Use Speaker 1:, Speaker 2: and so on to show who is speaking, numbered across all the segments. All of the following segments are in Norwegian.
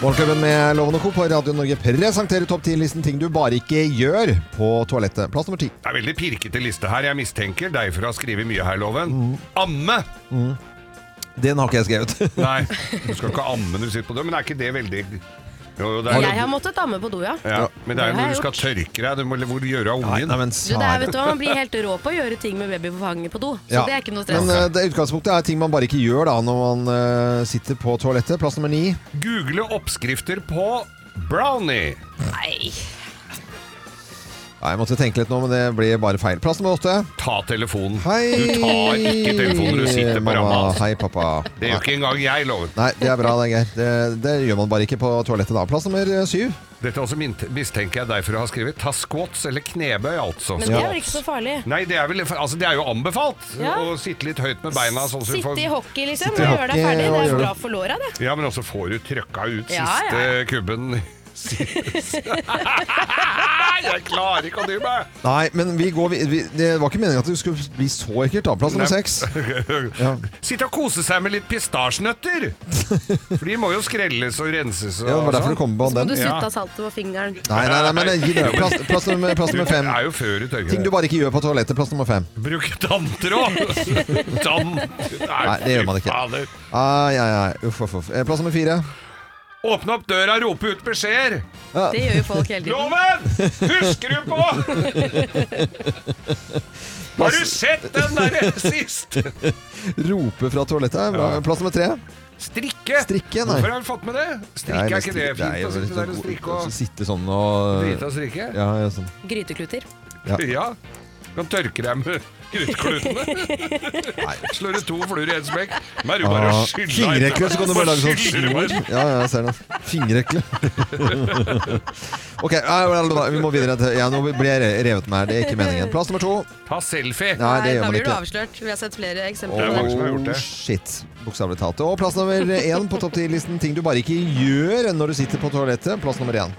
Speaker 1: Morgenklubben med Loven og Co. på Radio Norge presenterer topp 10-listen ting du bare ikke gjør på toalettet. Plass nummer ti.
Speaker 2: Det er veldig pirkete liste her. Jeg mistenker deg for å ha skrevet mye her, Loven. Amme!
Speaker 1: Den har ikke jeg skrevet.
Speaker 2: Nei, du skal ikke amme når du sitter på do, men er ikke det veldig jo, jo, det er-
Speaker 3: Jeg har måttet damme på do, ja.
Speaker 2: ja, Men det er jo
Speaker 3: Det har
Speaker 2: når du
Speaker 3: jeg
Speaker 2: skal tørke deg, du må, eller hvor du gjør av ungen.
Speaker 1: men
Speaker 3: Du, det er, vet du hva, Man blir helt rå på å gjøre ting med baby på fanget på do. Så
Speaker 1: Ja.
Speaker 3: det er ikke noe stress.
Speaker 1: Men eh, det utgangspunktet er ting man bare ikke gjør da når man eh, sitter på toalettet. Plass nummer ni.
Speaker 2: Google oppskrifter på brownie.
Speaker 3: Nei.
Speaker 1: Nei, jeg måtte tenke litt nå, men det ble bare feil. Plass nummer åtte.
Speaker 2: Ta telefonen.
Speaker 1: Hei!
Speaker 2: Du tar ikke telefonen når du sitter på ramma.
Speaker 1: Mamma.
Speaker 2: altså.
Speaker 1: Hei, pappa.
Speaker 2: Det gjør ikke engang jeg, Loven.
Speaker 1: Nei, det er bra, det er Geir. Det, det gjør man bare ikke på toalettet da. Plass nummer eh, syv.
Speaker 2: Dette også min- mistenker jeg deg for å ha skrevet. Ta squats eller knebøy, altså.
Speaker 3: Men det er vel ikke så farlig?
Speaker 2: Nei, det er, vel, altså, det er jo anbefalt
Speaker 3: Ja.
Speaker 2: å sitte litt høyt med beina. Sånn så du
Speaker 3: Sitte
Speaker 2: får,
Speaker 3: i hockey, liksom,
Speaker 1: i
Speaker 3: og gjøre deg
Speaker 1: hockey
Speaker 3: ferdig.
Speaker 1: og
Speaker 3: Det er
Speaker 1: gjøre
Speaker 3: bra
Speaker 1: det.
Speaker 3: for låra, det.
Speaker 2: ja, men også får du trøkka ut
Speaker 3: Ja,
Speaker 2: siste
Speaker 3: ja.
Speaker 2: kubben. jeg klarer ikke å dy meg!
Speaker 1: Nei, men vi går vi, vi, Det var ikke meningen at det skulle bli så ekkelt. da. Plass nummer
Speaker 2: Nei.
Speaker 1: seks. Ja.
Speaker 2: Sitte og kose seg med litt pistasjenøtter! For de må jo skrelles og renses. Og
Speaker 1: Ja, det var derfor
Speaker 2: sånn.
Speaker 1: du kom på
Speaker 3: Må
Speaker 1: den.
Speaker 3: du
Speaker 2: Ja.
Speaker 3: slutte av saltet på fingeren.
Speaker 1: Nei, nei, nei, men eh, gi det. Plass, plass, nummer, plass nummer fem.
Speaker 2: Det er jo før du tørker
Speaker 1: Ting du
Speaker 2: deg.
Speaker 1: bare ikke gjør på toalettet. Plass nummer fem.
Speaker 2: Bruk tanntråd! Tann...
Speaker 1: Nei, det gjør man ikke.
Speaker 2: Fader.
Speaker 1: Ai, ai, ai. Uff, uff, uff. Eh, Plass nummer fire.
Speaker 2: Åpne opp døra, rope ut beskjeder!
Speaker 3: Det gjør jo folk hele tiden.
Speaker 2: Loven! Husker du på? Har du sett den derre sist?
Speaker 1: Rope fra toalettet er bra. Plass nummer tre.
Speaker 2: Strikke.
Speaker 1: Strikke, nei.
Speaker 2: Hvorfor har du fått med det? Strikke, er ikke
Speaker 1: Det
Speaker 2: det
Speaker 1: er
Speaker 2: fint?
Speaker 1: jo
Speaker 2: Å sitte
Speaker 1: litt
Speaker 2: der og
Speaker 1: god- å
Speaker 2: strikke og
Speaker 1: Sitte sånn og
Speaker 2: drite og strikke?
Speaker 1: Ja, ja, sånn.
Speaker 3: Grytekluter.
Speaker 2: Ja. Du kan tørke deg med grutklutene. Slår du to fluer i én smekk. Men er det jo bare å
Speaker 1: Ah,
Speaker 2: skylle
Speaker 1: Fingerekle, så kan du bare lage sånn
Speaker 2: skylle det
Speaker 1: snor.
Speaker 2: bare.
Speaker 1: Ja, ja, jeg ser det. Fingerekle. ok, nei, vel, da, vi må videre til Ja, nå blir jeg re- revet med her. Det er ikke meningen. Plass nummer to.
Speaker 2: Ta selfie.
Speaker 1: Nei, det
Speaker 3: da
Speaker 1: gjør man
Speaker 3: blir du
Speaker 1: ikke.
Speaker 3: avslørt. Vi har sett flere
Speaker 2: Det
Speaker 3: eksempler
Speaker 2: er
Speaker 3: på
Speaker 2: mange
Speaker 3: det.
Speaker 2: som har gjort det.
Speaker 1: Oh, shit. Bokstavelig talt. Og plass nummer én på topp ti-listen. Ting du bare ikke gjør når du sitter på toalettet. Plass nummer én.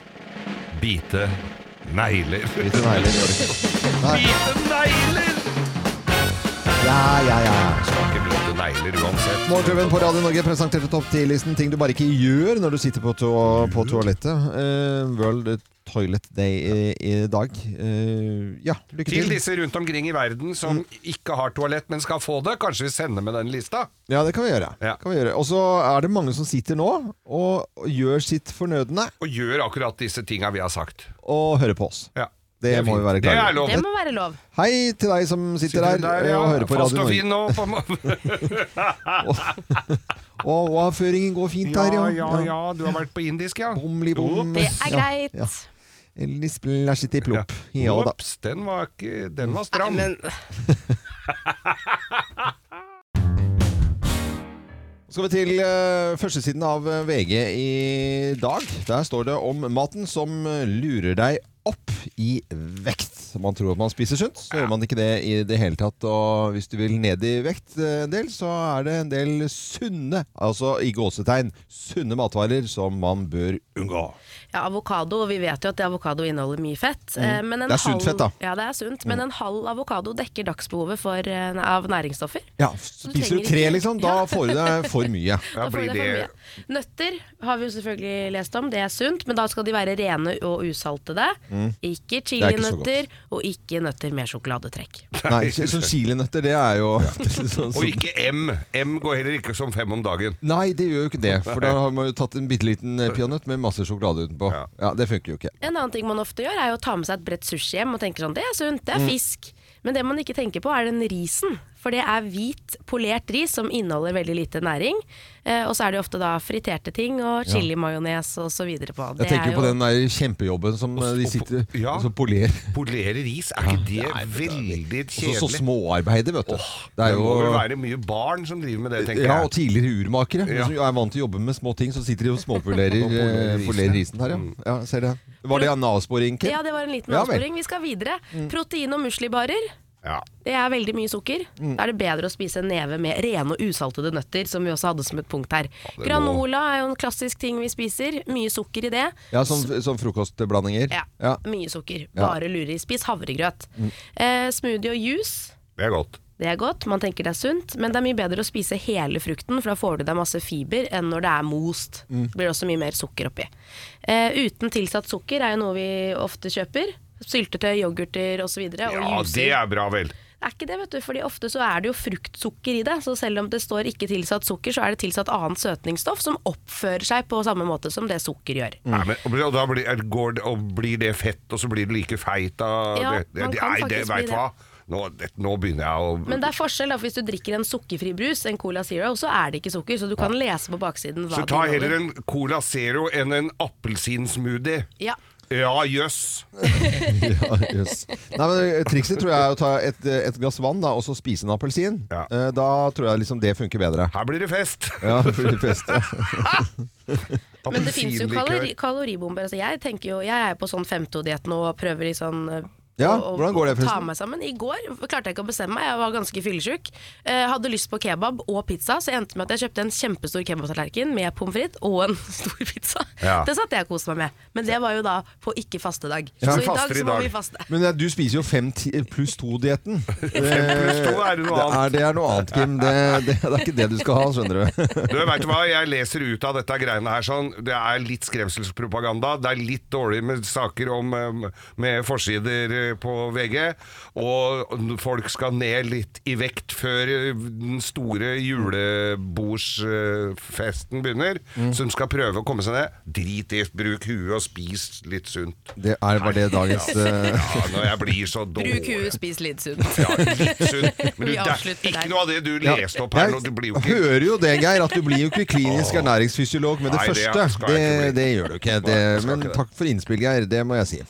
Speaker 2: Bite negler.
Speaker 1: Litt negler gjør du ikke.
Speaker 2: Bite negler!
Speaker 1: Ja, ja, ja.
Speaker 2: Skal ikke bite negler uansett.
Speaker 1: Morgenklubben på Radio Norge presenterte topp 10-listen ting du bare ikke gjør når du sitter på, to på toalettet. Eh, World Toilet Day i, i dag. Eh, ja, lykke til. Mm.
Speaker 2: Til disse rundt omkring i verden som ikke har toalett, men skal få det. Kanskje vi sender med den lista?
Speaker 1: Ja, det kan vi gjøre.
Speaker 2: Ja.
Speaker 1: Kan vi gjøre. Og så er det mange som sitter nå og gjør sitt fornødne
Speaker 2: Og gjør akkurat disse tinga vi har sagt.
Speaker 1: og hører på oss.
Speaker 2: Ja.
Speaker 1: Det
Speaker 2: er
Speaker 1: må vi
Speaker 2: fint.
Speaker 1: være
Speaker 2: Det
Speaker 1: klare
Speaker 2: er lov.
Speaker 3: Det må være lov.
Speaker 1: Hei til deg som sitter,
Speaker 2: Sitter du
Speaker 1: der, og hører på
Speaker 2: Fast
Speaker 1: Radio
Speaker 2: og
Speaker 1: Norge.
Speaker 2: fin nå. På må-
Speaker 1: Og avføringen går fint
Speaker 2: ja,
Speaker 1: der, ja.
Speaker 2: ja, ja. Du har vært på indisk, ja.
Speaker 1: Bomli bom.
Speaker 3: Det er greit.
Speaker 1: Eller splæsjet i plopp. Ja da.
Speaker 2: Ops, den var, ikke, den var stram.
Speaker 3: Men
Speaker 1: Så skal vi til eh, førstesiden av eh, VG i dag. Der står det om maten som eh, lurer deg opp i vekt. Man tror at man spiser sunt, så gjør man ikke det i det hele tatt. Og hvis du vil ned i vekt eh, en del, så er det en del sunne, altså i gåsetegn, sunne matvarer som man bør unngå.
Speaker 3: ja, avokado, vi vet jo at avokado inneholder mye fett. eh, Men en
Speaker 1: Mm. Det er sunt
Speaker 3: halv-
Speaker 1: fett, da. Mm.
Speaker 3: Ja, det er sunt. Men en halv avokado dekker dagsbehovet for, eh, av næringsstoffer.
Speaker 1: Ja, Spiser
Speaker 3: trenger
Speaker 1: du tre,
Speaker 3: ikke-
Speaker 1: liksom, da får du deg for mye.
Speaker 2: Ja,
Speaker 3: Da får
Speaker 2: blir
Speaker 3: du det for
Speaker 2: det-
Speaker 3: mye. Nøtter har vi jo selvfølgelig lest om, det er sunt, men da skal de være rene og usaltede. Ikke
Speaker 1: Mm. ikke så
Speaker 3: chilinøtter, og ikke nøtter med sjokoladetrekk.
Speaker 1: Nei, sånn chilinøtter, det er jo sånn,
Speaker 2: Og ikke M. M går heller ikke som fem om dagen.
Speaker 1: Nei, det gjør jo ikke det. For da har man jo tatt en bitte liten eh, peanøtt med masse sjokolade utenpå. Ja.
Speaker 2: Ja.
Speaker 1: Det funker jo ikke.
Speaker 3: En annen ting man ofte gjør, er jo å ta med seg et bredt sushi hjem og tenke sånn, det er sunt,
Speaker 1: Mm.
Speaker 3: det er fisk. Men det man ikke tenker på, er den risen. For det er hvit, polert ris som inneholder veldig lite næring. Eh, og så er det jo ofte da friterte ting og chilimajones og så videre på.
Speaker 1: Jeg tenker jo på den der kjempejobben som eh, de sitter
Speaker 2: ja.
Speaker 1: og så polerer.
Speaker 2: Polere ris, er ikke det veldig
Speaker 1: Og så- så
Speaker 2: kjedelig?
Speaker 1: småarbeider, vet du. det er
Speaker 2: Det må vel
Speaker 1: jo
Speaker 2: være mye barn som driver med det, tenker
Speaker 1: ja, og
Speaker 2: jeg.
Speaker 1: tidligere urmakere
Speaker 2: Ja.
Speaker 1: som er vant til å jobbe med små ting. Så sitter de og småpolerer
Speaker 2: Og polerer
Speaker 1: eh, polerer risen her, ja. ja ser det. Var det en avsporing? Kim?
Speaker 3: Ja, det var en liten
Speaker 1: Ja vel. Mm.
Speaker 3: avsporing. Vi skal videre. Protein- og muslibarer.
Speaker 1: Ja.
Speaker 3: Det er veldig mye sukker.
Speaker 1: Mm.
Speaker 3: Da er det bedre å spise en neve med rene og usaltede nøtter, som vi også hadde som et punkt her.
Speaker 1: det må-
Speaker 3: Granola er jo en klassisk ting vi spiser. Mye sukker i det.
Speaker 1: Ja, som, som frokostblandinger.
Speaker 3: Ja,
Speaker 1: Ja, Mm.
Speaker 3: Mye sukker. Bare lure i. Spis havregrøt. Eh, smoothie og juice.
Speaker 1: Det er godt.
Speaker 3: Det er godt, man tenker det er sunt, men det er mye bedre å spise hele frukten, for da får du deg masse fiber, enn når det er most.
Speaker 1: Mm.
Speaker 3: Det blir også mye mer sukker oppi. Eh, uten tilsatt sukker er jo noe vi ofte kjøper. Syltetøy, yoghurter osv.
Speaker 2: Ja, det er bra, vel.
Speaker 3: Det er ikke det, vet du, fordi ofte så er det jo fruktsukker i det. Så selv om det står ikke tilsatt sukker, så er det tilsatt annet søtningsstoff som oppfører seg på samme måte som det sukker gjør.
Speaker 1: Mm.
Speaker 2: Nei, men, og da blir, er- går, det- og blir det fett, og så blir det like feit av
Speaker 3: Ja,
Speaker 2: det, det,
Speaker 3: man kan
Speaker 2: Nei, det,
Speaker 3: faktisk bli
Speaker 2: vet du hva? Nå, det, nå begynner jeg å
Speaker 3: Men det er forskjell, da, for hvis du drikker en sukkerfri brus, en Cola Zero, så er det ikke sukker, så du kan lese på baksiden hva
Speaker 2: Så ta
Speaker 3: det
Speaker 2: heller
Speaker 3: inneholder.
Speaker 2: en Cola Zero enn en appelsinsmoothie.
Speaker 3: Ja.
Speaker 2: Ja, jøss.
Speaker 1: Ja, yes. Nei, men eh, Trikset tror jeg er å ta et, eh, et glass vann da, og så spise en appelsin.
Speaker 2: Ja.
Speaker 1: Eh, Da tror jeg liksom det funker bedre.
Speaker 2: Her blir det fest.
Speaker 1: Ja, for de fleste.
Speaker 3: Men det fins jo
Speaker 2: Appelsinlikør.
Speaker 3: kalori kaloribomber. Altså jeg, tenker jo, jeg er på sånn femtodietten nå og prøver i sånn eh,
Speaker 1: Ja,
Speaker 3: å- å
Speaker 1: hvordan går det forresten?
Speaker 3: ta meg sammen. I går klarte jeg ikke å bestemme meg, jeg var ganske fyllesyk. Eh, hadde lyst på kebab og pizza, så endte det med at jeg kjøpte en kjempestor kebabtallerken med pommes frites og en stor pizza.
Speaker 2: Ja.
Speaker 3: Det satt jeg og koste meg med. Men det var jo da på ikke fastedag.
Speaker 1: Ja,
Speaker 3: så i
Speaker 2: vi
Speaker 3: dag
Speaker 2: faster i
Speaker 3: så må
Speaker 2: dag.
Speaker 3: vi faste.
Speaker 1: Men eh, du spiser jo fem ti pluss to-dietten.
Speaker 2: pluss to er det noe annet.
Speaker 1: Det er noe annet, Kim. Det, det, det er ikke det du skal ha, skjønner du.
Speaker 2: Du vet du hva, Jeg leser ut av dette greiene her sånn Det er litt skremselspropaganda. Det er litt dårlig med saker om eh, med forsider eh, på VG. Og folk skal ned litt i vekt før eh, den store julebordsfesten begynner.
Speaker 3: Mm.
Speaker 2: Som skal prøve å komme seg ned. Drit i, bruk huet og spis litt sunt.
Speaker 1: Det er, var det dagens eh,
Speaker 2: Ja, når jeg blir så dårlig
Speaker 3: Bruk huet, spis litt sunt.
Speaker 2: Ja, litt sunt.
Speaker 3: Vi
Speaker 2: Men du, det er
Speaker 3: avslutter
Speaker 2: ikke
Speaker 3: der.
Speaker 2: noe av det du
Speaker 1: ja,
Speaker 2: leste opp her nå. Du blir
Speaker 1: Jeg
Speaker 2: jo ikke
Speaker 1: hører jo det, Geir, at du blir jo ikke klinisk ernæringsfysiolog med det
Speaker 2: Nei, det
Speaker 1: første.
Speaker 2: skal
Speaker 1: Det,
Speaker 2: jeg ikke bli.
Speaker 1: det gjør du ikke. Det,
Speaker 2: Nei, jeg skal
Speaker 1: men
Speaker 2: ikke det.
Speaker 1: takk for innspill, Geir. Det må jeg si.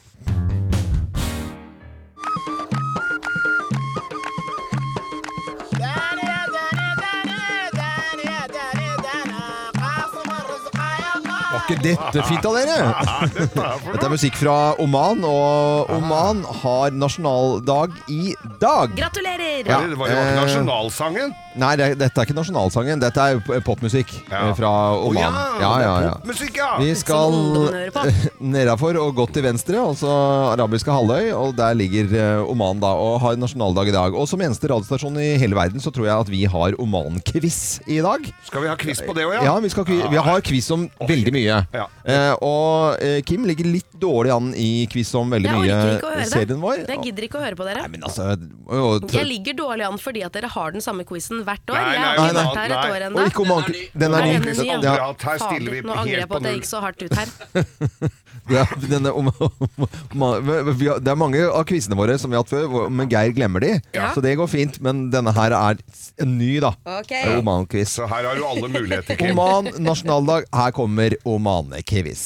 Speaker 4: دانية دانية دانية دانية دانية دانية قاسم الرزق يا الله
Speaker 1: Var ikke dette fint av dere? Dette er musikk fra Oman, og Oman har nasjonaldag i dag.
Speaker 3: Gratulerer!
Speaker 1: Ja.
Speaker 2: Det var jo ikke
Speaker 1: eh,
Speaker 2: nasjonalsangen.
Speaker 1: Nei, det, dette er ikke nasjonalsangen. Dette er p- popmusikk
Speaker 2: Ja.
Speaker 1: eh, fra
Speaker 2: Å
Speaker 1: Oman. Ja, ja, ja.
Speaker 2: Popmusikk, ja!
Speaker 1: Vi skal
Speaker 3: Som ungdommen hører på.
Speaker 1: nedafor og godt til venstre, altså arabiske halvøy, og der ligger eh, Oman da, og har nasjonaldag i dag. Og som eneste radiostasjon i hele verden så tror jeg at vi har Oman-quiz i dag.
Speaker 2: Skal vi ha quiz på det òg, ja?
Speaker 1: Ja, vi, skal, qui- vi har quiz om veldig mye.
Speaker 2: Ja.
Speaker 1: Eh, og eh, Kim ligger litt dårlig an i quiz om veldig
Speaker 3: Jeg
Speaker 1: mye
Speaker 3: orker ikke å høre det.
Speaker 1: serien vår.
Speaker 3: Jeg gidder ikke å høre på dere.
Speaker 1: Nei, men altså å, å,
Speaker 3: Jeg ligger dårlig an fordi at dere har den samme quizen hvert år.
Speaker 2: Nei,
Speaker 3: jeg
Speaker 2: nei,
Speaker 3: har ikke
Speaker 1: nei,
Speaker 3: vært
Speaker 2: nei.
Speaker 3: her et år
Speaker 1: og
Speaker 2: Nei.
Speaker 3: ennå.
Speaker 1: ikke Oman Den
Speaker 3: Nei,
Speaker 1: er
Speaker 3: den er
Speaker 1: ny.
Speaker 3: ny, ja.
Speaker 1: Ja,
Speaker 2: Akkurat her stiller vi
Speaker 3: Fader, Nå angrer
Speaker 2: helt
Speaker 3: jeg på
Speaker 2: på
Speaker 3: at jeg
Speaker 2: null.
Speaker 3: gikk så hardt ut her.
Speaker 1: Ja, denne, om, om, om, vi har- det er mange av quizene våre som vi har hatt før, hvor- men Geir glemmer de.
Speaker 3: Ja.
Speaker 1: Så det går fint, men denne her er s- en ny, da.
Speaker 3: Ok.
Speaker 1: Det er Oman-quiz.
Speaker 2: Så her har du alle muligheter, Kim.
Speaker 1: Oman nasjonaldag. Her kommer Oman-quiz.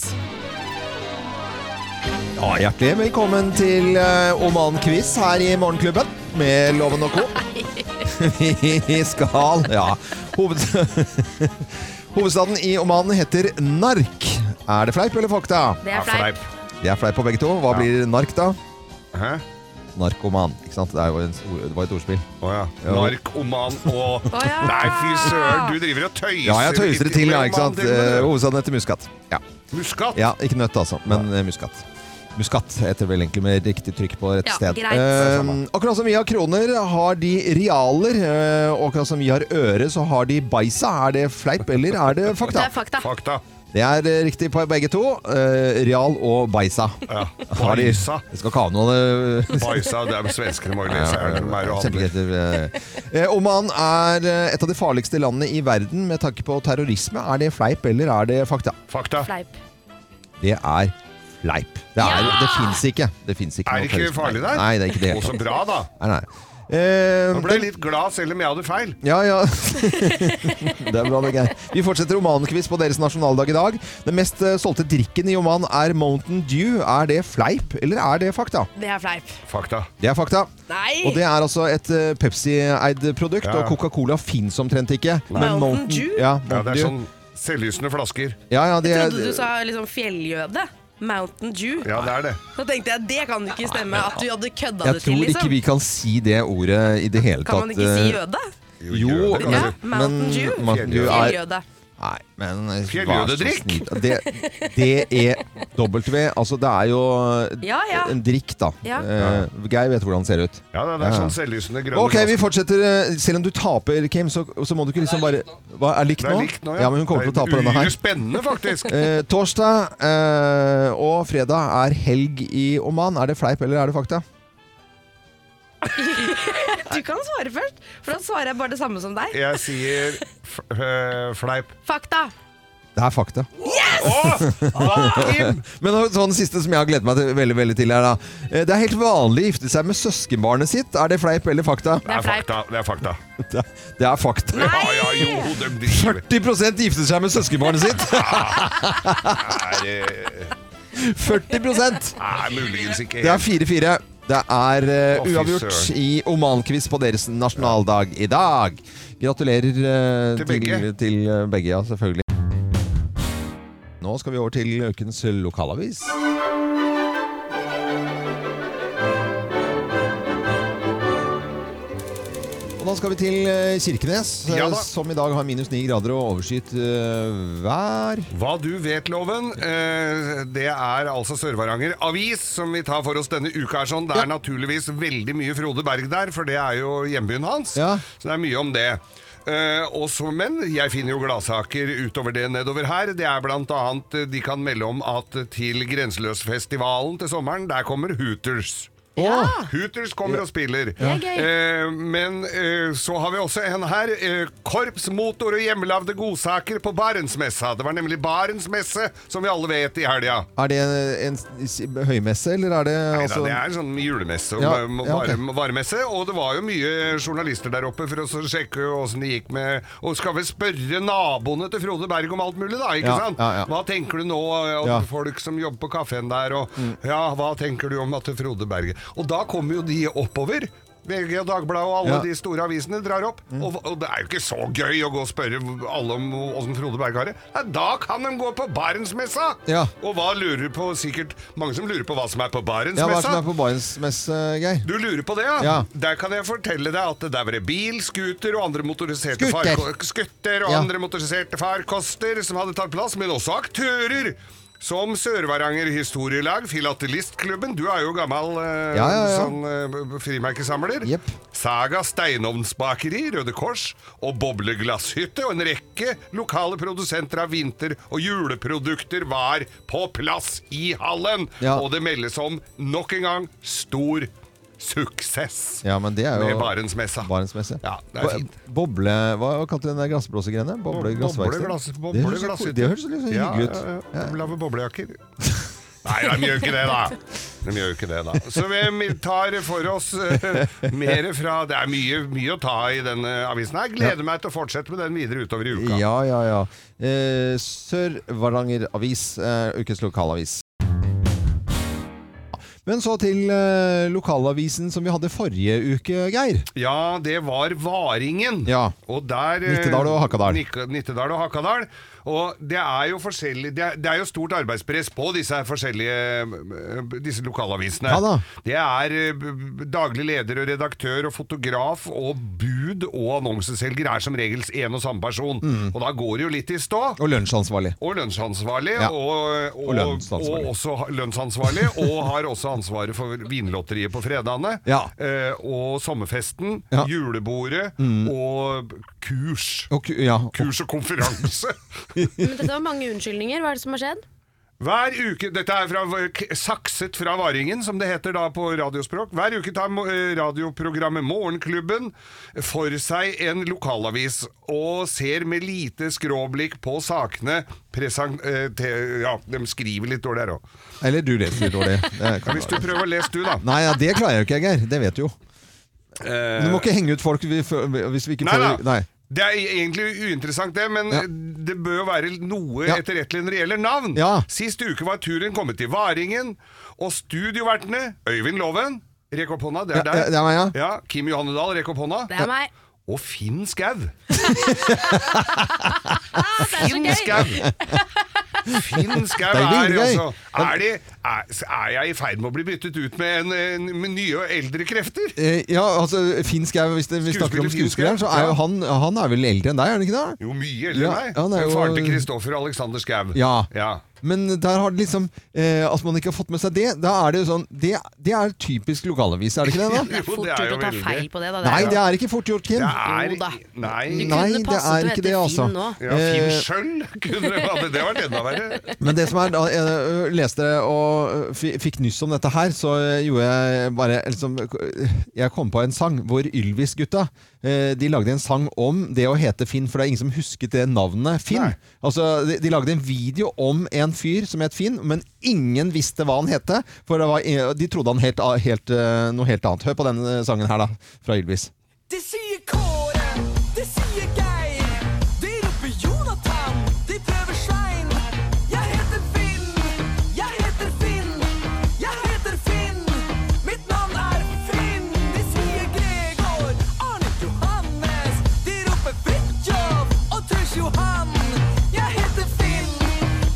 Speaker 1: Ja, hjertelig velkommen til eh, Oman-quiz her i Morgenklubben med Loven og Co. Vi skal Ja. Hoved... Hovedstaden i Oman heter Nark. Er det fleip eller fakta?
Speaker 3: Det
Speaker 2: Ja,
Speaker 3: er fleip.
Speaker 1: Det er fleip på begge to. Hva blir nark, da?
Speaker 2: Hæ?
Speaker 1: Narkoman. ikke sant? Det, er jo en, ord- det var et ordspill.
Speaker 2: Å ja.
Speaker 1: Ja.
Speaker 2: Narkoman og
Speaker 3: Å ja.
Speaker 2: Nei, fy søren, du driver og tøyser.
Speaker 1: Ja, jeg tøyser det til, ja. ikke sant? Eh,
Speaker 2: Eh,
Speaker 1: Hovedstaden heter Muskat. Ja.
Speaker 2: Muskat.
Speaker 1: ja, Ikke nøtt, altså, men eh, Muskat. Muskat heter vel egentlig med riktig trykk på rett
Speaker 3: Ja,
Speaker 1: sted.
Speaker 3: greit.
Speaker 1: Eh, akkurat som vi har kroner, har de realer. Eh, og akkurat som vi har øre, så har de beisa. Er det fleip, eller er det
Speaker 3: Det
Speaker 1: fakta?
Speaker 3: er fakta.
Speaker 2: Fakta.
Speaker 1: Det er eh, riktig på begge to. Eh, real og beisa.
Speaker 2: Ja.
Speaker 1: Har de,
Speaker 2: Bajsa.
Speaker 1: det skal ikke ha noe eh,
Speaker 2: Bajsa, det er svenskene må jo lese her. de er jo handler.
Speaker 1: Kjempegreit. Eh, Oman er eh, et av de farligste landene i verden med tanke på terrorisme. Er det fleip, eller er det fakta?
Speaker 2: Fakta.
Speaker 3: Fleip.
Speaker 1: Det er fleip. Det, er, det fins ikke. Det finnes ikke noe
Speaker 2: Er det ikke
Speaker 1: terrorisme.
Speaker 2: farlig der?
Speaker 1: Nei, det er ikke det.
Speaker 2: Å, så bra, da.
Speaker 1: Nei, nei. Eh,
Speaker 2: Nå ble jeg litt glad selv om jeg hadde feil.
Speaker 1: Ja, ja. det er bra, det, Geir. Vi fortsetter romanquiz på deres nasjonaldag i dag. Den mest eh, solgte drikken i Oman er Mountain Dew. Er det fleip, eller er det fakta?
Speaker 3: Det er fleip.
Speaker 2: Fakta.
Speaker 1: Det er fakta.
Speaker 3: Nei!
Speaker 1: Og det er altså et eh, Pepsi-eid produkt,
Speaker 2: Ja.
Speaker 1: og Coca-Cola fins omtrent ikke.
Speaker 3: Mountain Dew?
Speaker 1: Ja,
Speaker 2: Ja,
Speaker 1: Mountain
Speaker 2: det er
Speaker 1: Dew.
Speaker 2: sånn selvlysende flasker.
Speaker 1: Ja, ja, de,
Speaker 3: Jeg trodde du sa liksom fjelljøde. Mountain Dew.
Speaker 2: Ja, det er det.
Speaker 3: Så tenkte jeg, det kan ikke stemme at du hadde kødda
Speaker 1: Jeg
Speaker 3: det til,
Speaker 1: tror ikke
Speaker 3: liksom.
Speaker 1: vi kan si det ordet i det hele tatt.
Speaker 3: Kan man ikke si
Speaker 1: eh,
Speaker 3: jøde?
Speaker 1: Jo,
Speaker 2: det kan
Speaker 1: men,
Speaker 3: Ja, Mountain Dew.
Speaker 1: men Mountain Dew er
Speaker 3: Fjelljøde.
Speaker 1: Nei, men eh,
Speaker 2: Fjelljøde
Speaker 1: vær så
Speaker 2: drikk.
Speaker 1: snill. Det, det er W. Altså, det er jo eh,
Speaker 3: Ja, ja.
Speaker 1: en drikk, da.
Speaker 3: Ja.
Speaker 1: Eh, Geir vet hvordan den ser ut.
Speaker 2: Ja, det er, det er sånn selvlysende grønne
Speaker 1: Ok, vi fortsetter. eh, Selv om du taper, Kim, så, så må du ikke liksom bare Hva, Er likt nå?
Speaker 2: Det er likt nå,
Speaker 1: ja. men Hun kommer til å tape
Speaker 2: Det er
Speaker 1: denne her.
Speaker 2: Uhyre spennende, faktisk.
Speaker 1: Eh, torsdag eh, og fredag er helg i Oman. Er det fleip eller er det fakta?
Speaker 3: Du kan svare først, for da svarer jeg bare det samme som deg.
Speaker 2: Jeg sier f øh, fleip.
Speaker 3: Fakta.
Speaker 1: Det er fakta.
Speaker 2: Åh!
Speaker 1: Ah,
Speaker 2: Hva, Kim?
Speaker 1: Men nå- sånn siste som jeg har gledet meg til, veldig veldig til her, da. Eh, Det er helt vanlig å gifte seg med søskenbarnet sitt. Er det fleip eller fakta?
Speaker 3: Det er fleip.
Speaker 2: fakta. Det er fakta.
Speaker 1: Det er- det er fakta.
Speaker 3: Nei!
Speaker 2: Ja, ja, jo, de driver.
Speaker 1: 40 gifter seg med søskenbarnet sitt!
Speaker 2: Er, eh,
Speaker 1: 40
Speaker 2: er muligens ikke
Speaker 1: Det er
Speaker 2: helt
Speaker 1: 4-4. Det er eh,
Speaker 2: Å, fy
Speaker 1: uavgjort
Speaker 2: søren.
Speaker 1: i Oman-quiz på deres nasjonaldag i dag. Gratulerer eh,
Speaker 2: Til
Speaker 1: til, til,
Speaker 2: begge.
Speaker 1: eh, begge, ja, selvfølgelig. Nå skal vi over til ukens lokalavis. Og Da skal vi til eh, Kirkenes, eh,
Speaker 2: Ja da.
Speaker 1: som i dag har minus 9 grader og overskyet eh, vær.
Speaker 2: Hva du vet, Loven, eh, det er altså Sør-Varanger Avis som vi tar for oss denne uka. er sånn. Det er naturligvis veldig mye Frode Berg der, for det er jo hjembyen hans.
Speaker 1: Ja.
Speaker 2: Så det er mye om det. Eh, også, men jeg finner jo gladsaker utover det nedover her. Det er blant annet eh, de kan melde om at til Grenseløsfestivalen til sommeren, der kommer Hooters. Hooters kommer og spiller.
Speaker 3: Ja. Det er gøy.
Speaker 2: Eh, men eh, så har vi også en her. Eh, korpsmotor og hjemmelagde godsaker på Barentsmessa. Det var nemlig Barentsmesse, som vi alle vet, i helga.
Speaker 1: Er det en, en s- høymesse, eller er det
Speaker 2: Neida,
Speaker 1: altså-
Speaker 2: det er en sånn julemesse og
Speaker 1: Ja,
Speaker 2: m-
Speaker 1: ja, ok.
Speaker 2: varem- varemesse, og det var jo mye journalister der oppe for å så sjekke åssen det gikk med Og skal vel spørre naboene til Frode Berg om alt mulig, da, ikke
Speaker 1: Ja,
Speaker 2: sant?
Speaker 1: ja, ja.
Speaker 2: Hva tenker du nå eh, om
Speaker 1: Ja. Mm.
Speaker 2: folk som jobber på kafeen der, og ja, hva tenker du om at Frode Berg Og da kommer jo de oppover. VG og Dagbladet og alle
Speaker 1: Ja. Mm.
Speaker 2: de store avisene drar opp. Og, og det er jo ikke så gøy å gå og spørre alle om åssen Frode Berg har det. Nei, da kan de gå på Barentsmessa!
Speaker 1: Ja.
Speaker 2: Og hva lurer på sikkert Mange som lurer på hva som er på
Speaker 1: Ja, hva er det
Speaker 2: Barentsmessa.
Speaker 1: som er på Barentsmesse, Geir?
Speaker 2: du lurer på det, ja?
Speaker 1: Ja.
Speaker 2: Der kan jeg fortelle deg at der var det bil, skuter og andre motoriserte
Speaker 1: Skuter.
Speaker 2: farko- skutter og
Speaker 1: Ja.
Speaker 2: andre motoriserte farkoster som hadde tatt plass, men også aktører. Som Sør-Varanger Historielag, Filatelistklubben Du er jo gammel eh,
Speaker 1: Ja, ja, ja.
Speaker 2: sånn eh, frimerkesamler.
Speaker 1: Jepp.
Speaker 2: Saga Steinovnsbakeri, Røde Kors og Bobleglasshytte og en rekke lokale produsenter av vinter- og juleprodukter var på plass i hallen.
Speaker 1: Ja.
Speaker 2: Og det meldes om nok en gang stor suksess
Speaker 1: Ja, men det er jo
Speaker 2: med Barentsmessa.
Speaker 1: Barentsmesse.
Speaker 2: Ja, det er fint.
Speaker 1: Bo- Boble... Hva, hva kalte du den der glassblåsegreiene? Boble glassverksted?
Speaker 2: Bobleglass-
Speaker 1: Det høres så ko-
Speaker 2: bobleglasshytte.
Speaker 1: Det høres litt så hyggelig ut.
Speaker 2: Ja, ja,
Speaker 1: Ja.
Speaker 2: ja. De lager boblejakker. Nei, de gjør ikke det, da. De gjør jo ikke det, da. Så vi vi tar for oss eh, mer fra Det er mye, mye å ta i denne avisen her. Gleder meg til å fortsette med den videre utover i uka.
Speaker 1: Ja, ja, ja. Eh, Sør-Varanger Avis, eh, ukens lokalavis. Men så til eh, lokalavisen som vi hadde forrige uke, Geir.
Speaker 2: Ja, det var Varingen.
Speaker 1: Ja.
Speaker 2: Og der, eh,
Speaker 1: Nittedal og Hakadal.
Speaker 2: Nik- Nittedal og Hakadal. Og det er jo forskjellig det er, det er jo stort arbeidspress på disse her forskjellige eh, disse lokalavisene.
Speaker 1: Ja da.
Speaker 2: Det er eh, b- b- daglig leder og redaktør og fotograf og bud og annonseselger er som regel én og samme person.
Speaker 1: Mm.
Speaker 2: Og da går det jo litt i stå.
Speaker 1: Og lunsjansvarlig.
Speaker 2: Og lønnsansvarlig,
Speaker 1: Ja.
Speaker 2: og, og,
Speaker 1: Og lønnsansvarlig.
Speaker 2: og også ha- lønnsansvarlig, og har også ansvaret for vinlotteriet på fredagene,
Speaker 1: Ja.
Speaker 2: eh, og sommerfesten,
Speaker 1: Ja. Mm.
Speaker 2: julebordet, og kurs.
Speaker 1: Og, ku- ja, og,
Speaker 2: Kurs og konferanse.
Speaker 3: Men dette var mange unnskyldninger. Hva er det som har skjedd?
Speaker 2: Hver uke, dette er fra, k- sakset fra varingen, som det heter da på radiospråk. Hver uke tar mo- eh, radioprogrammet Morgenklubben for seg en lokalavis og ser med lite skråblikk på sakene. Present, eh, te, ja, de skriver litt dårlig her òg.
Speaker 1: eller du leser litt dårlig. Det kan
Speaker 2: Hvis du
Speaker 1: være.
Speaker 2: prøver å lese du, da.
Speaker 1: Nei, ja, det klarer jeg jo ikke, Geir. Det vet du jo. Du må ikke henge ut folk vi fø- hvis vi ikke
Speaker 2: Eh, Nei da.
Speaker 1: føler Nei.
Speaker 2: Det er egentlig uinteressant, det, men
Speaker 1: Ja.
Speaker 2: det bør jo være noe
Speaker 1: Ja.
Speaker 2: etterrettelig når det gjelder navn.
Speaker 1: Ja.
Speaker 2: Sist uke var turen kommet til Varingen, og studiovertene Øyvind Loven Rekk opp hånda, det er
Speaker 1: Ja,
Speaker 2: deg.
Speaker 1: ja, det er meg,
Speaker 2: ja. Kim Johanne Dahl, rekk opp hånda.
Speaker 3: Det er meg.
Speaker 2: Og Finn Skau.
Speaker 3: Ah, det er så
Speaker 2: Finn
Speaker 3: gøy!
Speaker 2: Skau! Finn Skau
Speaker 1: Det er
Speaker 2: er
Speaker 1: veldig gøy.
Speaker 2: altså er, de, er, er jeg i ferd med å bli byttet ut med, en, en, med nye og eldre krefter?
Speaker 1: Eh, ja, altså Finn Skau, hvis det, vi snakker om
Speaker 2: Skuespiller Finn
Speaker 1: skuespilleren, så
Speaker 2: Skau,
Speaker 1: er jo
Speaker 2: ja.
Speaker 1: han, han er vel eldre enn deg, er han ikke det?
Speaker 2: Jo, mye eldre
Speaker 1: Ja,
Speaker 2: enn meg.
Speaker 1: han er jo-
Speaker 2: Faren til Kristoffer og Alexander Skau.
Speaker 1: Ja.
Speaker 2: ja.
Speaker 1: Men der har det liksom eh, At man ikke har fått med seg det, da er det jo sånn Det, det er typisk lokalavis, er det ikke det? da?
Speaker 3: Det er
Speaker 2: Jo,
Speaker 3: fort
Speaker 2: det er
Speaker 3: gjort
Speaker 2: jo
Speaker 3: å ta
Speaker 2: veldig.
Speaker 3: feil på det. Da.
Speaker 1: Nei, det er ikke fort gjort, Kim.
Speaker 2: Det er
Speaker 3: Jo da.
Speaker 2: Nei.
Speaker 3: kunne
Speaker 1: Nei, det
Speaker 3: passet
Speaker 1: er
Speaker 3: å
Speaker 1: ikke
Speaker 3: hete
Speaker 1: det, altså.
Speaker 3: Finn nå.
Speaker 2: Ja, Finn sjøl kunne det vært. Det vært enda verre.
Speaker 1: Men det som er, da jeg ø, leste og ø, fi- fikk nyss om dette her, så ø, gjorde jeg bare liksom ø, Jeg kom på en sang hvor Ylvis-gutta ø, De lagde en sang om det å hete Finn, for det er ingen som husket det navnet Finn.
Speaker 2: Nei.
Speaker 1: Altså, de, de lagde en video om en fyr som het Finn, men ingen visste hva han hette. For det var, eh, de trodde han het a- helt, ø, noe helt annet. Hør på den ø, sangen her, da. Fra Ylvis.
Speaker 5: Det sier Kåre, det sier Geir. De roper Jonathan, de prøver Svein. Jeg heter Finn, jeg heter Finn, jeg heter Finn. Mitt navn er Finn. De sier Gregor, Arne Johannes. De roper Fridtjof og Truls Johan. Jeg heter Finn,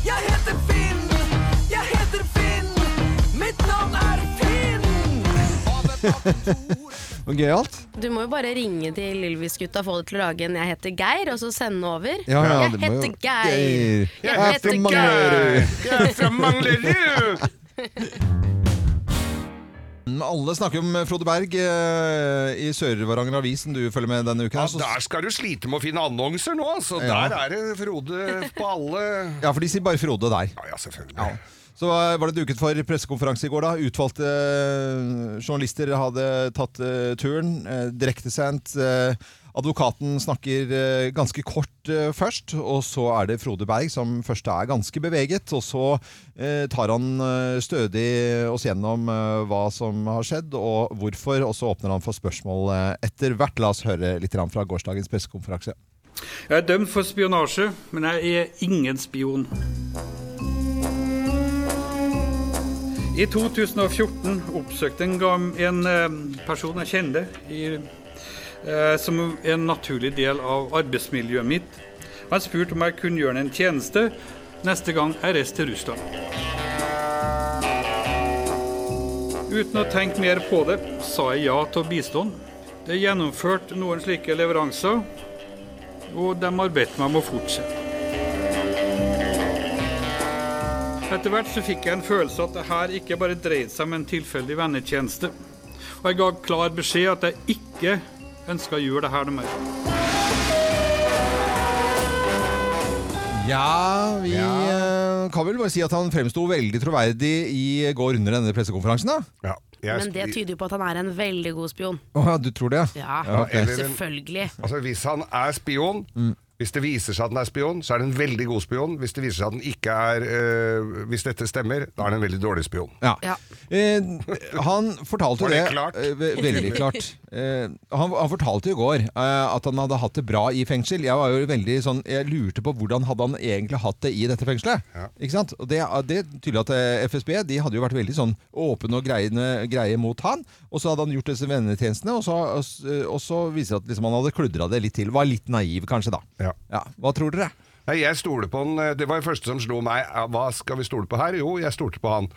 Speaker 5: jeg heter Finn, jeg heter Finn. Mitt navn er Finn.
Speaker 1: Og Gøyalt.
Speaker 3: Du må jo bare ringe til Ylvis-gutta og få det til å lage en 'Jeg heter Geir', og så sende over.
Speaker 1: Ja, ja,
Speaker 3: jeg
Speaker 1: det må jo-
Speaker 3: heter Geir.
Speaker 1: Geir.
Speaker 3: Jeg
Speaker 1: Jeg
Speaker 3: heter
Speaker 1: heter
Speaker 3: Geir.
Speaker 2: Jeg er fra Manglerud!
Speaker 1: Alle snakker om Frode Berg ø, i Sør-Varanger Avis, som du følger med denne uken.
Speaker 2: Ja,
Speaker 1: her, så-
Speaker 2: der skal du slite med å finne annonser nå, altså.
Speaker 1: Altså, Ja.
Speaker 2: Der er det Frode på alle
Speaker 1: Ja, for de sier bare Frode der.
Speaker 2: Ja, ja, selvfølgelig.
Speaker 1: Så eh, var det duket for pressekonferanse i går, da. Utvalgte eh, journalister hadde tatt eh, turen. eh, Direktesendt. eh, Advokaten snakker eh, ganske kort eh, først, og så er det Frode Berg som først er ganske beveget. Og så eh, tar han eh, stødig oss gjennom eh, hva som har skjedd og hvorfor, og så åpner han for spørsmål eh, etter hvert. La oss høre litt grann fra gårsdagens pressekonferanse.
Speaker 6: Jeg er dømt for spionasje, men jeg er ingen spion. I 2014 oppsøkte en, gam- en eh, person jeg kjente, i, eh, som en naturlig del av arbeidsmiljøet mitt. Han spurte om jeg kunne gjøre ham en tjeneste neste gang jeg reiste til Russland. Uten å tenke mer på det, sa jeg ja til å bistå ham. Det er gjennomført noen slike leveranser, og de har bedt meg om å fortsette. Etter hvert så fikk jeg en følelse at det her ikke bare dreide seg om en tilfeldig vennetjeneste. Og jeg ga klar beskjed at jeg ikke ønska å gjøre det her noe mer.
Speaker 1: Ja, vi eh, kan vel bare si at han fremsto veldig troverdig i går under denne pressekonferansen, da.
Speaker 2: Ja, jeg-
Speaker 3: Men det tyder jo på at han er en veldig god spion.
Speaker 1: Å ja, du tror det?
Speaker 3: Ja,
Speaker 1: ok.
Speaker 2: eller en-
Speaker 3: selvfølgelig.
Speaker 2: Altså, hvis han er spion Hvis det viser seg at den er spion, så er den en veldig god spion. Hvis det viser seg at den ikke er øh, Hvis dette stemmer, da er den en veldig dårlig spion.
Speaker 1: Ja.
Speaker 3: Ja.
Speaker 1: Eh, han fortalte
Speaker 2: Var
Speaker 1: det,
Speaker 2: det klart?
Speaker 1: eh, ve- veldig klart. Eh, han, han fortalte i går eh, at han hadde hatt det bra i fengsel. Jeg var jo veldig sånn Jeg lurte på hvordan hadde han egentlig hatt det i dette fengselet. Ikke sant? Og det, det er tydelig at eh, FSB de hadde jo vært veldig sånn åpne og greiene, greie mot han. Og så hadde han gjort disse vennetjenestene, og så, og, s- og så viser det at liksom, han hadde kludra det litt til. Var litt naiv, kanskje, da.
Speaker 2: Ja.
Speaker 1: Hva tror dere?
Speaker 2: Nei, jeg stoler på han. Det var det første som slo meg. Ja, Hva skal vi stole på her? Jo, jeg stolte på han.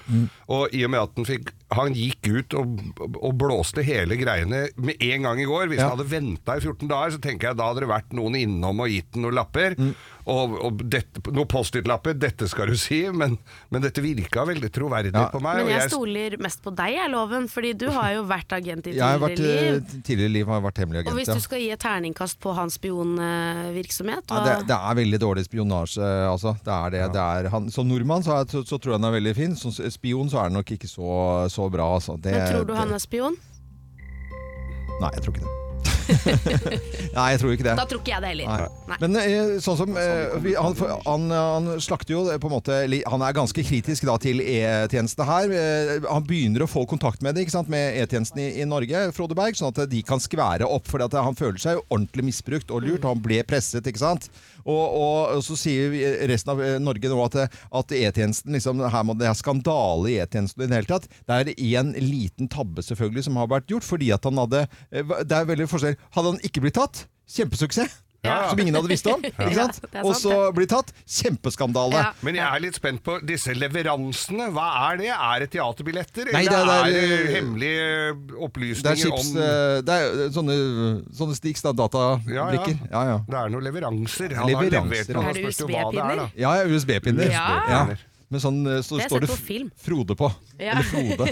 Speaker 2: Og i og med at han, fikk, han gikk ut og, og blåste hele greiene med en gang i går Hvis
Speaker 1: Ja.
Speaker 2: han hadde venta i 14 dager, så tenker jeg da hadde det vært noen innom og gitt han noen lapper.
Speaker 1: Mm.
Speaker 2: Og, og dette, noen Post-It-lapper. 'Dette skal du si', men, men dette virka veldig troverdig
Speaker 1: Ja.
Speaker 2: på
Speaker 3: Men
Speaker 2: meg. og
Speaker 3: jeg stoler mest på deg, jeg, Loven, fordi du har jo vært agent i
Speaker 1: Jeg har vært,
Speaker 3: tidligere liv.
Speaker 1: eh, tidligere liv har jeg vært hemmelig agent.
Speaker 3: Og hvis
Speaker 1: ja.
Speaker 3: du skal gi et terningkast på hans spionvirksomhet
Speaker 1: Ja, det, det er veldig dårlig spionasje, altså. Det er det. det er, han, som nordmann så, er, så, så tror jeg han er veldig fin. Som spion så er han nok ikke så, så bra, altså. Det,
Speaker 3: Men tror du han
Speaker 1: det,
Speaker 3: er spion?
Speaker 1: Nei, jeg tror ikke det. nei, jeg tror ikke det.
Speaker 3: Da tror ikke jeg det heller. Nei.
Speaker 1: Men eh, sånn som eh, vi, han, han, han slakter jo eh, på en måte li- Han er ganske kritisk da til E-tjenestene her. Eh, Han begynner å få kontakt med det, ikke sant? med E-tjenesten i, i Norge, Frode Berg, sånn at de kan skvære opp. For at eh, han føler seg jo ordentlig misbrukt og lurt, og han ble presset, ikke sant. Og, og, og så sier vi- resten av eh, Norge nå at, at E-tjenesten liksom, Her må det er skandale i E-tjenesten i det hele tatt. Det er én liten tabbe selvfølgelig som har vært gjort, fordi at han hadde eh, Det er veldig forskjell. Hadde han ikke blitt tatt, kjempesuksess.
Speaker 3: Ja.
Speaker 1: som ingen hadde visst om. Ikke
Speaker 3: Ja,
Speaker 1: sant?
Speaker 3: det er
Speaker 1: og
Speaker 3: sant,
Speaker 1: så blir tatt. Kjempeskandale.
Speaker 3: Ja.
Speaker 2: Men jeg er litt spent på disse leveransene. Hva er det? Er det teaterbilletter?
Speaker 1: Nei,
Speaker 2: eller
Speaker 1: det er- det
Speaker 2: er,
Speaker 1: er- eh,
Speaker 2: det hemmelige
Speaker 1: Det er
Speaker 2: opplysninger
Speaker 1: chips
Speaker 2: om
Speaker 1: eh, Det er sånne, sånne sticks, da.
Speaker 2: Ja, ja.
Speaker 1: Databrikker. Ja, ja.
Speaker 2: Det er noen leveranser. Han
Speaker 1: Leveranser. altså.
Speaker 2: har levert
Speaker 1: Er
Speaker 2: noe,
Speaker 3: det
Speaker 2: spørs jo hva det er, da.
Speaker 3: USB-pinner?
Speaker 1: Ja, ja USB-pinner.
Speaker 3: Ja.
Speaker 1: Men sånn eh, så
Speaker 3: Det har jeg
Speaker 1: står det
Speaker 3: sett på
Speaker 1: F-
Speaker 3: film.
Speaker 1: Frode på.
Speaker 3: Ja.
Speaker 1: Eller Frode.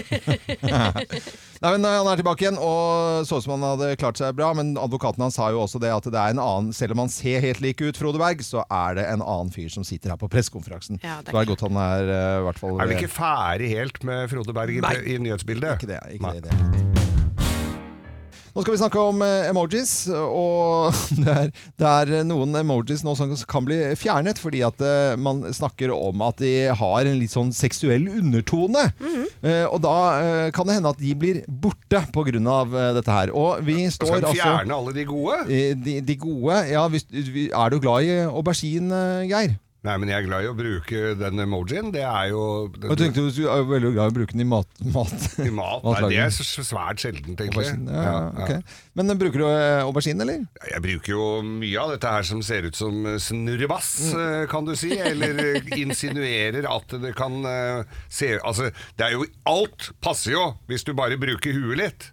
Speaker 1: Nei, men eh, Han er tilbake igjen og så ut som han hadde klart seg bra. Men advokaten hans sa jo også det at det er en annen Selv om han ser helt lik ut, Frode Berg, så er det en annen fyr som sitter her på pressekonferansen.
Speaker 3: Ja, det er
Speaker 1: så det er godt han er eh, i hvert fall
Speaker 2: Er vi ikke ferdig helt med Frode Berg i, i nyhetsbildet?
Speaker 1: Ikke det, ikke
Speaker 2: Nei.
Speaker 1: det, det. Nå skal vi snakke om eh, emojis, og det er, det er noen emojis nå som kan bli fjernet fordi at eh, man snakker om at de har en litt sånn seksuell undertone.
Speaker 2: Mhm.
Speaker 1: Eh, Og da eh, kan det hende at de blir borte pga. eh, dette her. Og vi
Speaker 2: Skal
Speaker 1: står
Speaker 2: vi
Speaker 1: altså
Speaker 2: fjerne alle de gode?
Speaker 1: eh, de, de gode Ja, hvis, vi- er du glad i aubergine, Geir?
Speaker 2: Nei, men jeg er glad i å bruke den emojien. Det er jo
Speaker 1: Jeg tenkte du er veldig glad i å bruke den i mat. mat.
Speaker 2: i mat. Nei, det er s- svært sjeldent, egentlig.
Speaker 1: Aubergine,
Speaker 2: Ja,
Speaker 1: ja,
Speaker 2: ja.
Speaker 1: ok. Men eh, bruker du eh, aubergine, eller?
Speaker 2: Jeg bruker jo mye av dette her som ser ut som eh, snurrebass,
Speaker 1: Mm.
Speaker 2: eh, kan du si. Eller eh, insinuerer at det kan eh, se Altså, det er jo Alt passer jo hvis du bare bruker huet litt.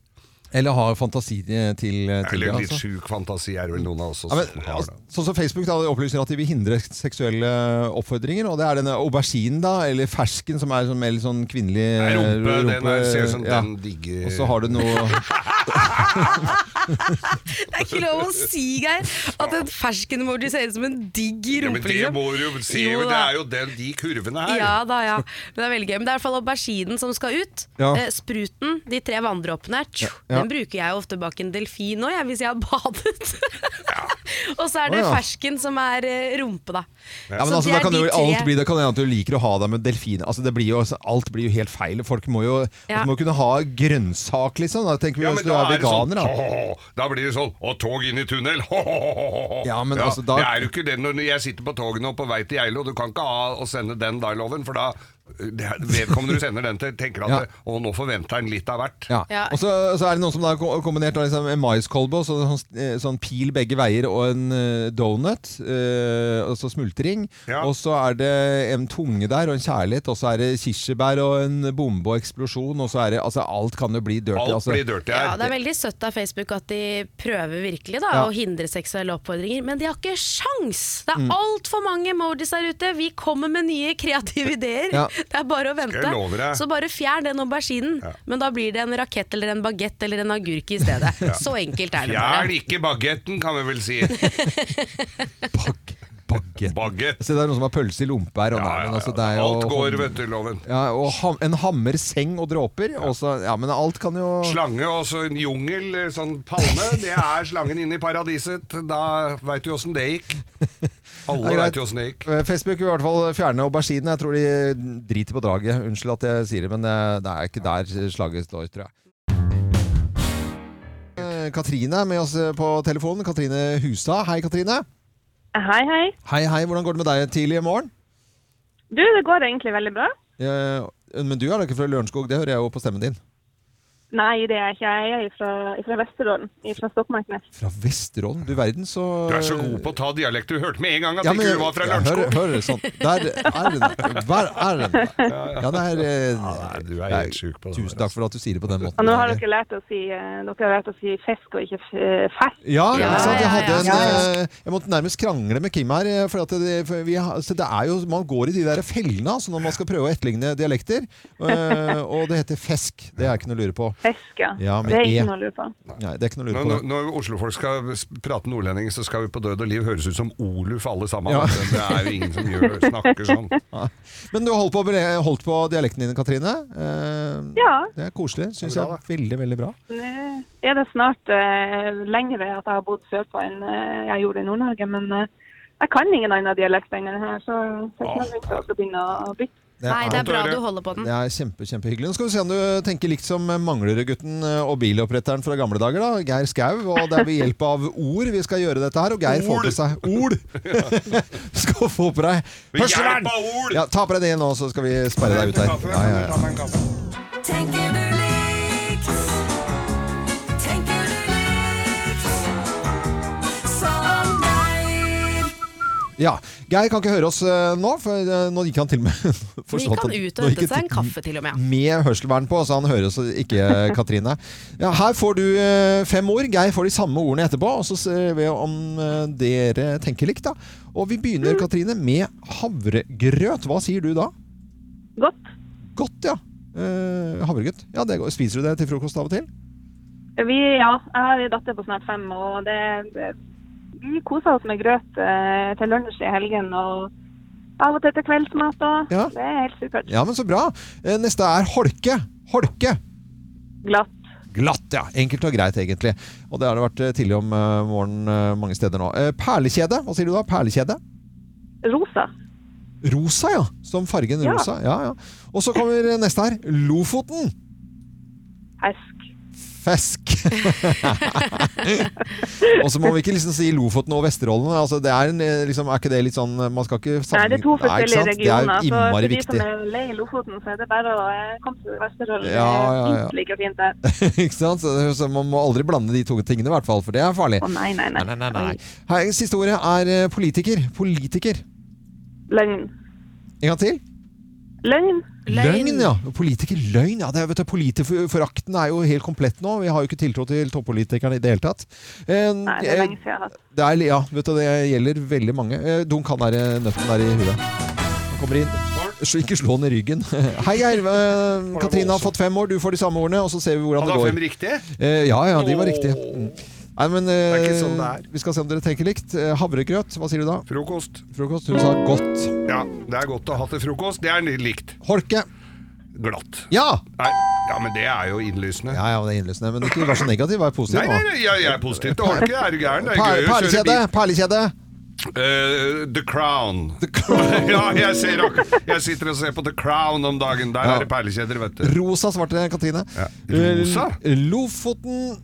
Speaker 1: Eller har fantasi til, til det,
Speaker 2: Eller litt
Speaker 1: altså.
Speaker 2: sjuk fantasi er det vel noen av oss
Speaker 1: Ja,
Speaker 2: også
Speaker 1: men,
Speaker 2: som har.
Speaker 1: altså,
Speaker 2: da.
Speaker 1: sånn som Facebook da, de opplyser at de vil hindre seksuelle eh, oppfordringer. Og det er denne auberginen, da, eller fersken, som er sånn, mer litt sånn kvinnelig
Speaker 2: Nei, Rumpe, den er, ser ut som
Speaker 1: ja.
Speaker 2: den digger
Speaker 1: Og så har du noe
Speaker 3: Det er ikke lov å si, Geir, at en fersken emoji ser ut som en digg
Speaker 2: ja, men
Speaker 3: rumpe.
Speaker 2: det
Speaker 3: liksom.
Speaker 2: må du jo si!
Speaker 3: Jo
Speaker 2: men Det
Speaker 3: da.
Speaker 2: er jo den, de kurvene her.
Speaker 3: Ja da, ja. Men det er veldig gøy. Men det er i hvert fall auberginen som skal ut.
Speaker 1: Ja.
Speaker 3: Eh, spruten, de tre vanndråpene, tju,
Speaker 1: Ja.
Speaker 3: den bruker jeg jo ofte bak en delfin òg, jeg, hvis jeg har badet. Og så er det
Speaker 1: Å, ja.
Speaker 3: fersken som er eh, rumpe, da.
Speaker 1: ja, men
Speaker 3: Så
Speaker 1: altså,
Speaker 3: det
Speaker 1: da
Speaker 3: er
Speaker 1: kan
Speaker 3: de
Speaker 1: jo alt
Speaker 3: tre.
Speaker 1: bli, Da kan det hende at du liker å ha deg med delfiner. Altså, det blir jo, altså, alt blir jo helt feil. Folk må jo
Speaker 3: Ja.
Speaker 1: altså, må kunne ha grønnsak, liksom. Da tenker vi
Speaker 2: Ja,
Speaker 1: jo
Speaker 2: men
Speaker 1: hvis du
Speaker 2: da
Speaker 1: er
Speaker 2: er det sånn
Speaker 1: veganer, da.
Speaker 2: «Åh, Da blir det sånn Og tog inn i tunnel Åh, åh, åh, åh».
Speaker 1: Ja, men altså, da-
Speaker 2: Det er jo ikke den når jeg sitter på toget nå På vei til Geilo Du kan ikke ha å sende den da loven For da øh, det er- Vedkommende du sender den til Tenker at
Speaker 1: Ja.
Speaker 2: det, Åh, nå forventer han litt av hvert
Speaker 1: Ja.
Speaker 3: Ja.
Speaker 1: Og så, så er det noen som da har kombinert da, liksom, en maiskolbe og så, sånn, eh, sånn pil begge veier og en eh, donut. eh, og så smultring.
Speaker 2: Ja.
Speaker 1: Og så er det en tunge der og en kjærlighet. Og så er det kirsebær og en bombe og eksplosjon. Og så er det, altså, alt kan jo bli dirty.
Speaker 2: Alt
Speaker 1: altså.
Speaker 2: blir dørt
Speaker 3: Ja, det
Speaker 2: her
Speaker 3: er veldig søtt av Facebook at de prøver virkelig da,
Speaker 1: Ja.
Speaker 3: å hindre seksuelle oppfordringer, men de har ikke sjans! Det
Speaker 2: Mm.
Speaker 3: er altfor mange emojis der ute. Vi kommer med nye kreative ideer.
Speaker 1: Ja.
Speaker 3: Det er bare å vente.
Speaker 2: jeg love deg?
Speaker 3: Så bare fjern den auberginen, men da blir det en rakett eller en bagett eller en agurk i stedet. Så enkelt er det
Speaker 2: Fjern
Speaker 3: bare.
Speaker 2: ikke bagetten kan vi vel si
Speaker 1: Bag, bagett.
Speaker 2: Bagett
Speaker 1: Se, det er noen som har pølse i lompe her. og
Speaker 2: ja,
Speaker 1: nei,
Speaker 2: ja,
Speaker 1: men altså, det er
Speaker 2: ja.
Speaker 1: jo
Speaker 2: Alt går,
Speaker 1: hånd-
Speaker 2: vet du, loven
Speaker 1: ja, og ham, En hammer, seng og dråper. og så- ja, men alt kan jo
Speaker 2: Slange og så en jungel, sånn palme Det er slangen inne i paradiset Da vet du hvordan det gikk Alle
Speaker 1: Det er greit.
Speaker 2: vet jo hvordan det gikk
Speaker 1: Eh, Facebook vil i hvert fall fjerne aubergine. Jeg tror de driter på draget. Unnskyld at jeg sier det, men eh, det er ikke der slaget står, tror jeg. Eh, Katrine er med oss eh, på telefonen. Katrine Husa. Hei, Katrine.
Speaker 7: Hei, hei.
Speaker 1: Hei, hei. Hvordan går det med deg tidlig i morgen?
Speaker 7: Du, det går egentlig veldig bra.
Speaker 1: Eh, Men du er da ikke fra Lørenskog, det hører jeg jo på stemmen din.
Speaker 7: Nei, det er ikke jeg. Jeg er fra, fra Vesterålen, fra Stokmarknes.
Speaker 1: Fra Vesterålen? Du verden, så
Speaker 2: Du er så god på å ta dialekt. Du hørte med en gang at
Speaker 1: Ja,
Speaker 2: ikke du var fra
Speaker 1: ja,
Speaker 2: Lørenskog.
Speaker 1: Hør, hør, sånn. Der er den. Hver er den. Ja, det er, eh,
Speaker 2: nei, du er helt sjuk på det
Speaker 1: Tusen
Speaker 2: der,
Speaker 1: takk for at du sier det på den måten.
Speaker 7: Og nå har dere lært å si, eh, dere har lært å si fisk og ikke eh, f- fersk.
Speaker 1: Ja,
Speaker 3: Ja,
Speaker 1: ikke sant? Jeg,
Speaker 3: ja,
Speaker 1: hadde en,
Speaker 3: ja,
Speaker 1: eh, jeg måtte nærmest krangle med Kim her. eh, For at det, for vi, har- så det er jo, man går i de der fellene altså, når man skal prøve å etterligne dialekter. Eh, og det heter fesk. Det er ikke noe å lure på.
Speaker 7: Fisk, ja.
Speaker 1: Ja, med
Speaker 7: det er
Speaker 1: E.
Speaker 7: ikke noe å lure på.
Speaker 1: Nei, det er ikke noe å lure
Speaker 2: Når,
Speaker 1: på.
Speaker 2: når,
Speaker 1: det.
Speaker 2: når oslofolk skal s- prate nordlending, så skal vi på Død og liv høres ut som Oluf alle sammen.
Speaker 1: Ja.
Speaker 2: Men Det er jo ingen som gjør, snakker sånn.
Speaker 1: Men du har holdt på, holdt på dialekten din, Katrine. Eh,
Speaker 7: Ja.
Speaker 1: Det er koselig. Syns jeg.
Speaker 2: Ja, bra,
Speaker 1: Veldig, veldig bra.
Speaker 7: Nå er det snart eh, lengre at jeg har bodd sørpå enn eh, jeg gjorde i Nord-Norge, men eh, jeg kan ingen annen dialekt enn denne her, så så jeg kan ikke også begynne å bytte.
Speaker 3: Nei, det er bra
Speaker 2: Dere.
Speaker 3: du holder på den.
Speaker 1: Det er kjempe, kjempehyggelig. Nå skal vi se om du tenker likt som Manglerudgutten eh, og biloppretteren fra gamle dager, da. Geir Skau. Og det er ved hjelp av ord vi skal gjøre dette her. Og Geir får
Speaker 2: Ord.
Speaker 1: på seg ord! skal få på deg
Speaker 2: Ved hjelp av ord!
Speaker 1: Ja, ta på deg det nå, så skal vi sperre deg ut her. Ja, ja, ja.
Speaker 8: Tenker du likt? Tenker du likt? Som deg
Speaker 1: Ja, Geir kan ikke høre oss eh, nå, for eh, nå gikk han til og med
Speaker 3: Så gikk han ut og hentet seg en kaffe til og med.
Speaker 2: Mm,
Speaker 1: Med hørselvern på, så han hører oss ikke, eh, Katrine. Ja, her får du eh, fem ord. Geir får de samme ordene etterpå, og så ser vi om eh, dere tenker likt. da. Og vi begynner, Katrine, med havregrøt. Hva sier du da?
Speaker 7: Godt.
Speaker 1: Godt, ja. Eh, havregrøt. Ja, det går. Spiser du det til frokost av og til?
Speaker 7: Vi, ja, jeg har en datter på snart fem, og det, det, vi koser oss med grøt eh, til lunsj i helgen. og av og til til kveldsmat òg.
Speaker 1: Ja.
Speaker 7: Det er helt supert.
Speaker 1: Ja, men så bra. Eh, neste er holke. Holke.
Speaker 7: Glatt.
Speaker 1: Glatt, ja. Enkelt og greit, egentlig. Og det har det vært eh, tidlig om eh, morgenen eh, mange steder nå. Eh, Perlekjede. Hva sier du da? Perlekjede?
Speaker 7: Rosa.
Speaker 1: Rosa, ja. Som fargen
Speaker 7: Ja.
Speaker 1: rosa. Ja, ja. Og så kommer neste her. Lofoten.
Speaker 7: Hesk.
Speaker 1: Fisk. og så må vi ikke liksom si Lofoten og Vesterålen. Altså, det er, en, eh, liksom, er ikke det litt sånn eh, Man skal ikke
Speaker 7: Nei, det er to
Speaker 1: Nei, ikke
Speaker 7: forskjellige
Speaker 1: sant?
Speaker 7: regioner.
Speaker 1: Det er jo
Speaker 7: så
Speaker 1: innmari
Speaker 7: for de
Speaker 1: viktig.
Speaker 7: som er lei i Lofoten, så er det bare å eh, komme til Vesterålen. Det
Speaker 1: Ja,
Speaker 7: er
Speaker 1: ja, ja.
Speaker 7: minst like fint der.
Speaker 1: ikke sant? Så, så man må aldri blande de to tingene, i hvert fall, for det er farlig.
Speaker 7: Å nei, nei, nei.
Speaker 1: Nei, nei, nei. Her, siste ordet er eh, politiker. Politiker.
Speaker 7: Løgn.
Speaker 1: En gang til.
Speaker 7: Løgn.
Speaker 1: Løgn, ja. Politiker løgn. Ja, det er, vet du, Politikerforakten er jo helt komplett nå. Vi har jo ikke tiltro til toppolitikerne i det hele tatt. Eh,
Speaker 7: Nei, det er lenge siden jeg har hatt.
Speaker 1: Det er, ja, vet du, det gjelder veldig mange. Eh, Dunk han der nøtten der i huet. Han kommer inn. Så ikke slå han i ryggen. Hei, Geir. Eh, Katrine har fått fem år. Du får de samme ordene, og så ser vi hvordan
Speaker 2: Han
Speaker 1: det
Speaker 2: har fem
Speaker 1: går.
Speaker 2: riktige.
Speaker 1: Eh, ja, ja, de var
Speaker 2: Åh.
Speaker 1: riktige. Mm. Nei, men
Speaker 2: Det er
Speaker 1: eh,
Speaker 2: ikke sånn det er.
Speaker 1: vi skal se om dere tenker likt. Eh, Havregrøt, hva sier du da?
Speaker 2: Frokost.
Speaker 1: Frokost? Hun sa godt.
Speaker 2: Ja, det er godt å ha til frokost. Det er likt.
Speaker 1: Holke.
Speaker 2: Glatt.
Speaker 1: Ja!
Speaker 2: Nei, ja, men det er jo innlysende.
Speaker 1: Ja, ja, det er innløsende. Men ikke vær så negativ, vær positiv
Speaker 2: Nei, nei,
Speaker 1: nå.
Speaker 2: nei, jeg, jeg er positiv til Holke. Er du gæren? Det
Speaker 1: Per,
Speaker 2: er gøy å kjøre
Speaker 1: perlekjede!
Speaker 2: bil.
Speaker 1: Perlekjede!
Speaker 2: Eh, the Crown.
Speaker 1: The Crown.
Speaker 2: ja, jeg, ser, ak- jeg sitter og ser på The Crown om dagen. Der
Speaker 1: Ja.
Speaker 2: er det perlekjeder, vet du.
Speaker 1: Rosa svarte Katrine.
Speaker 2: Ja, rosa?
Speaker 1: Eh, Lofoten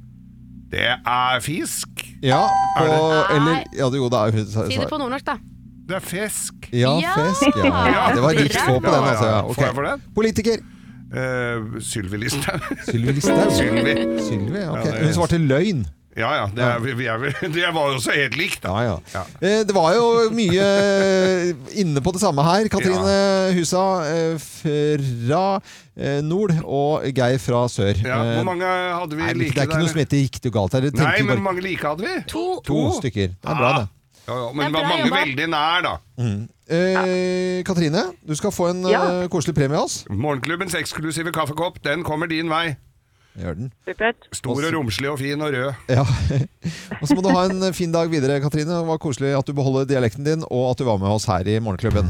Speaker 2: Det er fisk.
Speaker 1: Ja, på,
Speaker 2: Er
Speaker 3: Ah,
Speaker 2: det-
Speaker 1: eller ja, det- Jo da. hun sa-
Speaker 3: Si det på nordnorsk, da.
Speaker 2: Det er fisk.
Speaker 1: Ja,
Speaker 3: Ja!
Speaker 1: fisk. Ja.
Speaker 3: Ja,
Speaker 1: Det var
Speaker 3: dere.
Speaker 1: rikt få på den,
Speaker 2: Ja, ja,
Speaker 1: altså. Ja.
Speaker 2: ja.
Speaker 1: ok.
Speaker 2: Får jeg for den?
Speaker 1: Politiker.
Speaker 2: Uh, Sylvi Listhaug.
Speaker 1: Sylvi Listhaug.
Speaker 2: Sylvi.
Speaker 1: Sylvi, ja, ok.
Speaker 2: det er-
Speaker 1: Hun svarte løgn.
Speaker 2: Ja ja, det, er, vi- vi er, vel- det var jo også helt likt, da.
Speaker 1: Ja, ja.
Speaker 2: Ja.
Speaker 1: Eh, Det var jo mye eh, inne på det samme her. Katrine Husa eh, fra eh, nord og Geir fra sør.
Speaker 2: Ja,
Speaker 1: Eh,
Speaker 2: hvor mange hadde vi
Speaker 1: Nei, men
Speaker 2: like
Speaker 1: det er ikke noe som heter riktig og galt her. Det
Speaker 2: Nei,
Speaker 1: tenker
Speaker 2: men
Speaker 1: bare
Speaker 2: hvor mange like hadde vi?
Speaker 3: To.
Speaker 1: to stykker. Det er bra,
Speaker 2: Ah.
Speaker 1: det.
Speaker 2: Ja, ja,
Speaker 3: Det er
Speaker 2: men det var
Speaker 3: bra
Speaker 2: mange
Speaker 3: jobba.
Speaker 2: veldig nær, da.
Speaker 1: Eh, Katrine, du skal få en
Speaker 7: Ja.
Speaker 1: eh, koselig premie av oss.
Speaker 2: Morgenklubbens eksklusive kaffekopp, den kommer din vei.
Speaker 1: Gjør den.
Speaker 7: Supert.
Speaker 2: Stor og romslig og fin og rød.
Speaker 1: Ja. Og så må du ha en fin dag videre, Katrine. Det var koselig at du beholder dialekten din, og at du var med oss her i Morgenklubben.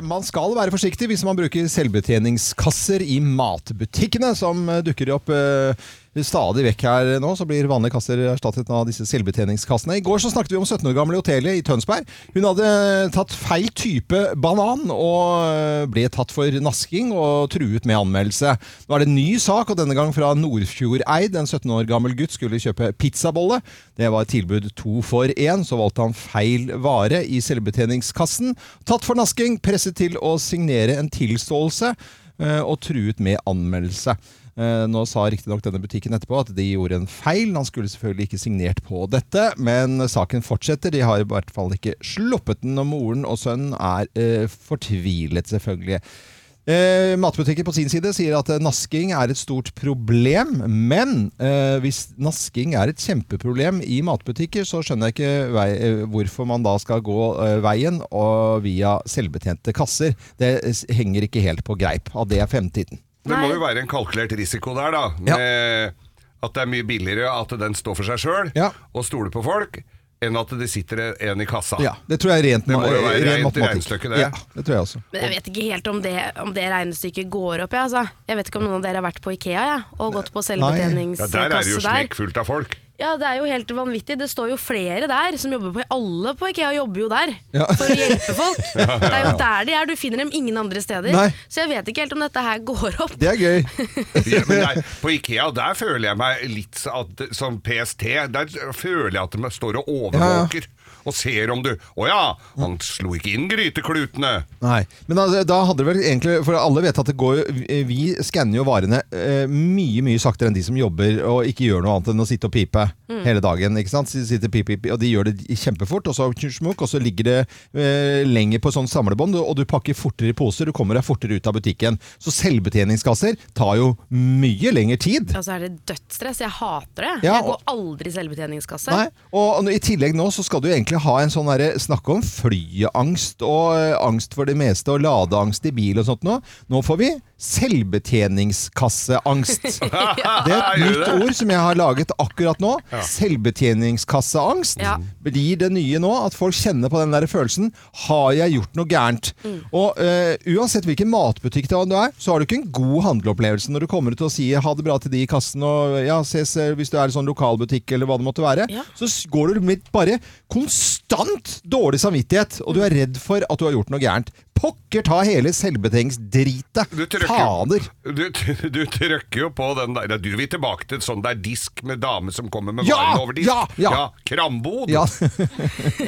Speaker 1: Man skal være forsiktig hvis man bruker selvbetjeningskasser i matbutikkene, som eh, dukker opp eh, stadig vekk her nå. Så blir vanlige kasser erstattet av disse selvbetjeningskassene. I går så snakket vi om 17 år gamle Otelie i Tønsberg. Hun hadde eh, tatt feil type banan og eh, ble tatt for nasking og truet med anmeldelse. Nå er det en ny sak, og denne gang fra Nordfjordeid. En 17 år gammel gutt skulle kjøpe pizzabolle. Det var et tilbud to for én. Så valgte han feil vare i selvbetjeningskassen. Tatt for nasking, presset til å signere en tilståelse eh, og truet med anmeldelse. Eh, Nå sa riktignok denne butikken etterpå at de gjorde en feil. Han skulle selvfølgelig ikke signert på dette, men saken fortsetter. De har i hvert fall ikke sluppet den, og moren og sønnen er eh, fortvilet, selvfølgelig. Eh, matbutikker på sin side sier at eh, nasking er et stort problem, men eh, hvis nasking er et kjempeproblem i matbutikker, så skjønner jeg ikke vei, eh, hvorfor man da skal gå eh, veien og via selvbetjente kasser. Det eh, henger ikke helt på greip av det er fremtiden.
Speaker 2: Det må jo være en kalkulert risiko der, da.
Speaker 1: Ja.
Speaker 2: Med at det er mye billigere at den står for seg sjøl
Speaker 1: Ja.
Speaker 2: og stoler på folk, enn at det sitter en i kassa.
Speaker 1: Ja, det tror jeg er rent,
Speaker 2: Ah. Det må
Speaker 1: ma-
Speaker 2: jo være
Speaker 1: eh, ren
Speaker 2: rent
Speaker 1: matematikk.
Speaker 2: regnestykke, det.
Speaker 1: Ja, det tror jeg også.
Speaker 3: Men jeg vet ikke helt om det, om det regnestykket går opp. Jeg, altså. jeg vet ikke om noen av dere har vært på Ikea ja, og gått på
Speaker 2: Ja, der er det jo
Speaker 3: selvbetjeningskasse der.
Speaker 2: smekkfullt av folk.
Speaker 3: Ja, Det er jo helt vanvittig. Det står jo flere der som jobber på Alle på Ikea jobber jo der
Speaker 1: Ja.
Speaker 3: for å hjelpe folk. Det er jo der de er. Du finner dem ingen andre steder.
Speaker 1: Nei.
Speaker 3: Så jeg vet ikke helt om dette her går opp.
Speaker 1: Det er gøy.
Speaker 2: Ja, men der, på Ikea der føler jeg meg litt så- at, som PST. Der føler jeg at de står og overvåker. og ser om du Å ja, han slo ikke inn gryteklutene.
Speaker 1: Nei, men da, da hadde det vel egentlig For alle vet at det går jo- Vi skanner jo varene eh, mye, mye saktere enn de som jobber og ikke gjør noe annet enn å sitte og pipe hele dagen. ikke sant? Så de Sitter og pipe, pipe, og de gjør det kjempefort, og så, smuk, og så ligger det eh, lenger på sånn samlebånd, og du pakker fortere i poser, du kommer deg fortere ut av butikken. Så selvbetjeningskasser tar jo mye lengre tid.
Speaker 3: Altså er det dødsstress. Jeg hater det.
Speaker 1: Ja,
Speaker 3: jeg
Speaker 1: og-
Speaker 3: går aldri i selvbetjeningskasse.
Speaker 1: Nei, og nå- I tillegg nå så skal du jo egentlig ha en sånn derre- snakke om flyangst og eh, angst for det meste og ladeangst i bil og sånt nå. Nå får vi selvbetjeningskasseangst. Det er et
Speaker 2: Gjør
Speaker 1: nytt ord som jeg har laget akkurat nå. Selvbetjeningskasseangst
Speaker 3: Ja.
Speaker 1: blir det nye nå. At folk kjenner på den der følelsen Har jeg gjort noe gærent?
Speaker 3: Mm.
Speaker 1: Og eh, uansett hvilken matbutikk det er, du er, så har du ikke en god handleopplevelse når du kommer ut og sier ha det bra til de i kassen og ja, ses eh, hvis du er i sånn lokalbutikk eller hva det måtte være.
Speaker 3: Ja.
Speaker 1: Så s- går du med bare konstant dårlig samvittighet, og du
Speaker 3: Mm.
Speaker 1: er redd for at du har gjort noe gærent. Pokker ta hele selvbetjeningsdritet!
Speaker 2: Du trykker,
Speaker 1: Fader!
Speaker 2: Du, du trykker jo på den der Du vil tilbake til sånn der disk med dame som kommer med
Speaker 1: Ja,
Speaker 2: varene over disk.
Speaker 1: ja, ja.
Speaker 2: Krambod.
Speaker 1: Ja.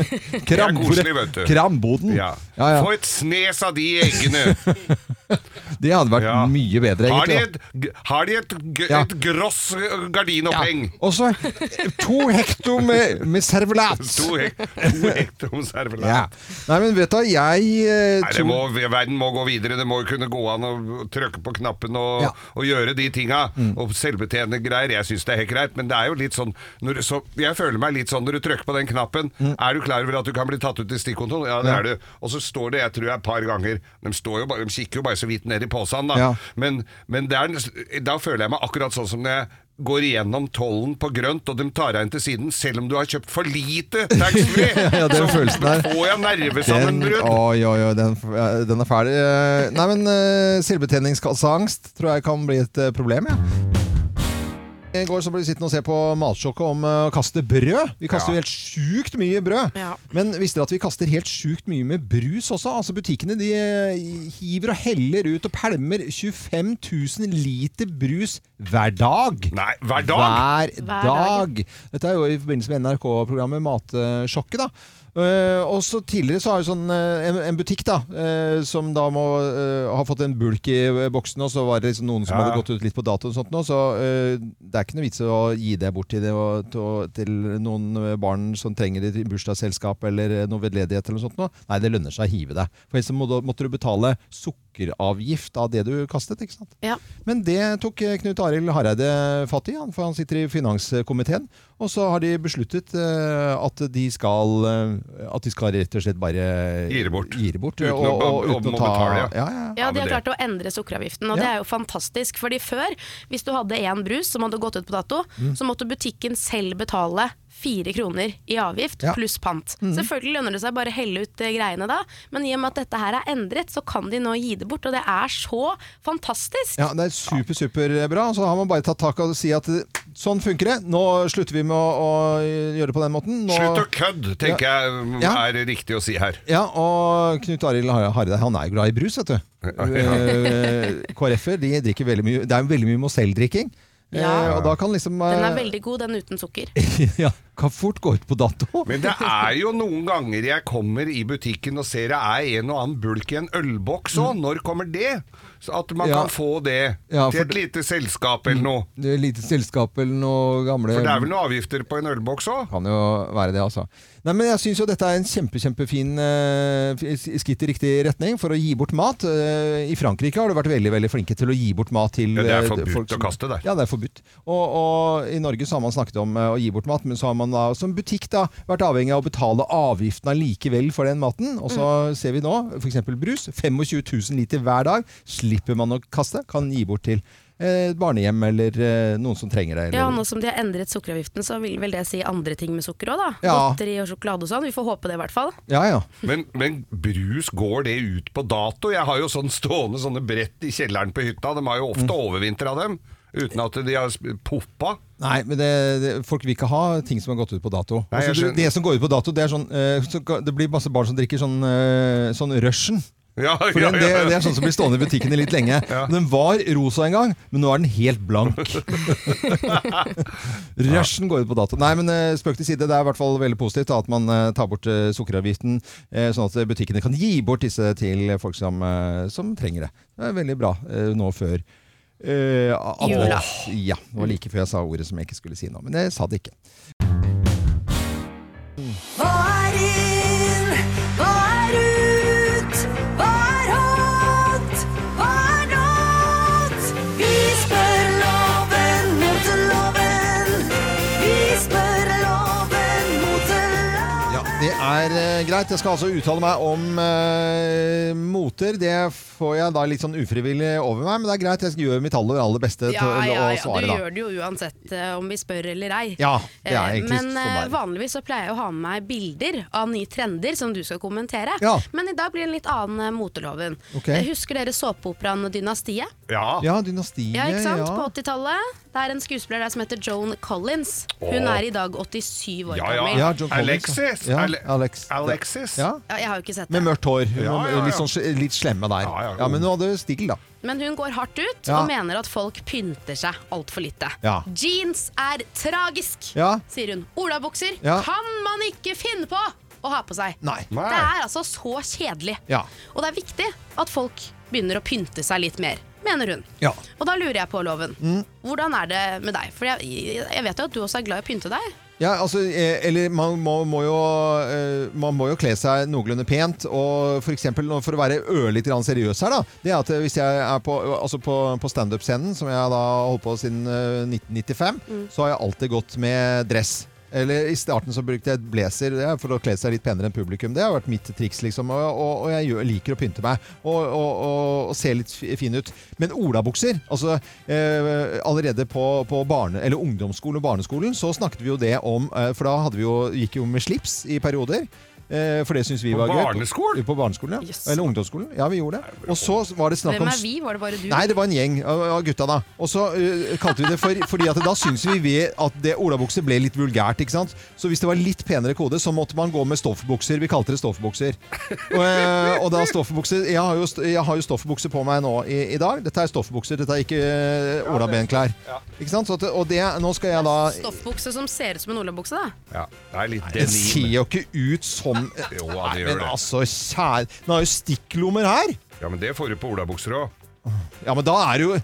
Speaker 2: koselig, vet du.
Speaker 1: Kramboden.
Speaker 2: Ja.
Speaker 1: Ja, ja.
Speaker 2: Få et snes av de eggene.
Speaker 1: Det hadde vært
Speaker 2: Ja.
Speaker 1: mye bedre,
Speaker 2: Har de
Speaker 1: egentlig.
Speaker 2: et, g- har de et, g-
Speaker 1: Ja.
Speaker 2: et gross eh,
Speaker 1: da.
Speaker 2: gardinoppheng?
Speaker 1: ja. Og så eh, to hekto med, med servelat.
Speaker 2: To hek- to hektar om servelat.
Speaker 1: Ja. Nei, men vet du, jeg eh,
Speaker 2: Nei, det
Speaker 1: tror
Speaker 2: må, verden må gå videre. Det må jo kunne gå an å trykke på knappen og,
Speaker 1: Ja. Mm.
Speaker 2: og gjøre de tinga. Og selvbetjene greier. Jeg syns det er helt greit, men det er jo litt sånn når, du- så, Jeg føler meg litt sånn når du trykker på den knappen. Er du klar over at du kan bli tatt ut i stikkontroll? Ja,
Speaker 1: Mm.
Speaker 2: det
Speaker 1: Ja.
Speaker 2: er du. Og så står det, jeg tror jeg, et par ganger De, står jo bare, de kikker jo bare så vidt ned i posen, da.
Speaker 1: Ja.
Speaker 2: Men, men det er, da føler jeg meg akkurat sånn som når jeg går igjennom tollen på grønt, og de tar deg inn til siden selv om du har kjøpt for lite taxfree!
Speaker 1: Ja, den følelsen der.
Speaker 2: får jeg nervesammenbrudd.
Speaker 1: den, oi, oi, oi, den, ja, den er ferdig. Eh, Nei, men uh, selvbetjeningskasseangst tror jeg kan bli et eh, problem, jeg. I går så ble vi sittende og se på Matsjokket om eh, å kaste brød. Vi kaster jo helt sjukt mye brød.
Speaker 3: Ja.
Speaker 1: Men visste dere at vi kaster helt sjukt mye med brus også? Altså Butikkene de eh, hiver og heller ut og pælmer 25 000 liter brus hver dag.
Speaker 2: Nei, hver dag?
Speaker 1: Hver
Speaker 3: Hver
Speaker 1: dag. Dette er jo i forbindelse med NRK-programmet Matsjokket. da. Eh, og så Tidligere så har jo sånn, eh, en, en butikk da, eh, som da må eh, ha fått en bulk i eh, boksen, og så var det liksom noen som
Speaker 2: Ja.
Speaker 1: hadde gått ut litt på dato, og sånt nå, så eh, det er ikke noe vits i å gi det bort til, det, og, til, til noen eh, barn som trenger det i bursdagsselskap eller eh, noe veldedighet. eller noe sånt nå. Nei, det lønner seg å hive det. For ellers så må, du- måtte du betale sukkeravgift av det du kastet. ikke sant?
Speaker 3: Ja.
Speaker 1: Men det tok eh, Knut Arild Hareide fatt i, han, for han sitter i finanskomiteen. Og så har de besluttet eh, at de skal eh, At de skal rett og slett bare
Speaker 2: Gi det bort.
Speaker 1: bort,
Speaker 2: Uten å-
Speaker 1: og, og,
Speaker 2: om-
Speaker 1: uten
Speaker 2: om
Speaker 1: å
Speaker 2: å
Speaker 1: ta
Speaker 2: betale,
Speaker 1: ja, ja.
Speaker 3: Ja, de
Speaker 2: men
Speaker 3: har
Speaker 2: det-
Speaker 3: klart å endre sukkeravgiften, og
Speaker 1: Ja.
Speaker 3: det er jo fantastisk. Fordi før, hvis du hadde én brus som hadde gått ut på dato,
Speaker 1: Mm.
Speaker 3: så måtte butikken selv betale fire kroner i avgift
Speaker 1: Ja. Mm.
Speaker 3: pluss pant. Selvfølgelig lønner det seg bare å helle ut eh, greiene da, men i og med at dette her er endret, så kan de nå gi det bort, og det er så fantastisk.
Speaker 1: Ja, det er super, superbra. Så har man bare tatt tak og si at eh, sånn funker det. Nå slutter vi med å, å gjøre det på den måten. Nå,
Speaker 2: Slutt å kødde, tenker jeg mm,
Speaker 1: Ja.
Speaker 2: er riktig å si her.
Speaker 1: Ja, og Knut Arild Har- Hareide han er jo glad i brus, vet du. Eh, KrF-er de drikker veldig mye. Det er jo veldig mye Mozell-drikking. Eh,
Speaker 3: Ja.
Speaker 1: og da kan liksom
Speaker 3: Den er
Speaker 1: eh,
Speaker 3: veldig god, den uten sukker.
Speaker 1: ja, kan fort gå ut på dato.
Speaker 2: Men det er jo noen ganger jeg kommer i butikken og ser det er en og annen bulk i en ølboks òg. Når kommer det? Så at man
Speaker 1: Mm. Ja.
Speaker 2: kan få det
Speaker 1: Ja,
Speaker 2: til
Speaker 1: for Mm.
Speaker 2: et lite selskap eller noe.
Speaker 1: Det er lite selskap eller noe gamle
Speaker 2: For det er vel noen avgifter på en ølboks òg?
Speaker 1: kan jo være det, altså. Nei, men jeg syns jo dette er en kjempe, kjempefin eh, skritt i riktig retning for å gi bort mat. Eh, I Frankrike har du vært veldig veldig flinke til å gi bort mat til
Speaker 2: Ja, det er
Speaker 1: eh,
Speaker 2: forbudt
Speaker 1: folk som-
Speaker 2: å kaste der.
Speaker 1: Ja, det er forbudt. Og, og i Norge så har man snakket om eh, å gi bort mat, men så har man da som butikk da vært avhengig av å betale avgiften allikevel for den maten. Og så
Speaker 3: Mm.
Speaker 1: ser vi nå f.eks. brus. 25 000 liter hver dag slipper man å kaste, kan gi bort til eh, barnehjem eller eh, noen som trenger det. Eller,
Speaker 3: Ja, nå som de har endret sukkeravgiften, så vil vel det si andre ting med sukker òg, da.
Speaker 1: Ja.
Speaker 3: Godteri og sjokolade og sånn. Vi får håpe det, i hvert fall.
Speaker 1: ja, ja.
Speaker 2: Men, men brus, går det ut på dato? Jeg har jo sånn stående sånne brett i kjelleren på hytta. De har jo ofte
Speaker 1: Mm.
Speaker 2: overvintra dem. Uten at de har sp- poppa.
Speaker 1: Nei, men det, det, folk vil ikke ha ting som har gått ut på dato.
Speaker 2: Nei, jeg
Speaker 1: Altså, det,
Speaker 2: skjønner.
Speaker 1: det som går ut på dato, det er sånn eh, så, ga- Det blir masse barn som drikker sånn, eh, sånn Russian.
Speaker 2: Ja,
Speaker 1: For
Speaker 2: ja,
Speaker 1: den, det,
Speaker 2: ja, ja.
Speaker 1: det er sånn som blir stående i butikkene litt lenge. Den var rosa en gang, men nå er den helt blank. Rushen går ut på dato. Nei, men eh, spøk til side. Det er i hvert fall veldig positivt da, at man eh, tar bort eh, sukkeravgiften, eh, sånn at butikkene kan gi bort disse til folk som, eh, som trenger det. Det er veldig bra eh, nå før eh, advent.
Speaker 3: Jula.
Speaker 1: Ja, det var like før jeg sa ordet som jeg ikke skulle si nå, men jeg sa det ikke.
Speaker 8: Hva er inn? Hva er ut? Hva er hot? Hva er not? Vi spør loven mot loven. Vi spør loven mot loven.
Speaker 1: Ja, det er eh, greit. Jeg skal altså uttale meg om eh, moter. Det får jeg da litt sånn ufrivillig over meg, men det er greit. Jeg skal gjøre mitt aller, aller beste
Speaker 3: Ja,
Speaker 1: til
Speaker 3: ja,
Speaker 1: å
Speaker 3: ja, du
Speaker 1: svare, da.
Speaker 3: gjør det jo uansett eh, om vi spør eller ei.
Speaker 1: Ja, det er
Speaker 3: Eh,
Speaker 1: egentlig
Speaker 3: Men
Speaker 1: sånn
Speaker 3: eh,
Speaker 1: det er.
Speaker 3: vanligvis så pleier jeg å ha med meg bilder av nye trender som du skal kommentere.
Speaker 1: Ja.
Speaker 3: Men i dag blir det en litt annen eh, moteloven.
Speaker 1: Ok.
Speaker 3: Eh, Husker dere såpeoperaen Dynastiet?
Speaker 2: Ja.
Speaker 1: Ja, dynastiet,
Speaker 3: Ja,
Speaker 1: ja.
Speaker 3: ikke sant? På 80-tallet. Det er en skuespiller der som heter Joan Collins. Hun
Speaker 2: Åh.
Speaker 3: er i dag 87 år
Speaker 2: Ja, ja.
Speaker 3: gammel.
Speaker 1: Ja, John Collins,
Speaker 2: Alexis.
Speaker 1: Ja,
Speaker 2: Ale-
Speaker 1: Alex.
Speaker 2: Alexis.
Speaker 1: Ja.
Speaker 3: Ja, jeg har jo ikke sett
Speaker 1: Med
Speaker 3: det.
Speaker 1: mørkt hår. Hun
Speaker 2: Ja,
Speaker 1: var
Speaker 2: ja, ja.
Speaker 1: Litt, sånn, sl- litt slemme der.
Speaker 2: Ja,
Speaker 1: Ja,
Speaker 2: ja, ja.
Speaker 1: Men hun hadde stil, da.
Speaker 3: Men hun går hardt ut
Speaker 1: Ja.
Speaker 3: og mener at folk pynter seg altfor lite.
Speaker 1: Ja.
Speaker 3: Jeans er tragisk,
Speaker 1: Ja.
Speaker 3: sier hun. Olabukser
Speaker 1: Ja.
Speaker 3: kan man ikke finne på å ha på seg.
Speaker 1: Nei.
Speaker 2: Nei.
Speaker 3: Det er altså så kjedelig.
Speaker 1: Ja.
Speaker 3: Og det er viktig at folk begynner å pynte seg litt mer, mener hun.
Speaker 1: Ja.
Speaker 3: Og da lurer jeg på, Loven,
Speaker 1: Mm.
Speaker 3: hvordan er det med deg? For jeg, jeg vet jo at du også er glad i å pynte deg.
Speaker 1: Ja, altså, eh, eller man må, må jo, eh, man må jo kle seg noenlunde pent, og for eksempel, nå for å være ørlite grann seriøs her, da, det er at eh, hvis jeg er på, altså på, på stand-up-scenen, som jeg da har holdt på siden eh, 1995, så har jeg alltid gått med dress. Eller I starten så brukte jeg blazer det er for å kle seg litt penere enn publikum. Det har vært mitt triks, liksom. Og, og, og jeg gjør, liker å pynte meg og, og, og, og se litt fi- fin ut. Men olabukser altså, eh, Allerede på, på barne, eller ungdomsskolen og barneskolen så snakket vi jo det om eh, For da hadde vi jo, gikk jo med slips i perioder. Eh, for det syns vi
Speaker 2: På
Speaker 1: var gøy.
Speaker 2: barneskolen?
Speaker 1: På barneskolen, ja.
Speaker 3: Yes.
Speaker 1: Eller ungdomsskolen. Ja, vi gjorde det. Og så var det snakk
Speaker 3: Hvem
Speaker 1: om
Speaker 3: er vi? Var det bare du?
Speaker 1: Nei, det var en gjeng av av gutta da. Og så eh, kalte vi det for Fordi at da syntes vi vi at det olabukser ble litt vulgært, ikke sant? Så hvis det var litt penere kode, så måtte man gå med stoffbukser. Vi kalte det stoffbukser. Og, eh, og da stoffbukser Jeg har jo, st- jeg har jo stoffbukser på meg nå i, i dag. Dette er stoffbukser, dette er ikke uh, olabenklær. Ikke sant? Så at, og det, nå skal jeg da
Speaker 3: Stoffbukse som ser ut som en olabukse, da.
Speaker 2: Ja, det er litt
Speaker 1: Det ser
Speaker 2: denim.
Speaker 1: jo ikke ut som
Speaker 2: Jo, ja, det
Speaker 1: Nei,
Speaker 2: gjør
Speaker 1: men
Speaker 2: det.
Speaker 1: altså, kjære Den har jo stikklommer her!
Speaker 2: Ja, men det får du på olabukser òg.
Speaker 1: Ja, men da er det jo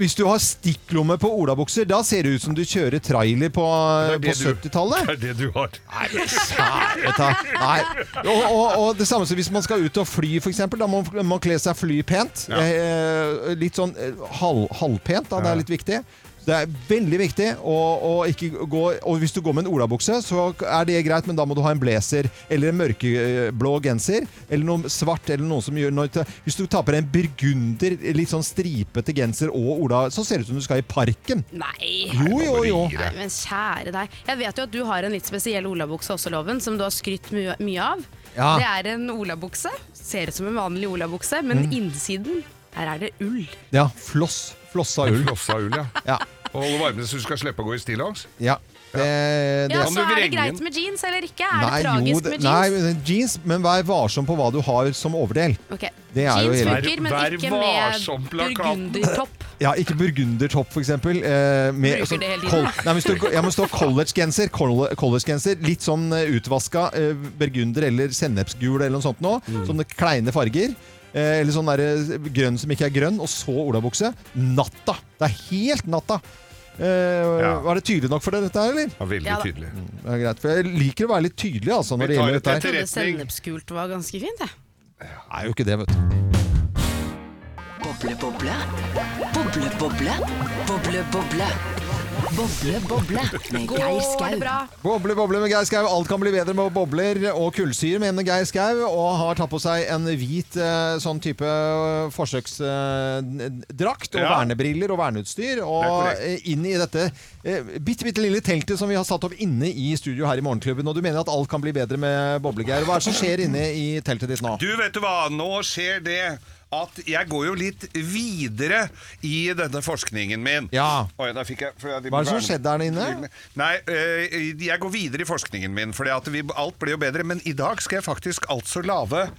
Speaker 1: Hvis du har stikklomme på olabukser, da ser det ut som du kjører trailer på,
Speaker 2: Det er
Speaker 1: på
Speaker 2: det du- Det
Speaker 1: 70-tallet.
Speaker 2: er det du har.
Speaker 1: Kjære ta. Nei. Og, og, og det samme som hvis man skal ut og fly, f.eks. Da må man- man kle seg flypent.
Speaker 2: Ja.
Speaker 1: Eh, litt sånn eh, halv, halvpent, da. Det er litt viktig. Det er veldig viktig å, å ikke gå Og hvis du går med en olabukse, så er det greit, men da må du ha en blazer eller en mørkeblå genser. Eller noe svart eller noe som gjør noe. Hvis du tar på deg en burgunder, litt sånn stripete genser og ola, så ser det ut som du skal i parken.
Speaker 3: Nei.
Speaker 1: Jo, jo, jo.
Speaker 3: Nei, men kjære deg. Jeg vet jo at du har en litt spesiell olabukse også, Loven, som du har skrytt mye, mye av.
Speaker 1: Ja.
Speaker 3: Det er en olabukse. Ser ut som en vanlig olabukse, men
Speaker 1: Mm.
Speaker 3: innsiden, her er det ull.
Speaker 1: Ja, floss. Floss av ull.
Speaker 2: Flossa ull, ja.
Speaker 1: Ja.
Speaker 2: Og holde varmen så du skal slippe å gå i stillongs.
Speaker 1: ja. Eh, Det, det,
Speaker 3: Ja,
Speaker 2: Kan
Speaker 3: så
Speaker 2: du
Speaker 3: er det
Speaker 2: vrenge
Speaker 3: greit
Speaker 2: den?
Speaker 3: med jeans eller ikke? Er det tragisk
Speaker 1: det-
Speaker 3: med
Speaker 1: nei,
Speaker 3: jeans?
Speaker 1: men jeans, men vær varsom på hva du har som overdel.
Speaker 3: Ok,
Speaker 1: Det er jo
Speaker 3: Jeans
Speaker 1: hele-
Speaker 3: funker,
Speaker 2: Vær-
Speaker 3: men
Speaker 2: vær
Speaker 3: ikke
Speaker 2: varsom,
Speaker 3: med
Speaker 2: plakaten.
Speaker 3: burgundertopp.
Speaker 1: Ja, ikke burgundertopp, for eksempel. Eh, med,
Speaker 3: Bruker det hele tiden.
Speaker 1: Col- nei, men hvis du, ja, men hvis du har collegegenser, colle- collegegenser, litt sånn eh, utvaska eh, burgunder eller sennepsgul eller noe sånt nå,
Speaker 2: Mm.
Speaker 1: sånne kleine farger. Eh, eller sånn derre grønn som ikke er grønn, og så olabukse. Natta! Det er helt natta! Eh,
Speaker 2: Ja.
Speaker 1: Var det tydelig nok for deg, dette her, eller?
Speaker 2: Ja, veldig
Speaker 3: Ja da.
Speaker 2: tydelig.
Speaker 1: Det er greit, for jeg liker å være litt tydelig, altså, når
Speaker 2: Vi
Speaker 1: det
Speaker 2: tar
Speaker 1: gjelder
Speaker 2: et
Speaker 1: dette
Speaker 2: etter-
Speaker 3: Trodde
Speaker 1: her.
Speaker 2: Etterretning.
Speaker 3: sennepsgult var ganske fint, jeg.
Speaker 1: Det er jo ikke det, vet du.
Speaker 9: Boble, boble. Boble, boble. Boble, boble. Boble, boble. Med Geir
Speaker 3: Går
Speaker 9: Skau.
Speaker 3: det bra?
Speaker 1: Boble, boble med Geir Skau. Alt kan bli bedre med bobler og kullsyre, mener Geir Skau. Og har tatt på seg en hvit eh, sånn type forsøksdrakt. Og
Speaker 2: Ja.
Speaker 1: vernebriller og verneutstyr. Og
Speaker 2: korrekt.
Speaker 1: eh, inn i dette eh, bitte, bitte lille teltet som vi har satt opp inne i studio her i Morgenklubben. Og du mener at alt kan bli bedre med boble, Geir. Hva er det som skjer inne i teltet ditt nå?
Speaker 2: Du, vet du hva? Nå skjer det at jeg går jo litt videre i denne forskningen min.
Speaker 1: Ja.
Speaker 2: Oi, da fikk jeg, for jeg
Speaker 1: Hva er det som skjedde der inne?
Speaker 2: Nei, eh, jeg går videre i forskningen min, for alt blir jo bedre. Men i dag skal jeg faktisk altså lage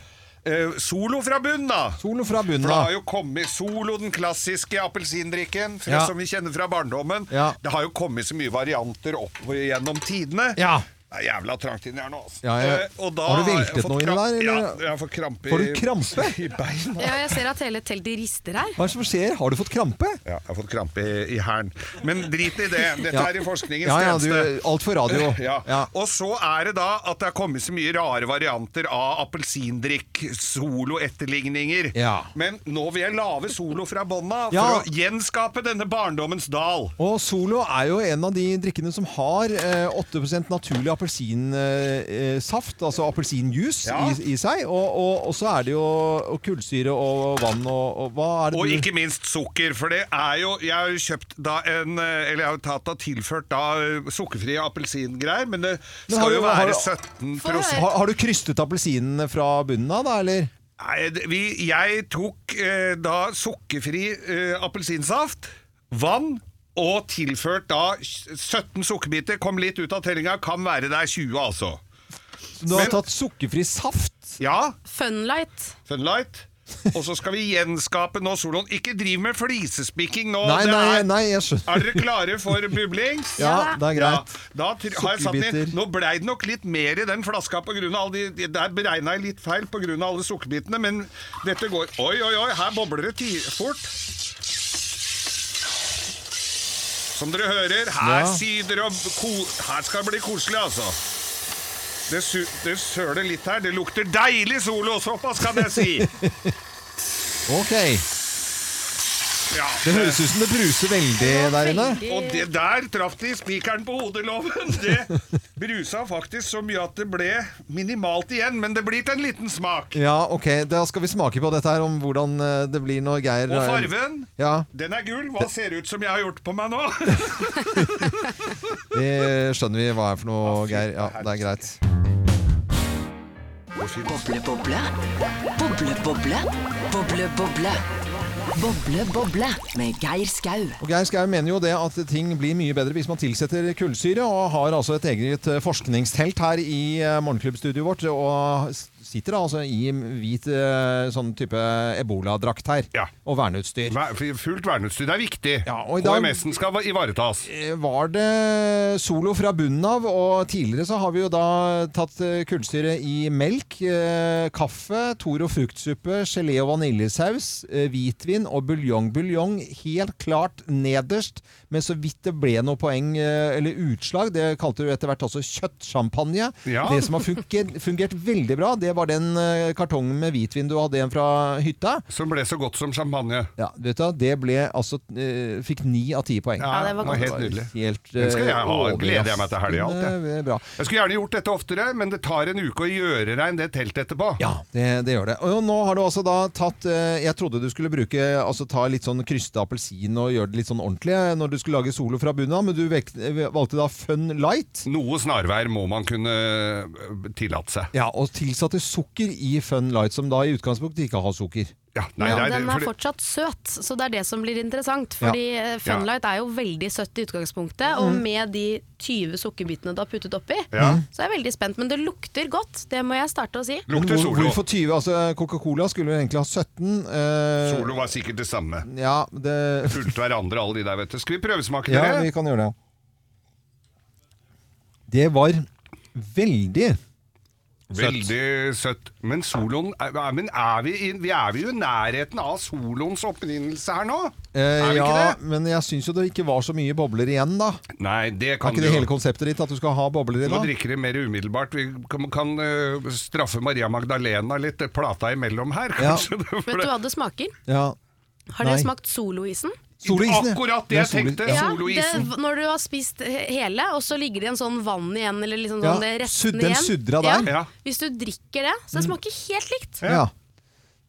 Speaker 2: eh, solo fra bunn, da.
Speaker 1: Solo fra bunnen
Speaker 2: For det
Speaker 1: av.
Speaker 2: har jo kommet Solo, den klassiske appelsindrikken fra,
Speaker 1: Ja.
Speaker 2: som vi kjenner fra barndommen.
Speaker 1: Ja.
Speaker 2: Det har jo kommet så mye varianter opp gjennom tidene.
Speaker 1: Ja.
Speaker 2: Det er jævla trangt inni her nå. Altså.
Speaker 1: Ja, jeg-
Speaker 2: Eh, og da
Speaker 1: Har du
Speaker 2: jeg
Speaker 1: veltet
Speaker 2: fått
Speaker 1: noe inni
Speaker 2: kramp-
Speaker 1: der,
Speaker 2: Ja,
Speaker 1: eller?
Speaker 2: jeg får krampe
Speaker 1: Får du
Speaker 2: i-
Speaker 1: krampe?
Speaker 2: i beina.
Speaker 3: Ja, jeg ser at hele teltet rister her.
Speaker 1: Hva er det som skjer? Har du fått krampe?
Speaker 2: Ja, jeg har fått krampe i, i hælen. Men drit i det. Dette
Speaker 1: Ja.
Speaker 2: er i forskningens
Speaker 1: Ja, ja,
Speaker 2: tjeneste.
Speaker 1: du, alt for radio.
Speaker 2: Ja.
Speaker 1: Ja.
Speaker 2: Og så er det da at det har kommet så mye rare varianter av appelsindrikk, soloetterligninger.
Speaker 1: Ja.
Speaker 2: Men nå vil jeg lage solo fra bånda for
Speaker 1: Ja.
Speaker 2: å gjenskape denne barndommens dal.
Speaker 1: Og Solo er jo en av de drikkene som har eh, 8 naturlig appelsinsaft, eh, saft, altså appelsinjuice,
Speaker 2: Ja.
Speaker 1: i, i seg. Og, og, og så er det jo og kullsyre og vann og, og Hva er det
Speaker 2: Og
Speaker 1: du
Speaker 2: ikke minst sukker, for det er jo Jeg har jo kjøpt da en eh, Eller jeg har jo tatt og tilført da eh, sukkerfrie appelsingreier, men det
Speaker 1: Men har
Speaker 2: skal
Speaker 1: du-
Speaker 2: jo
Speaker 1: har du-
Speaker 2: være 17
Speaker 3: Få høre.
Speaker 1: har, har du krystet appelsinene fra bunnen av, da, eller?
Speaker 2: Nei, det- vi, jeg tok eh, da sukkerfri eh, appelsinsaft, vann og tilført da 17 sukkerbiter. Kom litt ut av tellinga, kan være det er 20, altså.
Speaker 1: Så du har
Speaker 2: Men-
Speaker 1: tatt sukkerfri saft?
Speaker 2: Ja,
Speaker 3: Funlight.
Speaker 2: Funlight. Og så skal vi gjenskape nå soloen. Ikke driv med flisespikking nå.
Speaker 1: Nei,
Speaker 2: det
Speaker 1: nei,
Speaker 2: er,
Speaker 1: nei, jeg skjønner.
Speaker 2: er dere klare for bublings?
Speaker 1: Ja, det er greit.
Speaker 2: Ja, da tr- har jeg satt den
Speaker 1: Sukkerbiter.
Speaker 2: i. Nå blei det nok litt mer i den flaska på grunn av alle de- de Der beregna jeg litt feil på grunn av alle sukkerbitene, men dette går Oi, oi, oi, her bobler det ti fort. Som dere hører, her
Speaker 1: Ja.
Speaker 2: syder og ko Her skal det bli koselig, altså. Det, su det søler litt her. Det lukter deilig solo, såpass kan jeg si.
Speaker 1: Ok.
Speaker 2: Ja,
Speaker 1: Det høres ut som det bruser veldig der inne.
Speaker 2: Og det der traff de spikeren på hodeloven. Det brusa faktisk så mye at det ble minimalt igjen, men det blir til en liten smak.
Speaker 1: Ja, ok. Da skal vi smake på dette her, om hvordan eh, det blir når Geir
Speaker 2: Og farven,
Speaker 1: Ja,
Speaker 2: den er gul. Hva ser det ut som jeg har gjort på meg nå?
Speaker 1: det skjønner vi hva er for noe, Geir. Ja, det er greit.
Speaker 9: Boble, boble. Boble, boble. Boble, boble. Boble, boble med Geir Skau.
Speaker 1: Og Geir Skau mener jo det at ting blir mye bedre hvis man tilsetter kullsyre, og har altså et eget eh, forskningstelt her i eh, morgenklubbstudioet vårt, og s- sitter da altså i hvit eh, sånn type eboladrakt her,
Speaker 2: Ja.
Speaker 1: og verneutstyr.
Speaker 2: Fullt verneutstyr er viktig.
Speaker 1: Ja, og i dag-
Speaker 2: HMS-en skal ivaretas.
Speaker 1: Eh, Var det solo fra bunnen av, og tidligere så har vi jo da tatt eh, kullsyre i melk, eh, kaffe, Toro fruktsuppe, gelé og vaniljesaus, eh, hvitvin og buljong. Buljong helt klart nederst, men så vidt det ble noe poeng eh, eller utslag, det kalte du etter hvert også kjøttsjampanje.
Speaker 2: Ja.
Speaker 1: Det som har fungert, fungert veldig bra, det var den eh, kartongen med hvitvin du hadde igjen fra hytta.
Speaker 2: Som ble så godt som champagne.
Speaker 1: Ja, vet du, hva, det ble altså eh, Fikk ni av ti poeng.
Speaker 3: Ja, det var godt.
Speaker 2: helt nydelig.
Speaker 1: Helt,
Speaker 2: Den skal jeg ha.
Speaker 1: eh,
Speaker 2: Gleder jeg meg til helga, alt, jeg.
Speaker 1: overraskende Bra.
Speaker 2: Jeg skulle gjerne gjort dette oftere, men det tar en uke å gjøre rein det teltet etterpå.
Speaker 1: Ja, det, det gjør det. Og nå har du altså da tatt eh, Jeg trodde du skulle bruke Altså ta litt sånn kryste appelsin og gjøre det litt sånn ordentlig eh, når du skulle lage solo fra bunnen av, men du vek, eh, valgte da Fun Light.
Speaker 2: Noe snarveier må man kunne eh, tillate seg.
Speaker 1: Ja, og tilsatte sukker i Fun Light, som da i utgangspunktet ikke har sukker.
Speaker 2: Ja, nei,
Speaker 1: Ja,
Speaker 2: nei, det-
Speaker 3: Den er
Speaker 2: for det-
Speaker 3: fortsatt søt, så det er det som blir interessant. Fordi eh, Funlight er jo veldig søtt i utgangspunktet,
Speaker 1: Mm.
Speaker 3: og med de 20 sukkerbitene du har puttet oppi,
Speaker 2: Ja.
Speaker 3: så er jeg veldig spent. Men det lukter godt, det må jeg starte å si.
Speaker 2: lukter
Speaker 1: hvor,
Speaker 2: solo.
Speaker 1: hvorfor 20? Altså Coca-Cola skulle jo egentlig ha 17. eh,
Speaker 2: Solo var sikkert det samme.
Speaker 1: Ja, det
Speaker 2: fulgte hverandre, alle de der, vet du. Skal vi prøvesmake
Speaker 1: Ja,
Speaker 2: dere?
Speaker 1: vi kan gjøre det. Det var veldig
Speaker 2: Veldig søtt. Men soloen er- er- Men er vi, i, vi er vi jo i nærheten av soloens opprinnelse her nå?
Speaker 1: Eh,
Speaker 2: er vi
Speaker 1: ja,
Speaker 2: ikke det?
Speaker 1: men jeg syns jo det ikke var så mye bobler igjen, da.
Speaker 2: Nei, det
Speaker 1: Er
Speaker 2: kan
Speaker 1: ikke
Speaker 2: du
Speaker 1: det
Speaker 2: jo.
Speaker 1: hele konseptet ditt at du skal ha bobler i,
Speaker 2: Du
Speaker 1: da?
Speaker 2: må drikke det mer umiddelbart. Vi kan, kan eh, straffe Maria Magdalena litt, eh, plata imellom her,
Speaker 1: Ja.
Speaker 2: kanskje.
Speaker 3: Vet du hva det smaker?
Speaker 1: Ja.
Speaker 3: Har dere
Speaker 1: Nei.
Speaker 3: smakt soloisen?
Speaker 1: Soloisen, ja.
Speaker 2: Akkurat det
Speaker 1: er
Speaker 2: jeg
Speaker 1: soli-
Speaker 2: tenkte.
Speaker 1: Ja.
Speaker 3: Ja,
Speaker 2: Soloisen.
Speaker 3: det- når du har spist he- hele, og så ligger det igjen sånn vann igjen, eller liksom
Speaker 1: Ja,
Speaker 3: sånn det
Speaker 1: sudd-
Speaker 3: resten
Speaker 1: den
Speaker 3: igjen.
Speaker 1: suddra der. Mm.
Speaker 2: Ja.
Speaker 3: Hvis du drikker det, så det smaker helt likt.
Speaker 1: Ja.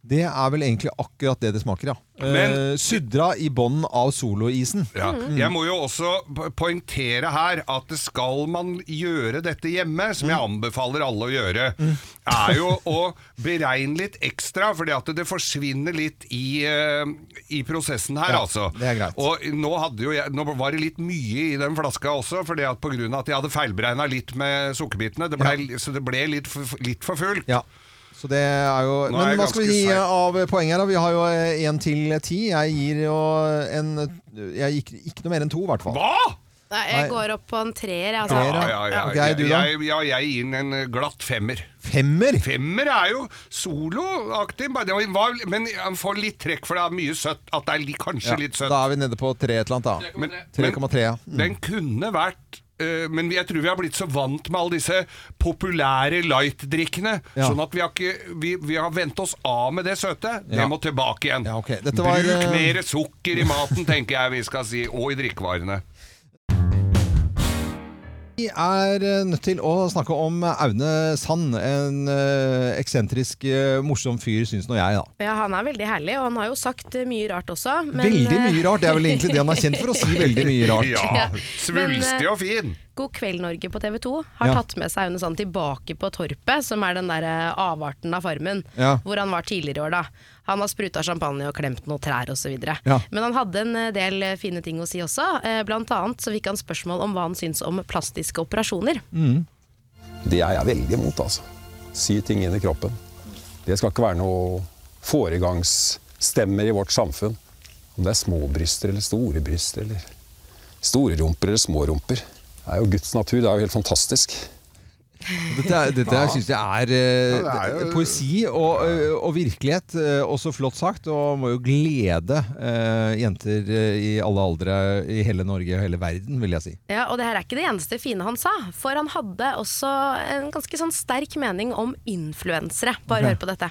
Speaker 1: Det er vel egentlig akkurat det det smaker, ja.
Speaker 2: Men-
Speaker 1: eh, sudra i bånn av soloisen.
Speaker 2: Ja. Jeg må jo også po- poengtere her at det skal man gjøre dette hjemme, som
Speaker 1: Mm.
Speaker 2: jeg anbefaler alle å gjøre, er jo å beregne litt ekstra, fordi at det forsvinner litt i, eh, i prosessen her,
Speaker 1: Ja,
Speaker 2: altså.
Speaker 1: det er greit.
Speaker 2: Og nå, hadde jo jeg, nå var det litt mye i den flaska også, fordi at på grunn av at jeg hadde feilberegna litt med sukkerbitene, det ble, så det ble litt for, litt for fullt.
Speaker 1: Ja. Så det er jo
Speaker 2: Nå er
Speaker 1: Men
Speaker 2: jeg
Speaker 1: hva skal vi
Speaker 2: ganske
Speaker 1: gi
Speaker 2: seig.
Speaker 1: av poeng her? da? Vi har jo én til ti. Jeg gir jo en Jeg gikk ikke noe mer enn to, i hvert fall.
Speaker 2: Hva?!
Speaker 3: Nei,
Speaker 1: Nei.
Speaker 3: jeg går opp på en treer. jeg, Altså.
Speaker 2: Ja,
Speaker 1: Treer,
Speaker 2: ja, ja,
Speaker 1: Ok,
Speaker 2: ja,
Speaker 1: du da?
Speaker 2: jeg, ja, jeg gir den en glatt femmer.
Speaker 1: Femmer?
Speaker 2: Femmer er jo soloaktig, bare det var- men han får litt trekk, for det er mye søtt. At det er li- kanskje
Speaker 1: Ja,
Speaker 2: litt søtt.
Speaker 1: da er vi nede på tre Mm. et eller annet, da.
Speaker 2: Men-
Speaker 1: 3,3, ja.
Speaker 2: men Den kunne vært eh, men jeg tror vi har blitt så vant med alle disse populære light-drikkene.
Speaker 1: Ja.
Speaker 2: Sånn at vi har, ikke, vi, vi har vent oss av med det søte. Det
Speaker 1: Ja.
Speaker 2: må tilbake igjen.
Speaker 1: Ja, ok. Dette var,
Speaker 2: Bruk
Speaker 1: eh,
Speaker 2: mer sukker i maten, tenker jeg vi skal si. Og i drikkevarene.
Speaker 1: Vi er eh, nødt til å snakke om Aune Sand. En eh, eksentrisk, eh, morsom fyr, syns nå jeg, da.
Speaker 3: Ja, han er veldig herlig, og han har jo sagt eh, mye rart også. men,
Speaker 1: veldig
Speaker 3: eh,
Speaker 1: mye rart. Det er vel egentlig det han er kjent for, å si veldig mye rart.
Speaker 2: Ja,
Speaker 3: Ja, men,
Speaker 2: svulstig
Speaker 3: eh,
Speaker 2: og fin.
Speaker 3: God kveld Norge på TV 2 har
Speaker 1: Ja.
Speaker 3: tatt med seg Aune Sand tilbake på Torpet, som er den der eh, avarten av Farmen,
Speaker 1: Ja.
Speaker 3: hvor han var tidligere i år. da. Han har spruta champagne og klemt noen trær osv.
Speaker 1: Ja.
Speaker 3: Men han hadde en eh, del eh, fine ting å si også. Eh, Blant annet så fikk han spørsmål om hva han syns om plastiske operasjoner.
Speaker 1: Mm.
Speaker 10: Det er jeg veldig imot, altså. Sy ting inn i kroppen. Det skal ikke være noe foregangsstemmer i vårt samfunn. Om det er små bryster eller store bryster, eller store rumper eller små rumper. Det er jo Guds natur. Det er jo helt fantastisk.
Speaker 1: Dette, er- dette syns jeg er, eh,
Speaker 2: Ja, det er jo-
Speaker 1: poesi og, eh, og virkelighet. eh, Også flott sagt, og må jo glede eh, jenter eh, i alle aldre i hele Norge og hele verden, vil jeg si.
Speaker 3: Ja, Og det her er ikke det eneste fine han sa, for han hadde også en ganske sånn sterk mening om influensere. Bare hør på dette.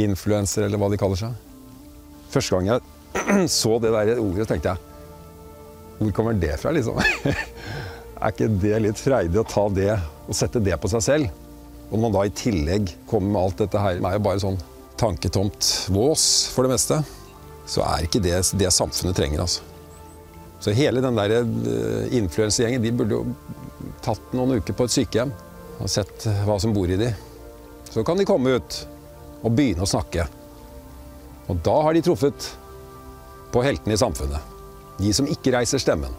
Speaker 10: Influenser, eller hva de kaller seg. Første gang jeg så det der ordet, tenkte jeg Hvor kommer det fra, liksom? er ikke det litt freidig å ta det og sette det på seg selv? Og når man da i tillegg kommer med alt dette her, det er jo bare sånn tanketomt vås for det meste, så er ikke det det samfunnet trenger, altså. Så hele den der eh, influensegjengen, de burde jo tatt noen uker på et sykehjem og sett hva som bor i de. Så kan de komme ut og begynne å snakke. Og da har de truffet på heltene i samfunnet. De som ikke reiser stemmen.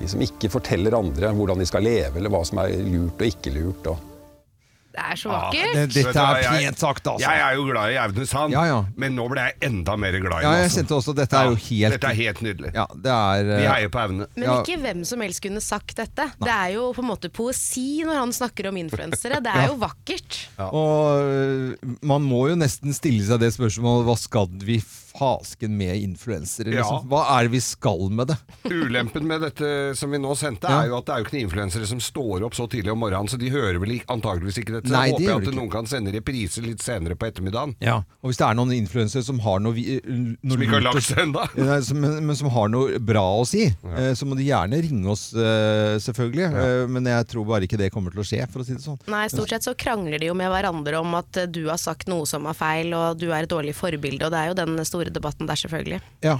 Speaker 10: De som ikke forteller andre hvordan de skal leve, eller hva som er lurt og ikke lurt. Og
Speaker 3: Det er så vakkert.
Speaker 1: Ah, det- dette
Speaker 2: Vet du hva,
Speaker 1: er
Speaker 2: jeg-
Speaker 1: pent sagt,
Speaker 3: eh,
Speaker 1: altså.
Speaker 2: Jeg er jo glad i Aune Sand,
Speaker 1: Ja, ja.
Speaker 2: men nå ble jeg enda mer glad i
Speaker 1: Ja,
Speaker 2: ham.
Speaker 1: jeg kjente også dette er jo helt
Speaker 2: Dette er helt nydelig.
Speaker 1: Ja, det er
Speaker 2: Vi
Speaker 1: eh,
Speaker 2: heier på Aune.
Speaker 3: Men
Speaker 1: Ja.
Speaker 3: ikke hvem som helst kunne sagt dette. Det er jo på en måte poesi når han snakker om influensere. Det er jo vakkert.
Speaker 1: Og øh, man må jo nesten stille seg det spørsmålet Hva skal vi fasken med influensere?
Speaker 2: Ja.
Speaker 1: Liksom? Hva er det vi skal med det?
Speaker 2: Ulempen med dette som vi nå sendte,
Speaker 1: Ja.
Speaker 2: er jo at det er jo ikke noen influensere som står opp så tidlig om morgenen, så de hører vel ikke- antageligvis ikke dette. Så
Speaker 1: Nei, det
Speaker 2: håper jeg
Speaker 1: gjør
Speaker 2: at
Speaker 1: de ikke.
Speaker 2: noen kan sende repriser litt senere på ettermiddagen.
Speaker 1: Og hvis det er noen influensere som har noe, vi- øh, noe
Speaker 2: Som ikke har
Speaker 1: lurt å-
Speaker 2: lagt seg ennå.
Speaker 1: Nei, som, men, men som har noe bra å si, eh, så må de gjerne ringe oss, eh, selvfølgelig. Eh, Men jeg tror bare ikke det kommer til å skje, for å si det sånn.
Speaker 3: Nei, stort sett så krangler de jo med hverandre om at eh, du har sagt noe som er feil, og du er et dårlig forbilde, og det er jo den store debatten der, selvfølgelig.
Speaker 1: Ja.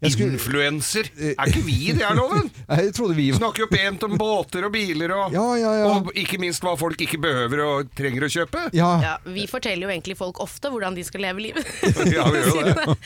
Speaker 1: Jeg, skulle, Eh.
Speaker 2: Influenser! Er ikke vi det, er loven?
Speaker 1: Nei, jeg trodde vi
Speaker 2: Vi Snakker jo pent om båter og biler og,
Speaker 1: Ja, ja, ja.
Speaker 2: og ikke minst hva folk ikke behøver og trenger å kjøpe.
Speaker 1: Ja,
Speaker 3: Ja, vi forteller jo egentlig folk ofte hvordan de skal leve livet.
Speaker 2: Ja, vi gjør det.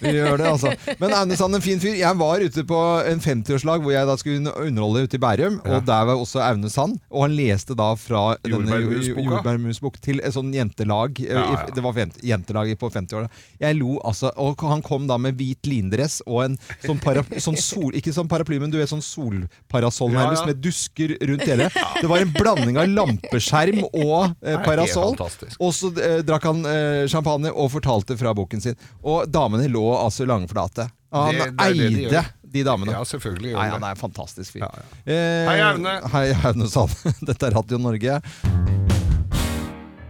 Speaker 1: vi gjør det, altså. Men Aune Sand, en fin fyr. Jeg var ute på en 50-årslag hvor jeg da skulle un- underholde ute i Bærum, og der var også Aune Sand. Og han leste da fra denne
Speaker 2: Jordbærmusboka.
Speaker 1: jo- Jordbærmusbok til et sånn jentelag. eh,
Speaker 2: Ja,
Speaker 1: i-
Speaker 2: ja.
Speaker 1: Det var fem- jentelag på 50-åra. Jeg lo altså. Og han kom da med hvit lindress og en sånn, para, sånn sol... Ikke sånn paraply, men du vet sånn solparasoll
Speaker 2: Ja, ja.
Speaker 1: nærmest, med dusker rundt hele. Det var en blanding av lampeskjerm og eh,
Speaker 2: helt
Speaker 1: parasoll.
Speaker 2: fantastisk.
Speaker 1: Og så eh, drakk han eh, champagne og fortalte fra boken sin. Og damene lå altså langflate. Han
Speaker 2: Det- det er det de
Speaker 1: eide
Speaker 2: gjør.
Speaker 1: de damene.
Speaker 2: Ja, selvfølgelig gjør
Speaker 1: Nei,
Speaker 2: det.
Speaker 1: han er en fantastisk fyr.
Speaker 2: Ja,
Speaker 1: Eh,
Speaker 2: Hei, Aune.
Speaker 1: Hei, Aune Sand. Dette er Radio Norge.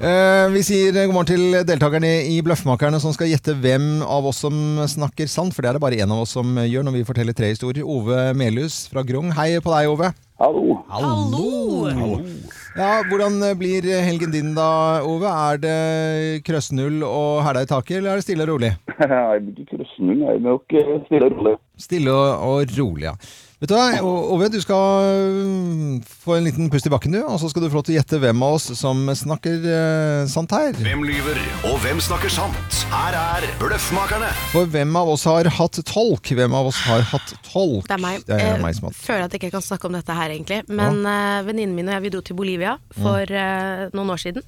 Speaker 1: Eh, vi sier god morgen til deltakerne i Bløffmakerne som skal gjette hvem av oss som snakker sant. For det er det bare én av oss som gjør når vi forteller tre historier. Ove Melhus fra Grong. Hei på deg, Ove.
Speaker 10: Hallo!
Speaker 1: Hallo! Ja, Hvordan eh, blir helgen din da, Ove? Er det krøssnull og hæla i taket, eller er det stille og rolig?
Speaker 10: Jeg blir ikke krøsnung, jeg må ikke stille rolle.
Speaker 1: Stille og, og rolig, ja. Vet du hva, O- Ove, du skal mm, få en liten pust i bakken, du. Og så skal du få lov til å gjette hvem av oss som snakker eh, sant her.
Speaker 11: Hvem lyver, og hvem snakker sant? Her er Bløffmakerne.
Speaker 1: For hvem av oss har hatt tolk? Hvem av oss har hatt tolk?
Speaker 3: Det er meg.
Speaker 1: Det er
Speaker 3: Eh,
Speaker 1: meg som Ah. har hatt
Speaker 3: Føler at jeg ikke kan
Speaker 1: Mm.
Speaker 3: snakke om dette her, egentlig. Men eh, venninnen min og jeg, vi dro til Bolivia for eh, noen år siden.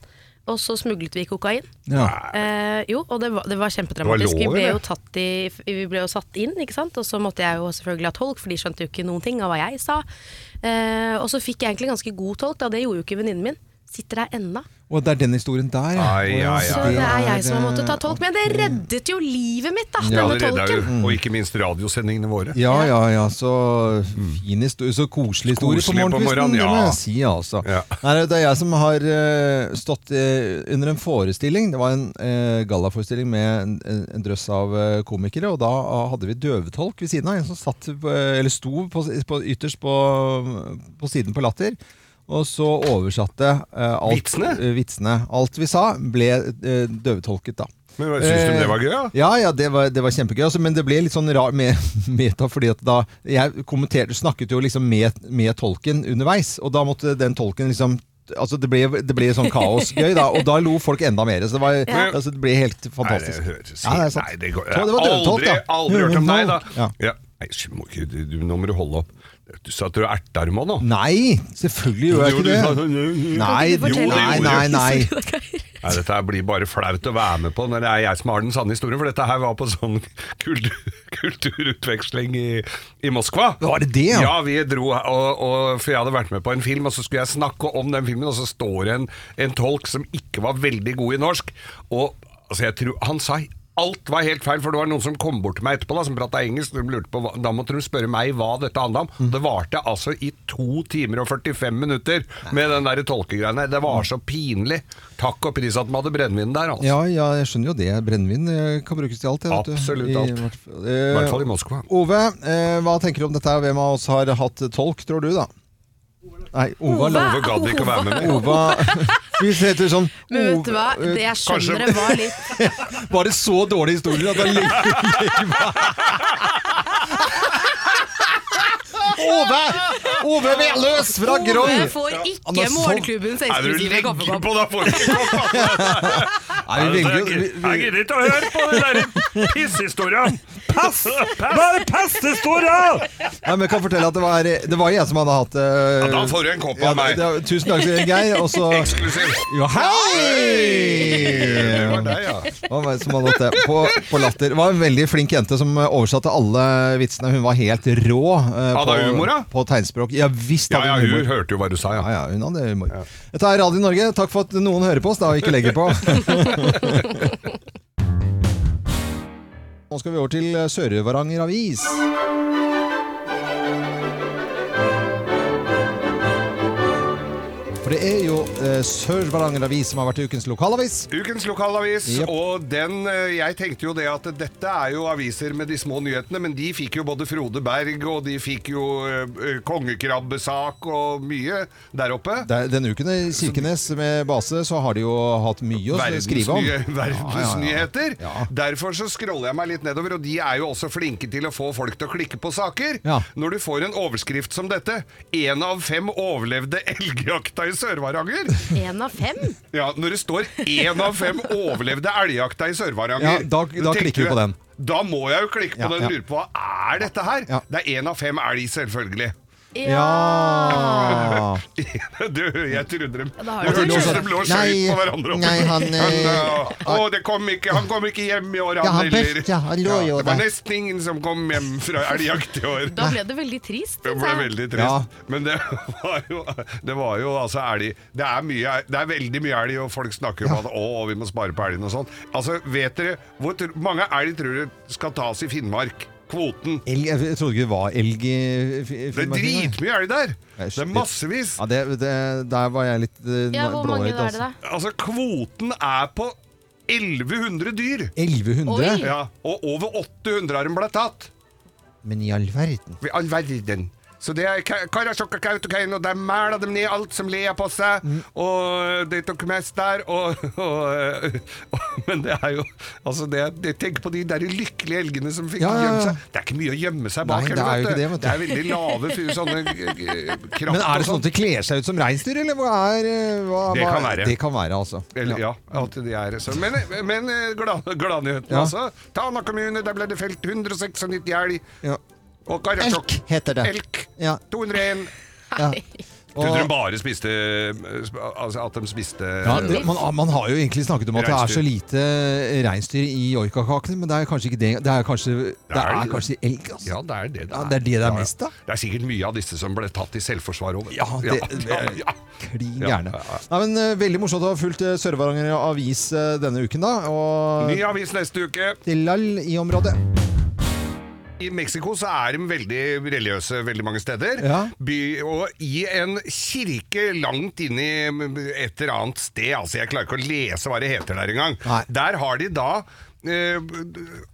Speaker 3: og så smuglet vi kokain.
Speaker 1: Ja.
Speaker 3: Eh, jo, og det var, det var kjempedramatisk.
Speaker 1: Det var lov,
Speaker 3: vi, ble jo
Speaker 1: eller?
Speaker 3: tatt i, vi ble jo satt inn, ikke sant? og så måtte jeg jo selvfølgelig ha tolk, for de skjønte jo ikke noen ting av hva jeg sa. Eh, og så fikk jeg egentlig ganske god tolk, da. det gjorde jo ikke venninnen min. Sitter her ennå.
Speaker 1: Og det er den historien der, ja.
Speaker 2: Ai, ai, ai.
Speaker 3: Så det er jeg
Speaker 1: eh,
Speaker 3: som har måttet ta tolk. Men det reddet jo livet mitt, da,
Speaker 2: Ja,
Speaker 3: denne
Speaker 2: det redda
Speaker 3: tolken.
Speaker 2: jo, og ikke minst radiosendingene våre.
Speaker 1: Ja, ja, ja. Så fin historie, så koselig historie på
Speaker 2: Koselig på
Speaker 1: morgenkvisten.
Speaker 2: morgenen,
Speaker 1: Det må
Speaker 2: ja.
Speaker 1: jeg si, altså. Nei, det er jeg som har eh, stått eh, under en forestilling. Det var en eh, gallaforestilling med en, en, en drøss av eh, komikere, og da ah, hadde vi døvetolk ved siden av. En som satt, eh, eller sto på, på, ytterst på, på siden på Latter. Og så oversatte eh, alt,
Speaker 2: Vitsene?
Speaker 1: eh, vitsene. Alt vi sa, ble eh, døvetolket, da.
Speaker 2: Men hva, synes du det var gøy, da?
Speaker 1: Ja, ja, det var, det var kjempegøy. Altså, men det ble litt sånn rar me- meta, fordi at da Jeg kommenterte, snakket jo liksom med, med tolken underveis, og da måtte den tolken liksom Altså det ble, det ble sånn kaosgøy, da, og da lo folk enda mer. Så det, var,
Speaker 2: Ja.
Speaker 1: altså, det ble helt fantastisk.
Speaker 2: Nei, det høres
Speaker 1: Ja, det er sant.
Speaker 2: Nei, det går,
Speaker 1: Så det var døvetolk,
Speaker 2: aldri,
Speaker 1: da.
Speaker 2: aldri hørt om deg, da.
Speaker 1: Ja.
Speaker 2: Ja. Nei, sj, må ikke, du, du, nå må du holde opp. Du sa at du er ertermann nå.
Speaker 1: Nei, selvfølgelig gjør jeg
Speaker 2: Jo,
Speaker 1: ikke
Speaker 2: du
Speaker 1: det.
Speaker 2: sa sånn, «Nei,
Speaker 1: Nei,
Speaker 2: jo, det
Speaker 1: nei,
Speaker 2: gjorde
Speaker 1: nei,
Speaker 2: jeg».
Speaker 1: nei.
Speaker 2: Nei, dette her blir bare flaut å være med på når det er jeg som har den sanne historien, for dette her var på sånn kultur, kulturutveksling i, i Moskva.
Speaker 1: Var det det, ja?
Speaker 2: ja? vi dro, her, og, og, for jeg hadde vært med på en film, og så skulle jeg snakke om den filmen, og så står det en, en tolk som ikke var veldig god i norsk, og altså, jeg tror, han sa Alt var helt feil, for det var noen som kom bort til meg etterpå da, som pratet engelsk, og de lurte på, hva- da måtte de spørre meg hva dette handlet om. Det varte altså i to timer og 45 minutter med den der tolkegreiene. Det var så pinlig. Takk og pris at de hadde brennvin der, altså.
Speaker 1: Ja, ja, jeg skjønner jo det. Brennevin eh, kan brukes til alt. jeg, vet du.
Speaker 2: Absolutt alt.
Speaker 1: hvert fall- eh,
Speaker 2: I hvert fall i Moskva.
Speaker 1: Ove, eh, hva tenker du om dette? her? Hvem av oss har hatt tolk, tror du, da? Nei, Ove,
Speaker 2: Ove gadd ikke å være med mer.
Speaker 1: Ova Vi heter sånn
Speaker 3: Men vet du hva,
Speaker 1: eh,
Speaker 3: det jeg skjønner det var litt
Speaker 1: Var det så dårlige historier at det ligger Ove! Ove Veløs fra Grong!
Speaker 3: Ove får
Speaker 1: Han har
Speaker 3: ikke
Speaker 1: sovn-
Speaker 3: morgenklubbens eksklusive kaffekopp.
Speaker 2: på da,
Speaker 1: Nei, vi velger jo- vi- vi-
Speaker 2: Jeg gidder ikke å høre på den der pisshistorien! Pass! Bare pesthistoria!
Speaker 1: Nei, men jeg kan fortelle at det var, det var jeg som hadde hatt eh,
Speaker 2: Ja, da får du en kopp av
Speaker 1: ja,
Speaker 2: meg.
Speaker 1: det- Tusen takk, Geir. Og så
Speaker 2: Eksklusiv.
Speaker 1: Ja,
Speaker 2: Det
Speaker 1: hei!
Speaker 2: var deg, ja.
Speaker 1: Det var meg som hadde hatt det på, på latter. Det var en veldig flink jente som oversatte alle vitsene. Hun var helt rå. eh,
Speaker 2: Hadde hun humor, da?
Speaker 1: på tegnspråk. Ja visst
Speaker 2: Ja,
Speaker 1: hadde
Speaker 2: ja,
Speaker 1: hun
Speaker 2: hun
Speaker 1: humor.
Speaker 2: hørte jo hva du sa, ja.
Speaker 1: Ah, Ja, ja, hun hadde humor. Dette er Radio Norge. Takk for at noen hører på oss da, og ikke legger på. Nå skal vi over til eh, Sør-Varanger Avis. For det er jo eh, Sør-Varanger Avis som har vært ukens lokalavis.
Speaker 2: Ukens lokalavis,
Speaker 1: Jep.
Speaker 2: og den eh, Jeg tenkte jo det at dette er jo aviser med de små nyhetene, men de fikk jo både Frode Berg, og de fikk jo eh, eh, kongekrabbesak og mye der oppe.
Speaker 1: Der, denne uken i Kirkenes med base så har de jo hatt mye å skrive om.
Speaker 2: Verdensnyhe-
Speaker 1: Ja, ja, ja.
Speaker 2: Verdensnyheter. Derfor så scroller jeg meg litt nedover, og de er jo også flinke til å få folk til å klikke på saker.
Speaker 1: Ja.
Speaker 2: Når du får en overskrift som dette Én av fem overlevde elgjakta i Sør-Varanger.
Speaker 3: Én av fem?
Speaker 2: Ja, når det står én av fem overlevde elgjakta i
Speaker 1: Ja,
Speaker 2: Sør-Varanger
Speaker 1: da- da
Speaker 2: tenker
Speaker 1: klikker du på den.
Speaker 2: Da må jeg jo klikke på
Speaker 1: Ja,
Speaker 2: den
Speaker 1: ja.
Speaker 2: og lure på hva er dette her? Det er én av fem elg, selvfølgelig.
Speaker 1: Ja.
Speaker 2: du, jeg trodde dem
Speaker 1: da har
Speaker 2: Jeg
Speaker 1: du
Speaker 2: hørte
Speaker 1: det.
Speaker 2: ut som de lå og
Speaker 1: Nei,
Speaker 2: skøyt på hverandre.
Speaker 1: nei, han, eh,
Speaker 2: eh, å, det kom ikke, han kom ikke hjem i år,
Speaker 1: Ja,
Speaker 2: han
Speaker 1: han
Speaker 2: heller.
Speaker 1: best, ja, han lå jo
Speaker 2: det var
Speaker 1: der.
Speaker 2: nesten ingen som kom hjem fra elgjakt i år.
Speaker 3: Da ble det veldig trist.
Speaker 2: Det
Speaker 3: synes
Speaker 2: ble
Speaker 3: jeg.
Speaker 2: veldig trist. Men det var jo, det var jo altså elg det er, mye, det er veldig mye elg, og folk snakker om at å, vi må spare på elgen og sånn. Altså, vet dere hvor tr- mange elg tror dere skal tas i Finnmark? Kvoten.
Speaker 1: Elg, jeg trodde ikke det var elg i i
Speaker 2: Det er
Speaker 1: Finnmark.
Speaker 2: dritmye elg der! Det er massevis.
Speaker 1: Ja, det, det, der var jeg litt eh,
Speaker 3: Ja, hvor mange
Speaker 1: blåøyd.
Speaker 3: er det da?
Speaker 1: Altså.
Speaker 2: Altså, kvoten er på 1100 dyr.
Speaker 1: 1100? Oi.
Speaker 2: Ja, og over 800 har de blitt tatt.
Speaker 1: Men i all verden.
Speaker 2: I all verden. Så det er ka- Karasjok og Kautokeino, der mæler de ned alt som ler på seg, og det tok mest der, og, og, og Men det er jo Altså, det, det, tenk på de der lykkelige elgene som fikk
Speaker 1: Ja, ja, ja.
Speaker 2: gjemme seg. Det er ikke mye å gjemme seg
Speaker 1: Nei,
Speaker 2: bak.
Speaker 1: det
Speaker 2: heller,
Speaker 1: er jo ikke det, vet du.
Speaker 2: det er veldig lave fyr, sånne krafter.
Speaker 1: Men er det sånn at de kler seg ut som reinsdyr, eller hva er eh, hva,
Speaker 2: altså- Det
Speaker 1: hva-
Speaker 2: kan være.
Speaker 1: Det kan være, altså.
Speaker 2: Eller, ja. at de er så. Men, men eh, glad- gladnyheten,
Speaker 1: Ja.
Speaker 2: altså. Tana kommune, der ble det felt 196 elg.
Speaker 1: Ja.
Speaker 2: Og Karasjok.
Speaker 1: Elk heter det.
Speaker 2: Elk.
Speaker 1: Ja.
Speaker 2: 201.
Speaker 1: Ja.
Speaker 2: Trodde du bare spiste altså At de spiste
Speaker 1: Ja, det, man, man har jo egentlig snakket om at det er så lite eh, reinsdyr i joikakakene, men det er kanskje ikke det. Det er kanskje, det er kanskje elg. altså.
Speaker 2: Ja, det er det det
Speaker 1: Ja, det er det det er mest av.
Speaker 2: Det er sikkert mye av disse som ble tatt i selvforsvar over.
Speaker 1: Ja, det- det er
Speaker 2: klin
Speaker 1: gjerne. Nei, men eh, Veldig morsomt å ha fulgt eh, Sør-Varanger Avis eh, denne uken, da. Og
Speaker 2: Ny avis neste uke.
Speaker 1: Tilal i området.
Speaker 2: I Mexico så er de veldig religiøse veldig mange steder.
Speaker 1: Ja.
Speaker 2: By, og i en kirke langt inni et eller annet sted, altså jeg klarer ikke å lese hva det heter der engang, der har de da eh,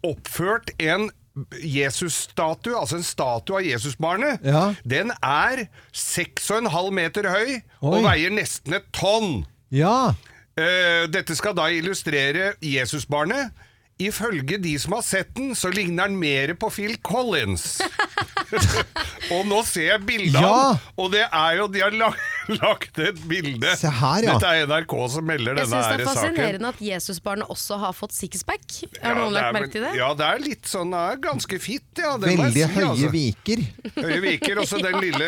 Speaker 2: oppført en Jesus-statue, altså en statue av Jesusbarnet. Den er 6,5 meter høy
Speaker 1: Oi.
Speaker 2: og veier nesten et tonn.
Speaker 1: Ja.
Speaker 2: Eh, dette skal da illustrere Jesusbarnet. Ifølge de som har sett den, så ligner den mer på Phil Collins. og nå ser jeg bildet av
Speaker 1: Ja.
Speaker 2: den, og det er jo De har lagt, lagt et bilde.
Speaker 1: Se her, ja.
Speaker 2: Dette er NRK som melder
Speaker 3: Jeg
Speaker 2: denne
Speaker 3: syns det
Speaker 2: her
Speaker 3: er
Speaker 2: saken.
Speaker 3: fascinerende at Jesusbarnet også har fått sixpack. Har
Speaker 2: Ja,
Speaker 3: noen
Speaker 2: det er
Speaker 3: lagt
Speaker 2: vel-
Speaker 3: merke til det?
Speaker 2: Ja, det er litt sånn det er ganske fitt, ja. Det må jeg
Speaker 1: Veldig
Speaker 2: si,
Speaker 1: høye
Speaker 2: altså.
Speaker 1: viker.
Speaker 2: Høye viker, også den lille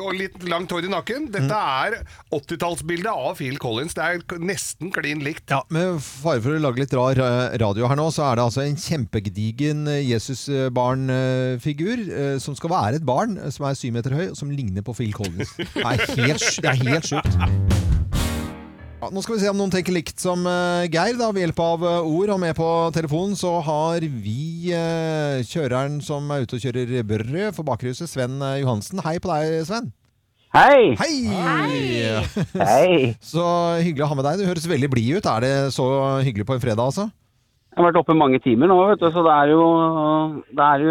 Speaker 2: og litt langt hår i nakken. Dette
Speaker 1: Mm.
Speaker 2: er 80-tallsbildet av Phil Collins. Det er nesten klin likt.
Speaker 1: Ja, Med fare for å lage litt rar eh, radio her nå, så er det altså en kjempegedigen Jesusbarn-figur eh, som skal være et barn eh, som er syv meter høy, og som ligner på Phil Collins. Det er helt, sj- det er helt sjukt. Ja, nå skal vi se om noen tenker likt som eh, Geir, da, ved hjelp av eh, ord. Og med på telefonen så har vi eh, kjøreren som er ute og kjører brød for Bakerhuset, Sven eh, Johansen. Hei på deg, Sven.
Speaker 12: Hei!
Speaker 1: Hei!
Speaker 12: Hei.
Speaker 1: Så hyggelig å ha med deg. Du høres veldig blid ut. Er det så hyggelig på en fredag, altså?
Speaker 12: Jeg har vært oppe mange timer nå, vet du, så det er jo, det er jo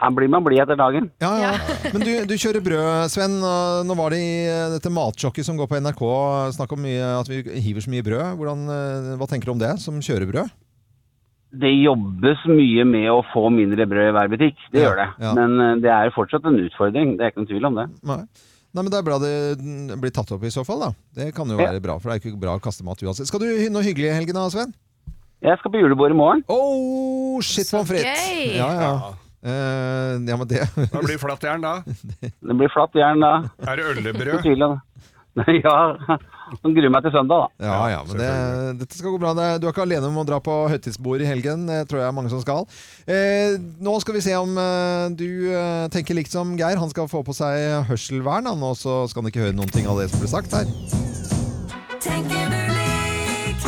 Speaker 12: Her blir man blid etter dagen.
Speaker 1: Ja, ja. Men du, du kjører brød, Sven. og Nå var det i eh, dette matsjokket som går på NRK eh, snakk om mye, at vi hiver så mye brød. Hvordan, eh, hva tenker du om det, som kjører brød?
Speaker 12: Det jobbes mye med å få mindre brød i hver butikk, det gjør det.
Speaker 1: ja.
Speaker 12: Men eh, det er fortsatt en utfordring, det er ikke noen tvil om det.
Speaker 1: Nei. Nei, men Det er bra det mm, blir tatt opp i så fall. da. Det kan jo
Speaker 12: Ja.
Speaker 1: være bra, for det er ikke bra å kaste mat uansett. Skal du hy- noe hyggelig i helgen da, Sven?
Speaker 12: Jeg skal på julebord i morgen.
Speaker 1: Oh, shit pommes frites!
Speaker 12: gøy!
Speaker 1: Ja, ja. Eh, ja, men det
Speaker 2: Da blir det flatt jern, da.
Speaker 12: Det blir flatt jern da.
Speaker 2: Er det
Speaker 12: Ikke
Speaker 2: øllebrød?
Speaker 12: noen tvil om det. Nei, Ja, nå gruer jeg meg til søndag, da.
Speaker 1: Ja, ja, men det, dette skal gå bra. Det er- Du er ikke alene om å dra på høytidsbord i helgen. Det tror jeg er mange som skal. Eh, nå skal vi se om eh, du eh, tenker likt som Geir. Han skal få på seg hørselvern, han, og så skal han ikke høre noen ting av det som ble sagt her.
Speaker 8: Tenker du likt?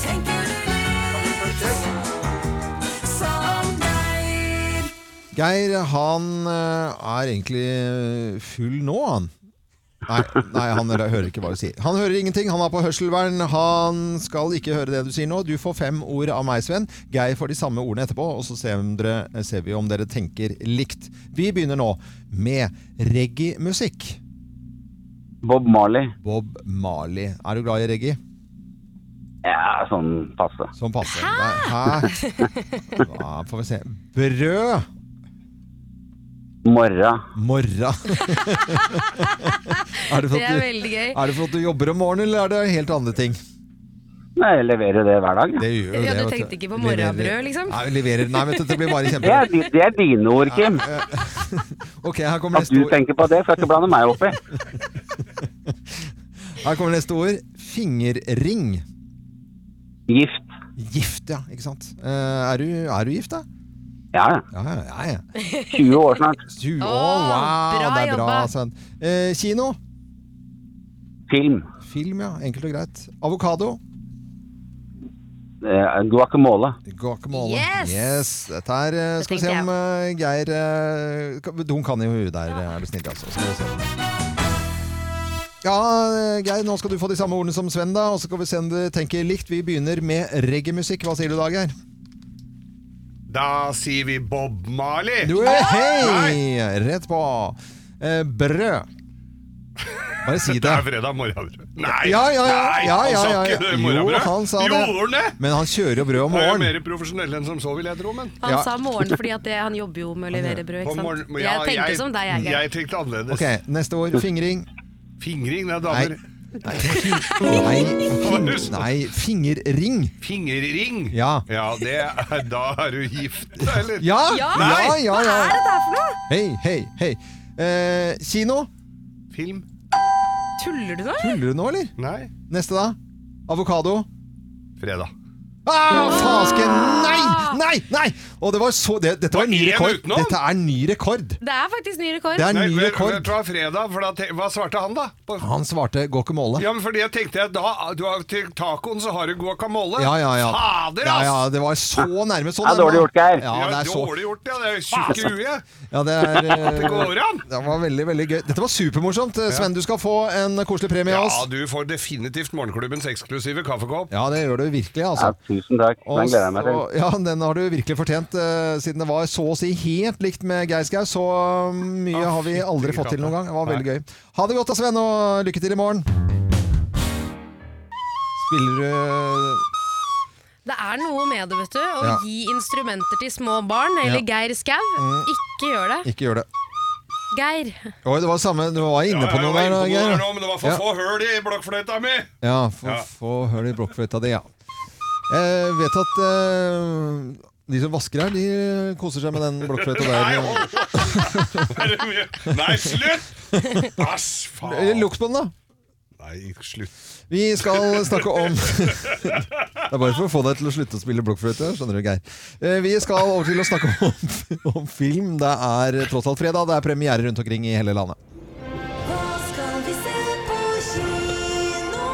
Speaker 8: Tenker du likt? Som Geir.
Speaker 1: Geir, han eh, er egentlig full nå, han. Nei, nei, han hører ikke hva du sier. Han hører ingenting. Han er på hørselvern. Han skal ikke høre det du sier nå. Du får fem ord av meg, Sven. Geir får de samme ordene etterpå, og så ser, om dere, ser vi om dere tenker likt. Vi begynner nå med reggae-musikk.
Speaker 12: Bob Marley.
Speaker 1: Bob Marley. Er du glad i reggae?
Speaker 12: Ja, sånn passe.
Speaker 1: Sånn passe. Hæ? Hæ? Da får vi se. Brød.
Speaker 12: Morra.
Speaker 1: Morra. er det
Speaker 3: Det
Speaker 1: for at
Speaker 3: er
Speaker 1: du-
Speaker 3: veldig gøy.
Speaker 1: Er det for at du jobber om morgenen, eller er det helt andre ting?
Speaker 12: Nei, jeg leverer det hver dag.
Speaker 1: Det gjør
Speaker 3: Ja,
Speaker 1: det,
Speaker 3: du
Speaker 1: vet
Speaker 3: tenkte ikke på
Speaker 1: Leverer-
Speaker 3: morrabrød, liksom?
Speaker 1: Nei, leverer. Nei, vet du, det blir bare
Speaker 12: Det
Speaker 1: kjempe...
Speaker 12: er, di- det er dine ord, Kim.
Speaker 1: Ok, her kommer
Speaker 12: At
Speaker 1: neste
Speaker 12: du
Speaker 1: ord.
Speaker 12: tenker på det, skal ikke blande meg opp i.
Speaker 1: Her kommer neste ord. Fingerring.
Speaker 12: Gift.
Speaker 1: Gift, ja. Ikke sant. Eh, er, du, er du gift, da?
Speaker 12: Ja, ja.
Speaker 1: Ja, ja, ja, ja.
Speaker 12: 20 år snart.
Speaker 1: 20 Å,
Speaker 12: Åh,
Speaker 1: wow!
Speaker 12: bra
Speaker 1: det er bra,
Speaker 12: jobba.
Speaker 1: Sven. Eh, kino.
Speaker 12: Film.
Speaker 1: Film, ja. Enkelt og greit. Avokado.
Speaker 12: Eh, Guacamole.
Speaker 1: Guacamole.
Speaker 12: Yes!
Speaker 1: Dette er eh, Skal vi se
Speaker 12: tenker
Speaker 1: om eh, Geir eh, kan- Hun kan jo huet der, eh, er du snill, altså. Skal vi se. Ja, eh, Geir, nå skal du få de samme ordene som Sven, da. Og så skal vi se om du tenker likt. Vi begynner med reggaemusikk. Hva sier du da, Geir?
Speaker 2: Da sier vi Bob Marley.
Speaker 1: Du, hei! Rett på. Eh, brød. Bare si
Speaker 2: Det
Speaker 1: det.
Speaker 2: er fredag morgenbrød. Nei!
Speaker 1: Ja, ja, ja.
Speaker 2: Nei,
Speaker 1: Ja, ja,
Speaker 2: han sa
Speaker 1: ja,
Speaker 2: ikke
Speaker 1: ja.
Speaker 2: det morgenbrød.
Speaker 1: Jo, han sa det.
Speaker 2: Gjorde han det?
Speaker 1: Men han kjører jo brød om
Speaker 2: Han er jo
Speaker 1: morgenen.
Speaker 2: mer profesjonell enn som så, vil jeg tro. Men.
Speaker 3: Han sa morgen fordi at det, han jobber jo med å levere brød, ikke
Speaker 2: På
Speaker 3: sant?
Speaker 2: morgen- ja,
Speaker 3: Jeg tenkte som deg, jeg.
Speaker 2: Jeg tenkte annerledes.
Speaker 1: Ok, neste ord. Fingring.
Speaker 2: Fingring, det er damer.
Speaker 1: Nei, fing, nei fingerring.
Speaker 2: Fingerring?
Speaker 1: Ja.
Speaker 2: Ja, det er, da er du gift, eller?
Speaker 1: Ja!
Speaker 2: Nei!
Speaker 1: ja, ja, ja.
Speaker 3: Hva er dette her for noe?
Speaker 1: Hei, hei, hei. Eh, kino.
Speaker 2: Film.
Speaker 3: Tuller du nå?
Speaker 1: Tuller du nå, eller?
Speaker 2: Nei.
Speaker 1: Neste, da? Avokado?
Speaker 2: Fredag.
Speaker 1: Ah, fasken! Nei! Nei! nei! Og det var så, det, dette var en ny
Speaker 2: én
Speaker 1: rekord.
Speaker 2: utenom?
Speaker 1: Dette er ny rekord.
Speaker 3: Det er faktisk ny rekord.
Speaker 1: Det er ny
Speaker 2: Nei, vet-
Speaker 1: rekord.
Speaker 2: vet du Hva, fredag, for da, te- hva svarte han, da? På-
Speaker 1: Han svarte guacamole.
Speaker 2: Ja, men fordi jeg tenkte at da, du har, til tacoen så har du guacamole.
Speaker 1: Ja, ja, ja.
Speaker 2: Fader,
Speaker 1: Ja,
Speaker 2: ass!
Speaker 1: ja, det var så nærme. Så
Speaker 2: Det er
Speaker 1: nærme.
Speaker 2: dårlig gjort, Geir.
Speaker 1: Ja, det er så...
Speaker 2: Dårlig gjort, ja. Det er tjukk i huet.
Speaker 1: Ja, det er eh,
Speaker 2: At det går an.
Speaker 1: Det var veldig, veldig gøy. Dette var supermorsomt. Sven, du skal få en koselig premie av oss.
Speaker 2: Ja, du får definitivt morgenklubbens eksklusive kaffekopp.
Speaker 1: Ja, det gjør du virkelig, altså.
Speaker 12: Tusen takk.
Speaker 1: Og
Speaker 12: Den gleder jeg meg til.
Speaker 1: så- ja, den har du virkelig fortjent, eh, siden det var så å si helt likt med Geir Skau. Så mm, mye har vi aldri fått til noen gang. Det var veldig gøy. Ha det godt da, Sven, og lykke til i morgen. Spiller du
Speaker 3: Det er noe med det, vet du. Å
Speaker 1: Ja.
Speaker 3: gi instrumenter til små barn, eller Geir Skau.
Speaker 1: Mm.
Speaker 3: Ikke gjør det.
Speaker 1: Ikke gjør det.
Speaker 3: Geir.
Speaker 1: Oi, det var samme, du var inne på noe der.
Speaker 2: Inne på noe
Speaker 1: Geir.
Speaker 2: der nå, men det var for
Speaker 1: ja.
Speaker 2: få høl i blokkfløyta mi!
Speaker 1: Ja, få,
Speaker 2: Ja.
Speaker 1: få høl i blokkfløyta di, ja. Jeg vet at eh, de som vasker her, de koser seg med den blokkfløyta
Speaker 2: Nei,
Speaker 1: der.
Speaker 2: hold- Er det mye? Nei, slutt! Æsj, faen!
Speaker 1: Lukt på den, da.
Speaker 2: Nei, slutt.
Speaker 1: Vi skal snakke om Det er bare for å få deg til å slutte å spille blokkfløyte, skjønner du, Geir. Eh, Vi skal over til å snakke om, om film. Det er tross alt fredag, det er premiere rundt omkring i hele landet.
Speaker 8: Hva skal vi se på kino?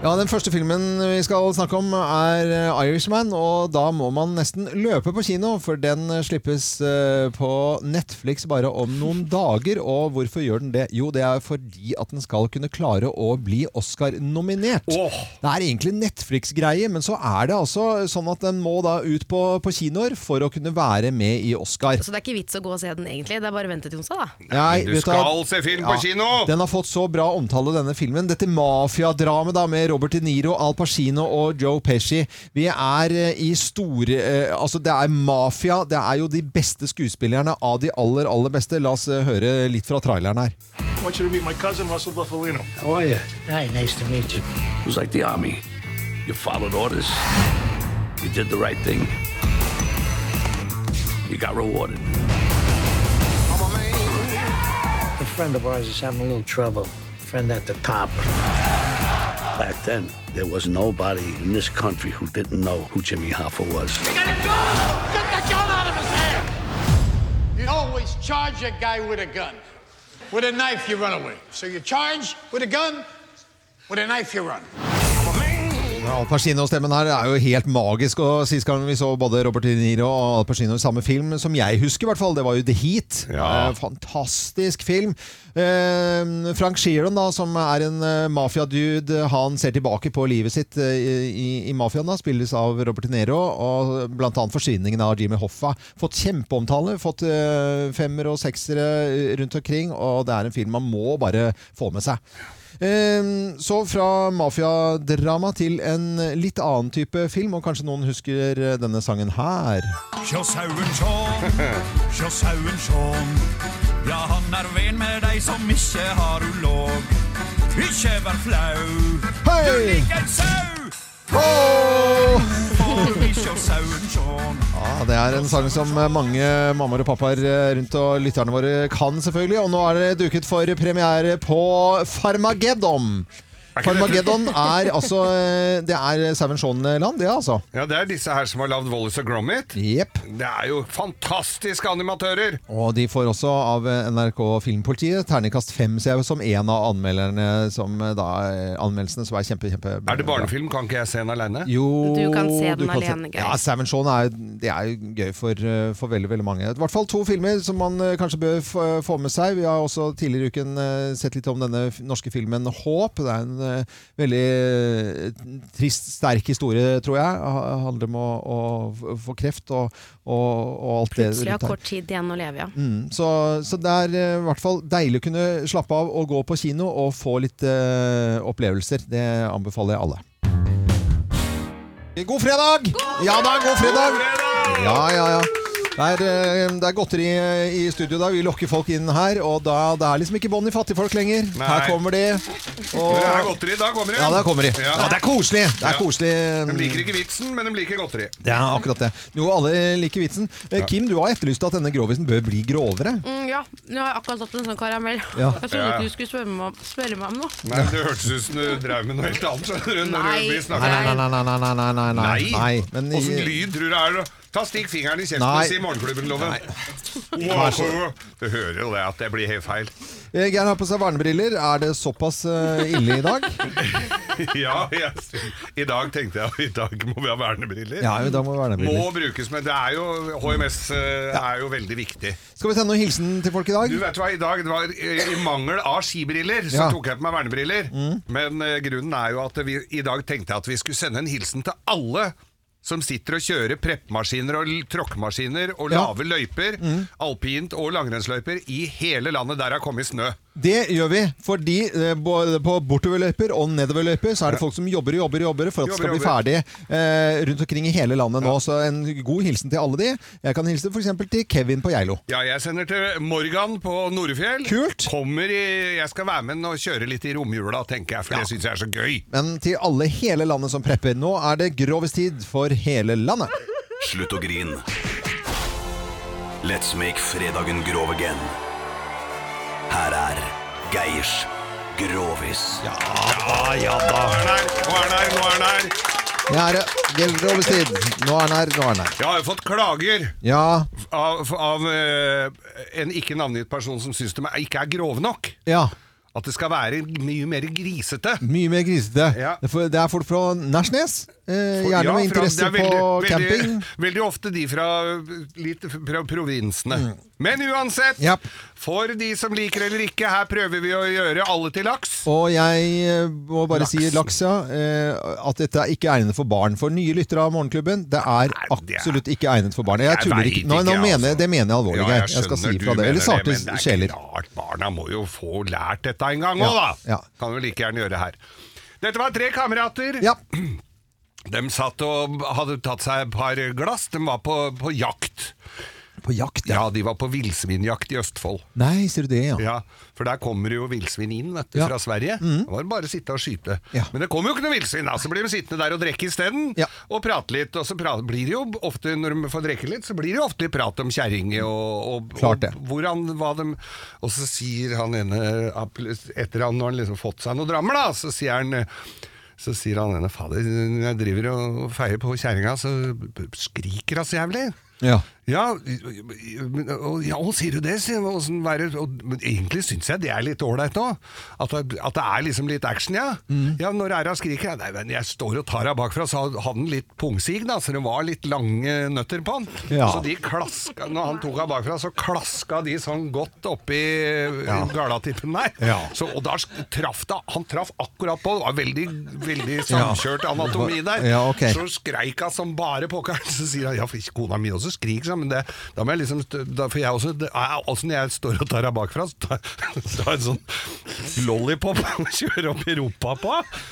Speaker 1: Ja, Den første filmen vi skal snakke om, er eh, 'Irishman'. Og da må man nesten løpe på kino, for den eh, slippes eh, på Netflix bare om noen dager. Og hvorfor gjør den det? Jo, det er fordi at den skal kunne klare å bli Oscar-nominert. Det er egentlig Netflix-greie, men så er det altså sånn at den må da ut på, på kinoer for å kunne være med i Oscar.
Speaker 3: Så det er ikke vits å gå og se den, egentlig. Det er bare å vente til onsdag, da.
Speaker 1: Nei,
Speaker 2: Altså, du
Speaker 1: vet hva?
Speaker 2: skal se film på kino!
Speaker 1: Den har fått så bra omtale, denne filmen. Dette mafiadramet da, med Robert De Niro, Al Pacino og Joe Pesci. Vi er eh, i store eh, Altså, det er mafia. Det er jo de beste skuespillerne av de aller, aller beste. La oss eh, høre litt fra traileren her.
Speaker 13: I want you to meet my cousin, Russell Buffalino.
Speaker 14: How are you? Hi, nice to meet you. It was like the army. You followed orders. You did the right thing. You got rewarded. A friend of ours is having a little trouble. Friend at the top. Back then, there was nobody in this country who didn't know who Jimmy Hoffa was.
Speaker 4: Get the gun out of his hand! You always charge a guy with a gun. With a knife, you run away. So you charge with a gun, with a knife, you run.
Speaker 1: Ja, Al Pacino-stemmen her er jo helt magisk. og Sist gang vi så både Robert De Niro og Al Pacino i samme film, som jeg husker, i hvert fall, det var jo The Heat. Eh, Fantastisk film. Eh, Frank Sheeran, da, som er en eh, mafiadude, eh, han ser tilbake på livet sitt eh, i, i mafiaen. da, Spilles av Robert De Niro. Og bl.a. forsvinningen av Jimmy Hoffa. Fått kjempeomtale. Fått eh, femmer og seksere eh, rundt omkring. Og det er en film man må bare få med seg. Ehm, Så fra mafiadrama til en litt annen type film, og kanskje noen husker denne sangen her.
Speaker 15: Sjå sauen sjå'n, sjå sauen sjå'n. Ja, han er ven med dei som ikke har ulåg. Ikke vær flau, du
Speaker 1: Hei!
Speaker 15: liker sau.
Speaker 1: Oh!
Speaker 15: Får vi sjå sauen sjå'n.
Speaker 1: Ja, Det er en sang som mange mammaer og pappaer rundt og lytterne våre kan, selvfølgelig. Og nå er det duket for premiere på Farmageddon.
Speaker 2: Er ikke det-
Speaker 1: Farmageddon er altså eh, Det er Sauen Shaun-land, det, altså.
Speaker 2: Ja, Det er disse her som har lagd Wallis og Gromit. Det er jo fantastiske animatører!
Speaker 1: Og de får også av eh, NRK Filmpolitiet terningkast fem, ser jeg, som en av anmelderne som eh, da, anmeldelsene, som er kjempe, kjempe
Speaker 2: Er det barnefilm? Kan ikke jeg se den aleine?
Speaker 1: Jo,
Speaker 3: Du kan se den
Speaker 1: du
Speaker 3: alene, Geir.
Speaker 1: Ja, Sam Shaun er, jo- det er jo gøy for, eh, for veldig veldig mange. I hvert fall to filmer som man eh, kanskje bør f- få med seg. Vi har også tidligere i uken eh, sett litt om denne f- norske filmen 'Håp'. Det er en eh, veldig eh, trist, sterk historie, tror jeg. Ha- handler om å, å f- få kreft og, og, og alt det
Speaker 3: Plutselig har
Speaker 1: her.
Speaker 3: kort tid igjen å leve, ja.
Speaker 1: Mm, så, så det er eh, i hvert fall deilig å kunne slappe av og gå på kino og få litt eh, opplevelser. Det anbefaler jeg alle. God fredag! Ja da, god fredag! Ja, ja, ja. Det er, eh, det er godteri eh, i studio da. Vi lokker folk inn her, og da, det er liksom ikke bånd i fattigfolk lenger.
Speaker 2: Nei.
Speaker 1: Her kommer de. Og...
Speaker 2: Det er godteri, da kommer det.
Speaker 1: Ja, der kommer de.
Speaker 2: Ja.
Speaker 1: Ja, det er koselig. Det er
Speaker 2: Ja.
Speaker 1: koselig.
Speaker 2: De liker ikke vitsen, men de liker godteri.
Speaker 1: Det er akkurat det. Jo, alle liker vitsen. Eh,
Speaker 2: Ja.
Speaker 1: Kim, du har etterlyst at denne grovisen bør bli grovere.
Speaker 16: Mm, ja, nå har jeg akkurat tatt en sånn karamell.
Speaker 1: Ja.
Speaker 16: Jeg trodde
Speaker 1: Ja.
Speaker 16: ikke du skulle spørre meg, om- spørre meg om noe.
Speaker 2: Nei, Det hørtes ut som du drev med noe helt annet. skjønner du, når
Speaker 16: Nei.
Speaker 2: vi
Speaker 1: Nei,
Speaker 2: snakker.
Speaker 1: nei, nei, nei, nei, nei, nei, nei, nei.
Speaker 2: Nei.
Speaker 1: Men,
Speaker 2: Åssen lyd tror du det er? da? Ta Stikk fingeren i kjeften
Speaker 1: Nei.
Speaker 2: og si Morgenklubben-loven.
Speaker 1: Vær så-
Speaker 2: Wow. Du hører jo det, at det blir helt feil.
Speaker 1: Eh, Geir har på seg vernebriller. Er det såpass eh, ille i dag?
Speaker 2: ja, jeg, I dag tenkte jeg i dag må vi ha vernebriller.
Speaker 1: Ja, jo, da må vi ha vernebriller.
Speaker 2: Må brukes, men det er jo, HMS eh, er jo veldig viktig.
Speaker 1: Skal vi sende noen hilsen til folk i dag?
Speaker 2: Du vet hva, I dag det var eh, i mangel av skibriller, så
Speaker 1: Ja.
Speaker 2: tok jeg på meg vernebriller. Men eh, grunnen er jo at vi i dag tenkte jeg at vi skulle sende en hilsen til alle som sitter og kjører preppmaskiner og l- tråkkemaskiner og
Speaker 1: Ja.
Speaker 2: lave løyper,
Speaker 1: Mm.
Speaker 2: alpint og langrennsløyper, i hele landet der det har kommet snø.
Speaker 1: Det gjør vi, fordi eh, både på bortoverløyper og nedoverløyper så er det folk som jobber og jobber, og jobber for at det skal
Speaker 2: Jobber,
Speaker 1: bli ferdig eh, rundt omkring i hele landet nå. Så en god hilsen til alle de. Jeg kan hilse f.eks. til Kevin på Geilo.
Speaker 2: Ja, jeg sender til Morgan på Norefjell. Kult! Kommer i, jeg skal være med og kjøre litt i romjula, tenker jeg, for det syns jeg er så gøy.
Speaker 1: Men til alle i hele landet som prepper. Nå er det grovest tid for hele landet.
Speaker 11: Slutt å grin. Let's make fredagen grov again. Her er Geirs Grovis. Ja da, ja da.
Speaker 2: Nå er den her, nå er den
Speaker 1: Det
Speaker 2: her.
Speaker 1: er det grovest tid. Nå er den her, nå er den her.
Speaker 2: Jeg har jo fått klager
Speaker 1: Ja,
Speaker 2: av, av eh, en ikke navngitt person som syns de er- ikke er grove nok.
Speaker 1: ja.
Speaker 2: At det skal være mye mer grisete.
Speaker 1: Mye mer grisete.
Speaker 2: Ja.
Speaker 1: Det er for- Det er folk fra Nærsnes. Eh,
Speaker 2: For-
Speaker 1: gjerne
Speaker 2: ja,
Speaker 1: med
Speaker 2: fra-
Speaker 1: interesse
Speaker 2: det er veldig-
Speaker 1: på
Speaker 2: veldig-
Speaker 1: camping.
Speaker 2: Veldig ofte de fra, eh, litt fra provinsene.
Speaker 1: Mm.
Speaker 2: Men uansett, for de som liker eller ikke, her prøver vi å gjøre alle til laks.
Speaker 1: Og jeg eh, må bare si laks, ja. eh, At dette er ikke egnet for barn. For nye lyttere av Morgenklubben, det er absolutt ikke egnet for barn. Jeg
Speaker 2: Jeg
Speaker 1: tuller
Speaker 2: vet
Speaker 1: ikke. Nå, nå
Speaker 2: ikke, altså.
Speaker 1: mener, det mener jeg alvorlig,
Speaker 2: Ja,
Speaker 1: Geir.
Speaker 2: jeg
Speaker 1: Jeg, skal
Speaker 2: skjønner
Speaker 1: si
Speaker 2: du
Speaker 1: fra det.
Speaker 2: mener
Speaker 1: Eller sarte
Speaker 2: men det er
Speaker 1: sjeler.
Speaker 2: Klart, barna må jo få lært dette en gang
Speaker 1: Ja,
Speaker 2: òg, da.
Speaker 1: ja.
Speaker 2: Kan vi like gjerne gjøre her. Dette var tre kamerater. De satt og hadde tatt seg et par glass. De var på, på jakt.
Speaker 1: På jakt,
Speaker 2: ja. De var på villsvinjakt i Østfold.
Speaker 1: Nei, sier du det, ja.
Speaker 2: Ja, For der kommer jo villsvin inn vet du,
Speaker 1: Ja. Mm.
Speaker 2: fra Sverige. Da var det bare å sitte og skyte. Men det kommer jo ikke noe villsvin, da. Så blir de sittende der og drikke isteden. Og prate litt. Og så pra- blir det jo ofte, når de får drikke litt, så blir det jo ofte litt prat om kjerring og, og,
Speaker 1: Klart det.
Speaker 2: og hvordan hva de Og så sier han ene Etter han når han liksom fått seg noen drammer, da, så sier han så sier han ene, fader, når jeg driver og feier på kjerringa, så skriker hun så jævlig.
Speaker 1: Ja.
Speaker 2: Ja, men- og, ja, og sier du det? Sier, jeg, hvordan være, og, men egentlig syns jeg det er litt ålreit òg. At, det- at det er liksom litt action, ja.
Speaker 1: Mm.
Speaker 2: ja når æra skriker jeg, Nei, men jeg står og tar henne bakfra, så hadde den litt pungsig, da, så det var litt lange nøtter på han.
Speaker 1: Ja.
Speaker 2: Så de klaska, når han tok henne bakfra, så klaska de sånn godt oppi
Speaker 1: Ja.
Speaker 2: ja. galatippen der.
Speaker 1: Ja.
Speaker 2: Så, og da traff det Han traff akkurat på, det var veldig, veldig samkjørt
Speaker 1: Ja.
Speaker 2: anatomi der.
Speaker 1: Ja, ok.
Speaker 2: Så skreik hun som bare pokkeren. Så sier hun ja, for ikke kona mi også skriker sånn, men det, da må jeg liksom st- da, For jeg også det, er- altså Når jeg står og tar henne bakfra, så tar jeg tar jeg en sånn lollipop og kjører opp i rumpa på henne.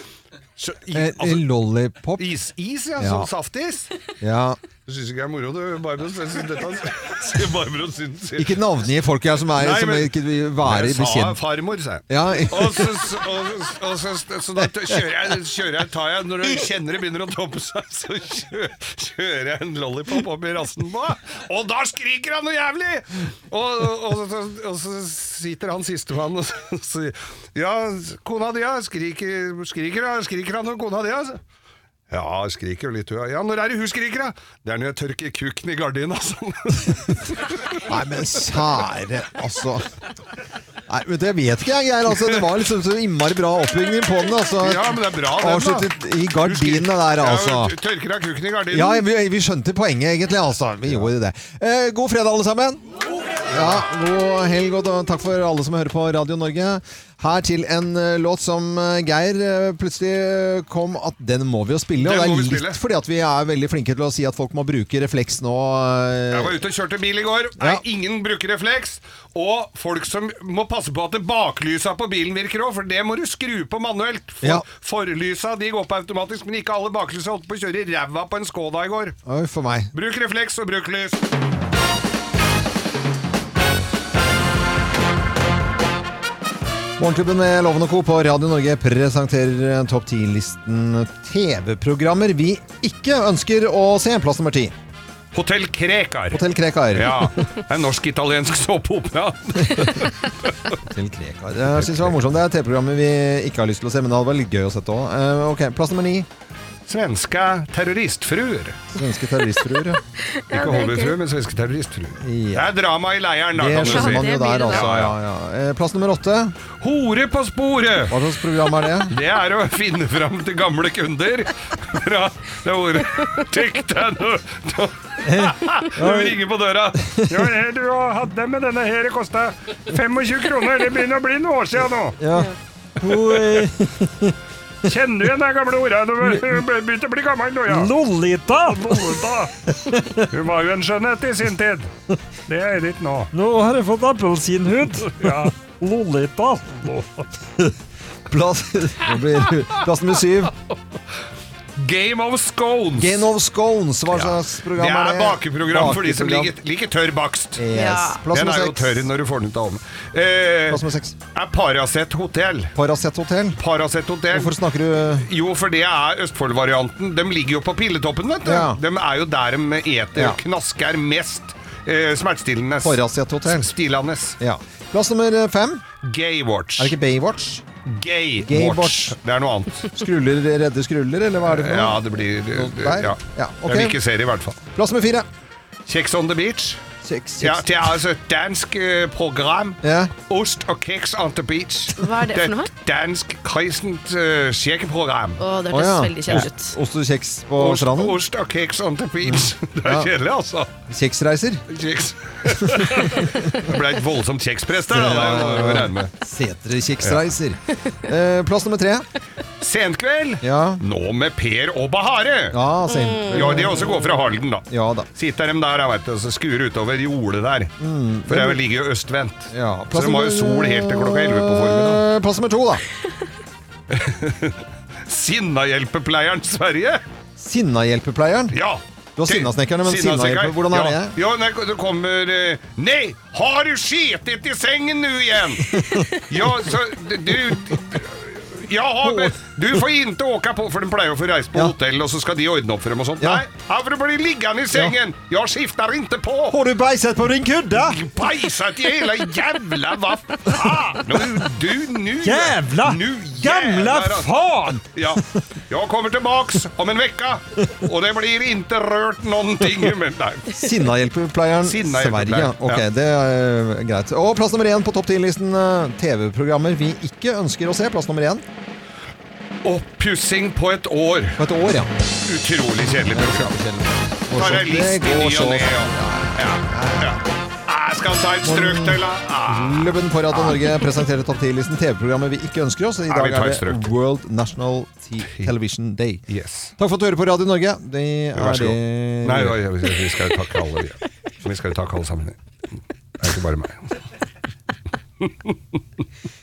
Speaker 2: Så i-
Speaker 1: Eh,
Speaker 2: altså,
Speaker 1: Lollipop.
Speaker 2: Is, is, ja.
Speaker 1: Ja.
Speaker 2: Sånn saftis.
Speaker 1: Ja.
Speaker 2: Du syns ikke det er moro, du, Barbro? Jeg synes dette- Barbro syns
Speaker 1: Ikke navngi folk her som, er,
Speaker 2: Nei,
Speaker 1: som
Speaker 2: men-
Speaker 1: ikke vil være
Speaker 2: Jeg sa
Speaker 1: bekjent.
Speaker 2: farmor, sa jeg.
Speaker 1: Ja.
Speaker 2: Og så, og, og så, så da kjører jeg, kjører jeg, tar jeg Når du kjenner det begynner å toppe seg, så kjører, kjører jeg en lollipop opp i rassen på han. Og da skriker han noe jævlig! Og, og, så, og så sitter han sistemann og så sier Ja, kona di, ja. Skriker, skriker, ja, skriker han om kona di, altså? Ja, skriker jo litt hun. Ja, når er det hun skriker, da? Det er når jeg tørker kukken i gardina, sånn.
Speaker 1: Nei, men sære, altså. Nei, vet du, jeg vet ikke, jeg. Geir, Altså, det var liksom så innmari bra oppbygging på den. Altså.
Speaker 2: Ja, men det er bra, den, da.
Speaker 1: Avsluttet i gardinene der, altså.
Speaker 2: Ja, tørker av kukken i gardinen.
Speaker 1: Ja, vi, vi skjønte poenget egentlig, altså. Vi gjorde det. Eh, god fredag, alle sammen. Ja, god helg, og da- takk for alle som hører på Radio Norge. Her til en eh, låt som eh, Geir eh, plutselig eh, kom at den må vi jo spille.
Speaker 2: Den
Speaker 1: Og det
Speaker 2: må vi
Speaker 1: er
Speaker 2: spille.
Speaker 1: litt fordi at vi er veldig flinke til å si at folk må bruke refleks nå. eh,
Speaker 2: Jeg var ute og kjørte bil i går. Nei, Ingen bruker refleks. Og folk som må passe på at det baklysa på bilen virker òg, for det må du skru på manuelt. For,
Speaker 1: Ja.
Speaker 2: Forlysa de går på automatisk, men ikke alle baklysa holdt på å kjøre i ræva på en Skoda i går.
Speaker 1: Oi, for meg.
Speaker 2: Bruk refleks og bruk lys.
Speaker 1: Morgenklubben med Loven og Co. på Radio Norge presenterer topp 10-listen TV-programmer vi ikke ønsker å se. Plass nummer ti.
Speaker 2: Hotell Krekar.
Speaker 1: Hotell Krekar.
Speaker 2: Ja, En norsk-italiensk såpeopera.
Speaker 1: Hotell Krekar. Jeg synes det var morsomt. Det er TV-programmer vi ikke har lyst til å se, men det hadde vært litt gøy å sette òg. ok, plass nummer ni.
Speaker 2: Svenske terroristfruer.
Speaker 1: Svenske terroristfruer, ja.
Speaker 2: Ikke Hollywood-fruer, men svenske terroristfruer. Det er drama i leiren, da,
Speaker 1: Det
Speaker 2: kan du si.
Speaker 1: skjønner man jo der, altså. Ja, ja. Eh, Plass nummer åtte.
Speaker 2: Hore på sporet!
Speaker 1: Hva slags program er det?
Speaker 2: Det er å finne fram til gamle kunder. Fra det ordet Tenk deg nå Du ringer på døra.
Speaker 17: Det var det du hadde med denne her, det kosta 25 kroner. Det begynner å bli noen år siden nå.
Speaker 1: Ja.
Speaker 18: eh,
Speaker 17: Kjenner du igjen de gamle orda? Du ble- begynte å bli gammel nå, ja.
Speaker 1: Lolita!
Speaker 17: Lolita. Hun var jo en skjønnhet i sin tid. Det er det ikke nå.
Speaker 18: Nå har jeg fått appelsinhud.
Speaker 17: Ja.
Speaker 18: Lolita.
Speaker 1: Plass, det blir, plass nummer syv.
Speaker 2: Game of Scones.
Speaker 1: Game of Scones. Hva slags
Speaker 2: Det
Speaker 1: program er
Speaker 2: er
Speaker 1: det?
Speaker 2: bakeprogram for de som
Speaker 1: Bakeprogram.
Speaker 2: liker, liker tørr bakst.
Speaker 1: Yes. Ja. Plass
Speaker 2: Den
Speaker 1: nummer
Speaker 2: er jo
Speaker 1: seks.
Speaker 2: tørr når du får den ut av ovnen. Eh,
Speaker 1: Plass nummer seks.
Speaker 2: Er Paracet Hotell.
Speaker 1: Paracet Hotell.
Speaker 2: Paracet Hotell.
Speaker 1: Hvorfor snakker du
Speaker 2: Jo, for det er Østfold-varianten. De ligger jo på pilletoppen, vet du.
Speaker 1: Ja.
Speaker 2: De er jo der de eter
Speaker 1: Ja.
Speaker 2: og knasker mest eh, smertestillende.
Speaker 1: Paracet Hotell.
Speaker 2: Stilende.
Speaker 1: Ja. Plass nummer fem.
Speaker 2: Gaywatch.
Speaker 1: Er det ikke Baywatch?
Speaker 2: Gay
Speaker 1: Gaywatch.
Speaker 2: watch. Det er noe annet.
Speaker 1: Skruller redder skruller, eller hva er det for
Speaker 2: Ja,
Speaker 1: noe?
Speaker 2: det blir eh,
Speaker 1: Der?
Speaker 2: Ja.
Speaker 1: Ja, ok.
Speaker 2: Jeg vil ikke se det, i hvert fall.
Speaker 1: Plass nummer fire.
Speaker 2: Kjeks on the beach.
Speaker 1: Kjeks,
Speaker 2: Ja, det er altså et dansk eh, program.
Speaker 1: Ja.
Speaker 2: Ost og kjeks on the beach.
Speaker 3: Hva er det for noe?
Speaker 2: Et dansk kristent eh, kirkeprogram.
Speaker 3: Å, det hørtes Å, ja. veldig kjedelig ut.
Speaker 1: Ost og kjeks på
Speaker 2: Ost,
Speaker 1: stranden.
Speaker 2: ost og kjeks on the beach. Det er
Speaker 1: Mm. Ja.
Speaker 2: kjedelig, altså.
Speaker 1: Kjeksreiser.
Speaker 2: Kjeks. det ble et voldsomt kjekspress der, da. Det må vi regne med.
Speaker 1: Setre kjeksreiser. Eh, plass nummer tre.
Speaker 2: Senkveld. Nå med Per og Bahare.
Speaker 1: Ja,
Speaker 3: Mm.
Speaker 1: senkveld.
Speaker 2: Ja, de også går fra Halden, da.
Speaker 1: Ja da.
Speaker 2: Sitter dem der jeg vet, og så skuer utover jordet der.
Speaker 1: Mm.
Speaker 2: For jeg ligger jo østvendt. så
Speaker 1: Plass
Speaker 2: de har jo sol helt til klokka 11 på formiddagen.
Speaker 1: Eh, Plass nummer to, da.
Speaker 2: Sinnahjelpepleieren Sverige.
Speaker 1: Sinnahjelpepleieren.
Speaker 2: Ja.
Speaker 1: Du har Sinnasnekkerne, men Sinnahjelper, hvordan er
Speaker 2: ja.
Speaker 1: det?
Speaker 2: Ja, nei, det kommer eh, Nei, har du skitet i sengen nå igjen? ja, så d- du ja, men du får inte åka på For de pleier å få reise på hotell, og så skal de ordne opp for dem og sånt.
Speaker 1: Ja.
Speaker 2: Nei, her får du bli liggende i sengen! Jeg skifter ikke på!
Speaker 1: Har du bæsjet på din kudde?
Speaker 2: Bæsjet i hele jævla hva faen! Nu- Du, nu
Speaker 18: Jævla!
Speaker 2: Nu
Speaker 18: Gamla
Speaker 2: jävlar, alltså.
Speaker 18: faen!
Speaker 2: Ja. Jeg kommer tilbaks om en vecka, og det blir ikke rørt noen ting. Men nei.
Speaker 1: Sinnahjelpepleieren Sverige.
Speaker 2: Sinnahjelpepleieren,
Speaker 1: Ok,
Speaker 2: ja.
Speaker 1: det er eh, greit. Og plass nummer én på topp 10-listen eh, TV-programmer vi ikke ønsker å se. Plass nummer én.
Speaker 2: Oppussing på et år.
Speaker 1: På et år, ja.
Speaker 2: Utrolig kjedelig program. Tar jeg
Speaker 1: Det
Speaker 2: list i
Speaker 1: går sånn.
Speaker 2: ny
Speaker 1: så
Speaker 2: og ne, ja. Ja, ja. Ah, Jeg skal ta et strøk til, da. Ah.
Speaker 1: Klubben for Radio Norge presenterer topp 10-listen TV-programmer vi ikke ønsker oss. I
Speaker 2: Ja, vi
Speaker 1: dag
Speaker 2: tar
Speaker 1: er
Speaker 2: et
Speaker 1: det
Speaker 2: strøk.
Speaker 1: World National Te- Television Day.
Speaker 2: Yes.
Speaker 1: Takk for at du hører på Radio Norge. Det
Speaker 2: Vær
Speaker 1: er
Speaker 2: så
Speaker 1: det
Speaker 2: god. Nei, ja, ja, vi vi skal jo takke alle, vi. Vi skal jo takke alle sammen. Det er ikke bare meg.